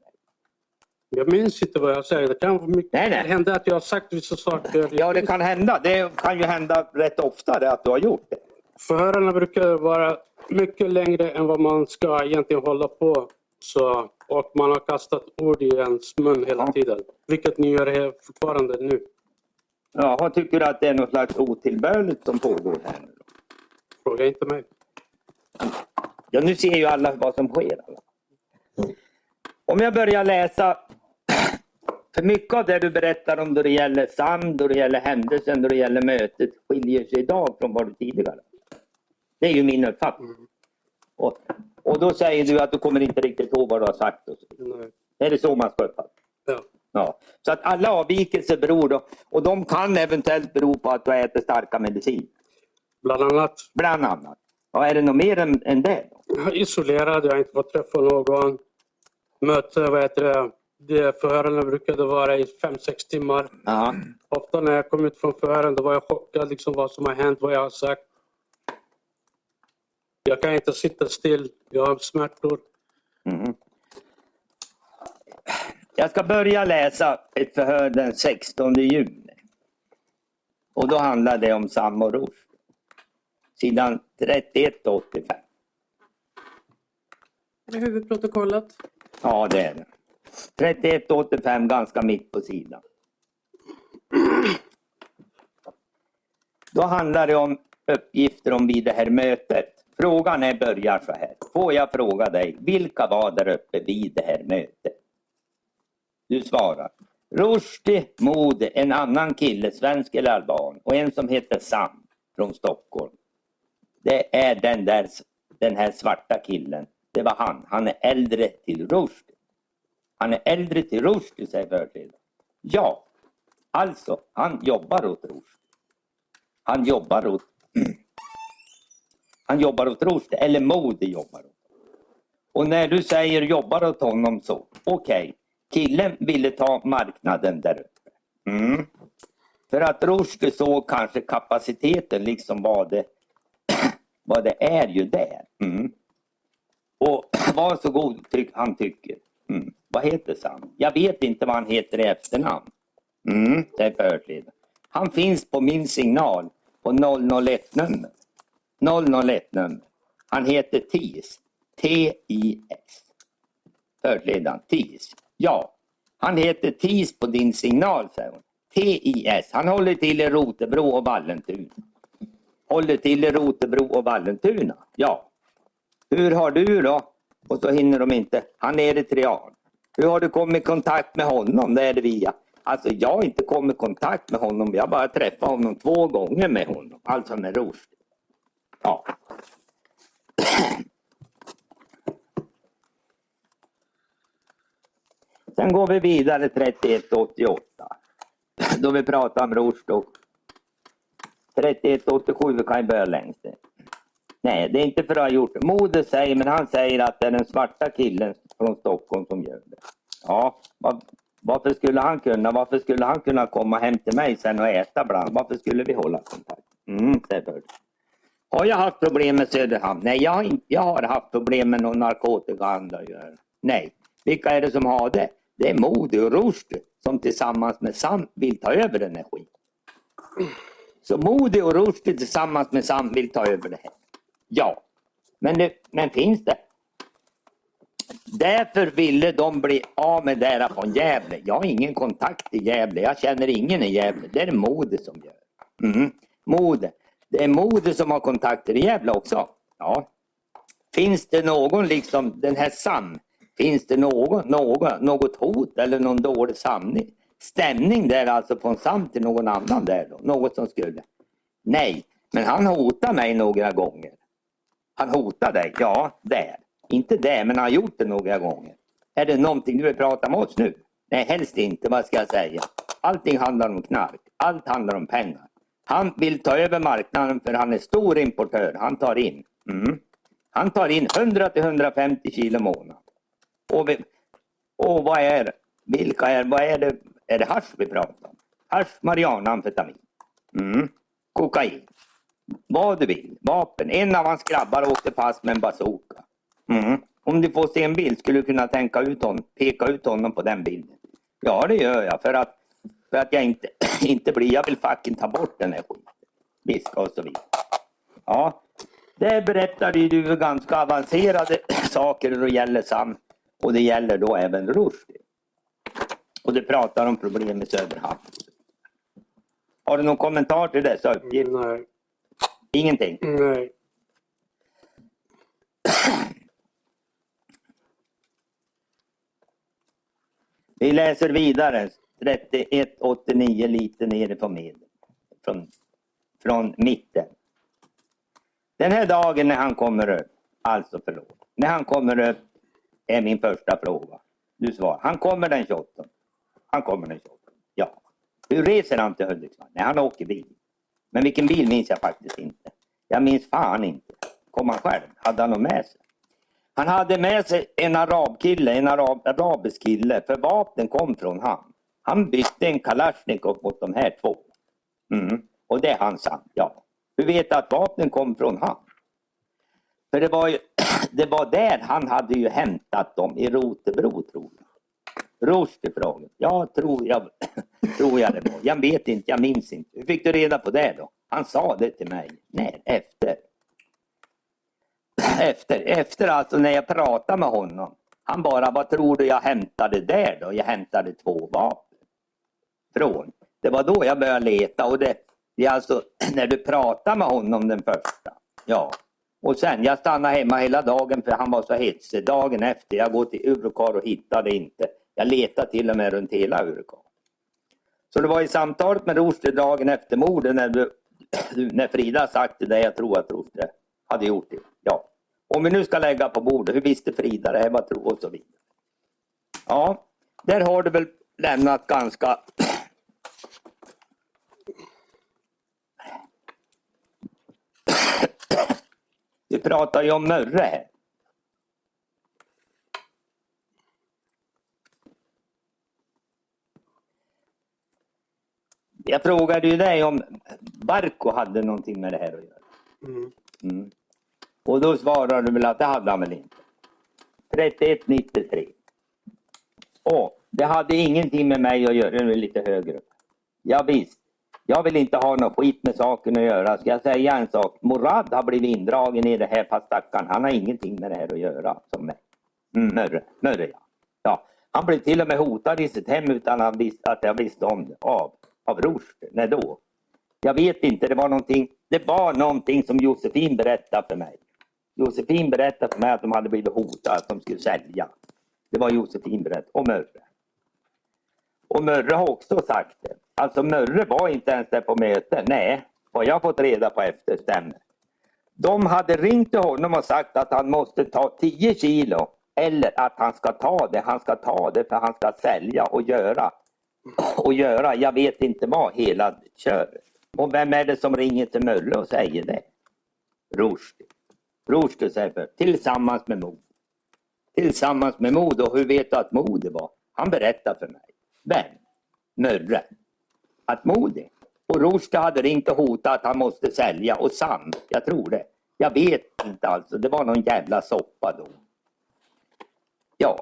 Speaker 3: Jag minns inte vad jag säger. Det kan vara mycket.
Speaker 7: Nej, nej.
Speaker 3: Det hände att jag har sagt vissa saker.
Speaker 7: Ja, det kan hända. Det kan ju hända rätt ofta det att du har gjort det.
Speaker 3: Förhörarna brukar vara mycket längre än vad man ska egentligen hålla på. Så, och man har kastat ord i ens mun hela
Speaker 7: Ja.
Speaker 3: tiden. Vilket ni gör här fortfarande nu.
Speaker 7: Jaha, tycker du att det är något slags otillbörligt som pågår här nu? då?
Speaker 3: Fråga inte mig.
Speaker 7: Ja, nu ser ju alla vad som sker. Alla. Om jag börjar läsa. (clears throat) För mycket av det du berättar om då det gäller Sam, då det gäller händelsen, då det gäller mötet skiljer sig idag från vad du tidigare. Det är ju min uppfattning. Och, och då säger du att du kommer inte riktigt ihåg vad du har sagt. Och så.
Speaker 3: Nej.
Speaker 7: Är det så man ska uppfatta
Speaker 3: Ja.
Speaker 7: Ja. Så att alla avvikelser beror då, och de kan eventuellt bero på att du äter starka medicin.
Speaker 3: Bland annat (clears throat)
Speaker 7: Bland annat. Ja, är det något mer än, än det? Då?
Speaker 3: jag är isolerad, jag har inte fått träffa någon. Möte, vad heter det? det förhörarna brukade vara i fem sex timmar.
Speaker 7: Ja.
Speaker 3: Ofta när jag kom ut från förhören då var jag chockad liksom vad som har hänt, vad jag har sagt. Jag kan inte sitta still. Jag har smärtor.
Speaker 7: Jag ska börja läsa ett förhör den 16 juni. Och då handlar det om Sam och Rush. Sidan 31 och 85.
Speaker 1: Det är huvudprotokollet.
Speaker 7: Ja, det är det. 31 och 85, ganska mitt på sidan. Då handlar det om uppgifter om vid det här mötet. Frågan är börjar så här. Får jag fråga dig, vilka var där uppe vid det här mötet? Du svarar. Rushdie, Mode, en annan kille, svensk eller alban och en som heter Sam från Stockholm. det är den där, den här svarta killen. Det var han. Han är äldre till Rushdie. Han är äldre till Rushdie, säger förledaren. Ja, alltså, han jobbar åt Rushdie. Han jobbar åt... (clears throat) han jobbar åt Rushdie, eller Modi jobbar åt. Och när du säger jobbar åt honom så, okej, killen ville ta marknaden där uppe. Mm. För att Rushdie såg kanske kapaciteten liksom vad det, vad det är ju där. Mm. Och var så god tyck, han tycker. Mm. Vad heter han? Jag vet inte vad han heter i efternamn. Mm, det är förtid. Han finns på min signal på 001-nummer. 001-nummer. Han heter TIS. T-I-S. Förledaren TIS. Ja, han heter TIS på din signal, säger hon. TIS. Han håller till i Rotebro och Vallentuna. Håller till i Rotebro och Vallentuna. Ja. Hur har du då? Och så hinner de inte. Han är eritrean. Hur har du kommit i kontakt med honom? Det är det via. Alltså jag har inte kommit i kontakt med honom. Jag har bara träffat honom två gånger med honom. Alltså med Rushdie. Ja. Sen går vi vidare 3188. Då vi pratar om Rushdie. och 3187, vi kan ju börja längst ner. Nej, det är inte för att jag har gjort det. Mode säger, men han säger att det är den svarta killen från Stockholm som gör det. Ja, var, varför skulle han kunna? Varför skulle han kunna komma hem till mig sen och äta bland? Varför skulle vi hålla kontakt? Mm, säger Börje. Har jag haft problem med Söderhamn? Nej, jag har, inte, jag har haft problem med någon narkotikahandlare att göra. Nej, vilka är det som har det? Det är Modi och Rushdie som tillsammans med Sam vill ta över den här skiten. Så Modi och Rushdie tillsammans med Sam vill ta över det här. Ja, men, det, men finns det? Därför ville de bli av med det från Gävle. Jag har ingen kontakt i Gävle. Jag känner ingen i Gävle. Det är Modi som gör det. Mm. Modi. Det är Modi som har kontakter i Gävle också. Ja. Finns det någon, liksom den här Sam, finns det någon, någon, något hot eller någon dålig samling, stämning där alltså från Sam till någon annan där då? Något som skulle? Nej, men han hotar mig några gånger. Han hotar dig? Ja, där. Inte där, men han har gjort det några gånger. Är det någonting du vill prata med oss nu? Nej, helst inte. Vad ska jag säga? Allting handlar om knark. Allt handlar om pengar. Han vill ta över marknaden för han är stor importör. Han tar in. Mm. Han tar in 100-150 kilo i månaden. Och, vi, och vad är Vilka är, vad är det? Är det hasch vi pratar om? Hasch, marijuana, amfetamin. Mm. Kokain. Vad du vill. Vapen. En av hans grabbar åkte fast med en bazooka. Mm. Om du får se en bild, skulle du kunna tänka ut honom, peka ut honom på den bilden? Ja, det gör jag. För att, för att jag inte, (clears throat) inte blir... Jag vill fucking ta bort den här skiten. Viska och så vidare. Ja, där berättade ju du ganska avancerade (clears throat) saker då det gäller Sam. Och det gäller då även Rushdie. Och du pratar om problem i Söderhamn. Har du någon kommentar till dessa uppgifter?
Speaker 3: Nej,
Speaker 7: Ingenting?
Speaker 3: nej.
Speaker 7: Vi läser vidare. 3189 lite nerifrån mid- från, från mitten. Den här dagen när han kommer upp, alltså förlåt, när han kommer upp är min första fråga. Du svarar, han kommer den 28. Han kommer den 28. Ja. Hur reser han till Hudiksvall? Nej, han åker bil. Men vilken bil minns jag faktiskt inte. Jag minns fan inte. Kom han själv? Hade han någon med sig? Han hade med sig en arabkille, en arab, arabisk kille, för vapnen kom från han. Han bytte en kalasjnikov mot de här två. Mm. Och det är han sa, ja. Hur vet du att vapnen kom från han? För det var ju, (clears throat) det var där han hade ju hämtat dem, i Rotebro tror jag. Rushdie frågade. Ja, tror jag, (clears throat) tror jag det var. Jag vet inte, jag minns inte. Hur fick du reda på det då? Han sa det till mig. När? Efter efter, efter alltså när jag pratade med honom. Han bara, vad tror du jag hämtade där då? Jag hämtade två vapen. Från. Det var då jag började leta och det, det är alltså (clears throat) när du pratar med honom den första. Ja. Och sen, jag stannade hemma hela dagen för han var så hetsig. Dagen efter, jag går till Urukar och hittade inte. Jag letade till och med runt hela Urukar. Så det var i samtalet med Rushdie dagen efter mordet när, du, när Frida sagt till dig, jag tror att Rushdie hade gjort det. Ja. Om vi nu ska lägga på bordet, hur visste Frida det här? Vad tror och så vidare. Ja, där har du väl lämnat ganska... Vi pratar ju om Mörre här. Jag frågade ju dig om Barko hade någonting med det här att göra.
Speaker 3: Mm.
Speaker 7: Mm. Och då svarade du väl att det hade han väl inte? 3193. Åh, det hade ingenting med mig att göra. Nu är det lite högre upp. Ja, visst. Jag vill inte ha något skit med saken att göra. Ska jag säga en sak? Morad har blivit indragen i det här fast stackarn. Han har ingenting med det här att göra. Som mig. Mm, Mörre, Mörre ja. ja. Han blev till och med hotad i sitt hem utan att, vis- att jag visste om det. Av, av Rushdie. När då? Jag vet inte, det var någonting, det var någonting som Josefin berättade för mig. Josefin berättade för mig att de hade blivit hotade, att de skulle sälja. Det var Josefin berättade, och Mörre. Och Mörre har också sagt det. Alltså Mörre var inte ens där på mötet. Nej, vad jag fått reda på efter stämmer. De hade ringt till honom och sagt att han måste ta 10 kilo eller att han ska ta det, han ska ta det för han ska sälja och göra. Och göra, jag vet inte vad, hela köret. Och vem är det som ringer till Mölle och säger det? Rushdie. Rushdie säger för, tillsammans med Mod. Tillsammans med Mod och hur vet du att Mod det var? Han berättar för mig. Vem? Mörre. Att Mod är. Och Rushdie hade ringt och hotat att han måste sälja och Sam, jag tror det. Jag vet inte alltså, det var någon jävla soppa då. Ja,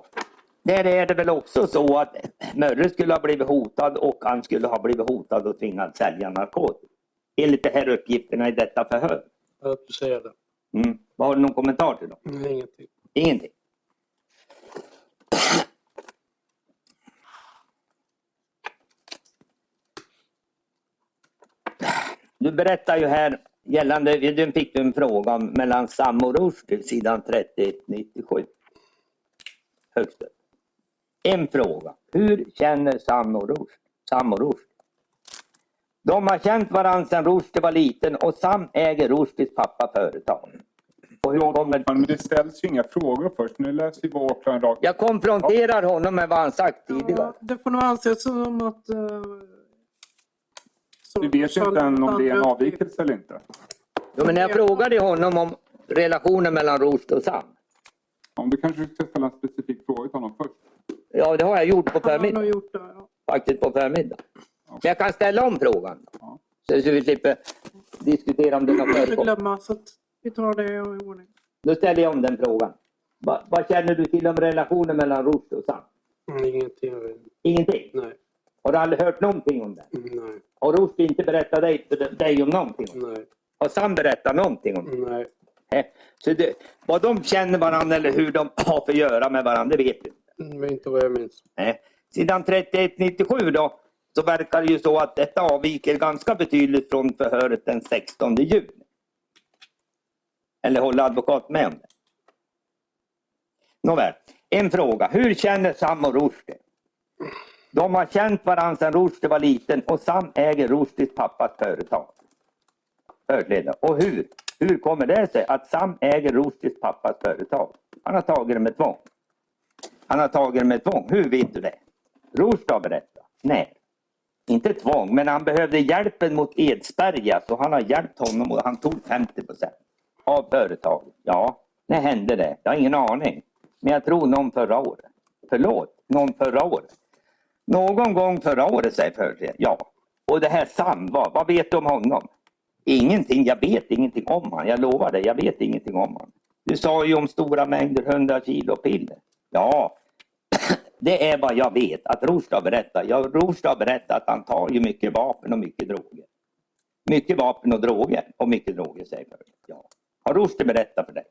Speaker 7: där är det väl också så att Mörre skulle ha blivit hotad och han skulle ha blivit hotad och tvingad sälja narkotika. Enligt de här uppgifterna i detta förhör.
Speaker 3: Att du säger det.
Speaker 7: Mm. Vad Har du någon kommentar till dem?
Speaker 3: Nej, Ingenting.
Speaker 7: Ingenting. Du berättar ju här gällande, du fick ju en fråga om mellan Sam och Rushdie, sidan 3197. Högst upp. En fråga. Hur känner Sam och Rushdie? Sam och Rushdie? De har känt varandra sedan Rushdie var liten och Sam äger Rushdies pappa företag. Och hur kommer...
Speaker 8: Men det ställs ju inga frågor först. Nu läser vi vad åklagaren rakt
Speaker 7: Jag konfronterar honom med vad han sagt tidigare.
Speaker 1: Ja, det får nog anses som att... eh, som-
Speaker 8: Vi vet ju inte än om det är en avvikelse eller inte.
Speaker 7: Jo, men jag frågade honom om relationen mellan Rost och Sam.
Speaker 8: Om du kanske ska ställa en specifik fråga till honom först.
Speaker 7: Ja, det har jag gjort på
Speaker 1: Han har nog
Speaker 7: förmiddagen.
Speaker 1: gjort det. Ja.
Speaker 7: Faktiskt på förmiddagen. Men jag kan ställa om frågan.
Speaker 8: Ja.
Speaker 7: Så, så vi slipper diskutera om det har
Speaker 1: Jag får
Speaker 7: förekommit.
Speaker 1: glömma, så att vi tar det i ordning.
Speaker 7: Då ställer jag om den frågan. Va, vad känner du till om relationen mellan Rost och Sam?
Speaker 3: Mm, Ingenting.
Speaker 7: Ingenting?
Speaker 3: Nej.
Speaker 7: Har du aldrig hört någonting om det?
Speaker 3: Nej.
Speaker 7: Har Rost inte berättat dig, för dig om någonting? om det?
Speaker 3: Nej.
Speaker 7: Har Sam berättat någonting om det?
Speaker 3: Nej.
Speaker 7: Nej. Så det, vad de känner varandra eller hur de har för att göra med varandra, det vet du inte.
Speaker 3: Men inte vad jag minns.
Speaker 7: Nej. Sidan 3197 då, så verkar det ju så att detta avviker ganska betydligt från förhöret den 16 juni. Eller håller advokat med om det? Nåväl, en fråga. Hur känner Sam och Rushdie? De har känt varandra sedan Rushdie var liten och Sam äger Rushdies pappas företag. Förhörsledare. Och hur? Hur kommer det sig att Sam äger Rushdies pappas företag? Han har tagit det med tvång. Han har tagit det med tvång. Hur vet du det? Rostad berättar. Nej. Inte tvång, men han behövde hjälpen mot Edsberga så han har hjälpt honom och han tog 50 procent av företaget. Ja, när hände det? Jag har ingen aning. Men jag tror någon förra året. Förlåt, någon förra året. Någon gång förra året säger företaget. Ja. Och det här Sam, vad, vad vet du om honom? Ingenting, jag vet ingenting om honom. Jag lovar dig, jag vet ingenting om honom. Du sa ju om stora mängder 100 kilo piller. Ja, (clears throat) det är vad jag vet att Rorstad berättar. Ja, Rorstad berättar att han tar ju mycket vapen och mycket droger. Mycket vapen och droger och mycket droger säger jag. Ja. Har Rorstad berättat för dig?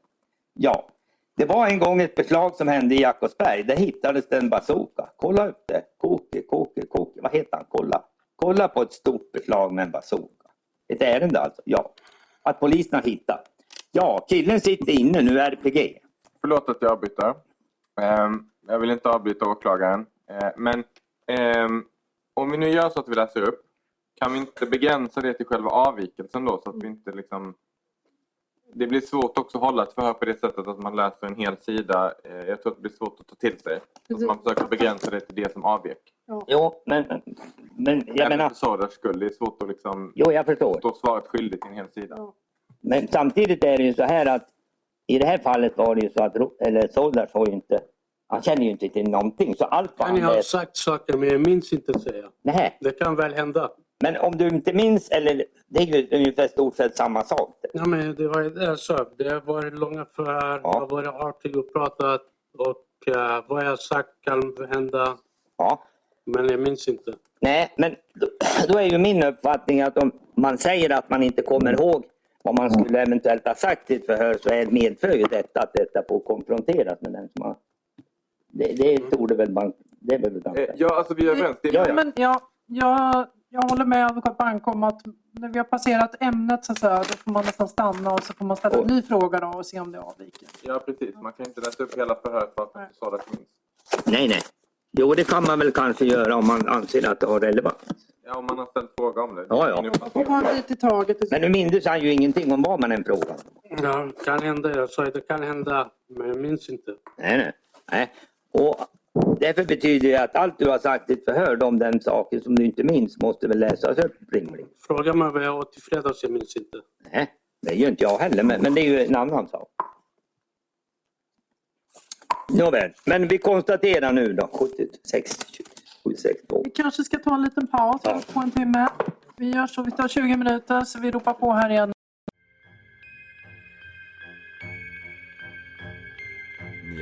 Speaker 7: Ja. Det var en gång ett beslag som hände i Jakobsberg. Där hittades det en bazooka. Kolla upp det. Koke, Koke, Koke. Vad heter han? Kolla. Kolla på ett stort beslag med en bazooka. Ett ärende alltså? Ja. Att polisen har hittat. Ja, killen sitter inne nu, RPG.
Speaker 5: Förlåt att jag avbryter. Ehm, jag vill inte avbryta åklagaren. Eh, men ehm, om vi nu gör så att vi läser
Speaker 7: Mm.
Speaker 5: upp. Kan vi inte begränsa det till själva avvikelsen då? Så att vi inte liksom det blir svårt också att hålla ett förhör på det sättet att man läser en hel sida. Eh, Jag tror att det blir svårt att ta till sig. Att man försöker begränsa det till det som avvek.
Speaker 7: Jo, men, men jag
Speaker 5: Även
Speaker 7: menar,
Speaker 5: för Sarahs skull. Det är svårt att liksom
Speaker 7: jo jag förstår.
Speaker 5: stå svaret skyldig till en hel sida.
Speaker 7: Men samtidigt är det ju så här att i det här fallet var det ju så att Ro- eller Soldars har ju inte, han känner ju inte till någonting så allt vad
Speaker 3: Kan
Speaker 7: han
Speaker 3: jag ha
Speaker 7: läser.
Speaker 3: sagt saker men jag minns inte säga.
Speaker 7: Nej,
Speaker 3: Det kan väl hända.
Speaker 7: men om du inte minns eller det är ju ungefär stort sett samma sak.
Speaker 3: Ja, men det, var, det, är så. det har varit långa förhör, jag har varit artig och pratat och eh, vad jag sagt kan hända.
Speaker 7: Ja.
Speaker 3: Men jag minns inte.
Speaker 7: Nej, men då, (clears throat) då är ju min uppfattning att om man säger att man inte kommer ihåg vad man skulle eventuellt ha sagt i ett förhör så är, medför ju detta att detta får konfronteras med den som har... Det, det torde väl man... Det är väl ganska...
Speaker 5: Eh, Ja, alltså vi är överens. Det är
Speaker 1: Ja, men jag, jag, jag håller med advokat Bank om att när vi har passerat ämnet så, att säga, då får man nästan stanna och så får man ställa en ny fråga då och se om det avviker.
Speaker 5: Ja, precis. Man kan inte läsa upp hela förhöret bara för att Sara minns.
Speaker 7: Nej, nej. Jo, det kan man väl kanske göra om man anser att det har relevans.
Speaker 5: Ja, om man har ställt fråga om det.
Speaker 7: Ja, ja.
Speaker 1: Och ta en bit i taget.
Speaker 7: Men nu mindes han ju ingenting om vad man än frågade.
Speaker 3: Ja, det kan hända. Jag sa att det kan hända, men jag minns inte.
Speaker 7: Nej, nej. nej. Och därför betyder det att allt du har sagt i ett förhör om den saken som du inte minns måste väl läsas upp rimligen.
Speaker 3: Fråga mig vad jag åt i fredags, jag minns inte.
Speaker 7: Nej, det gör inte jag heller, men, men det är ju en annan sak. Nåväl, men vi konstaterar nu då 76, 76
Speaker 1: Vi kanske ska ta en liten paus på en timme. Vi gör så, vi tar 20 minuter så vi ropar på här igen.
Speaker 9: Ni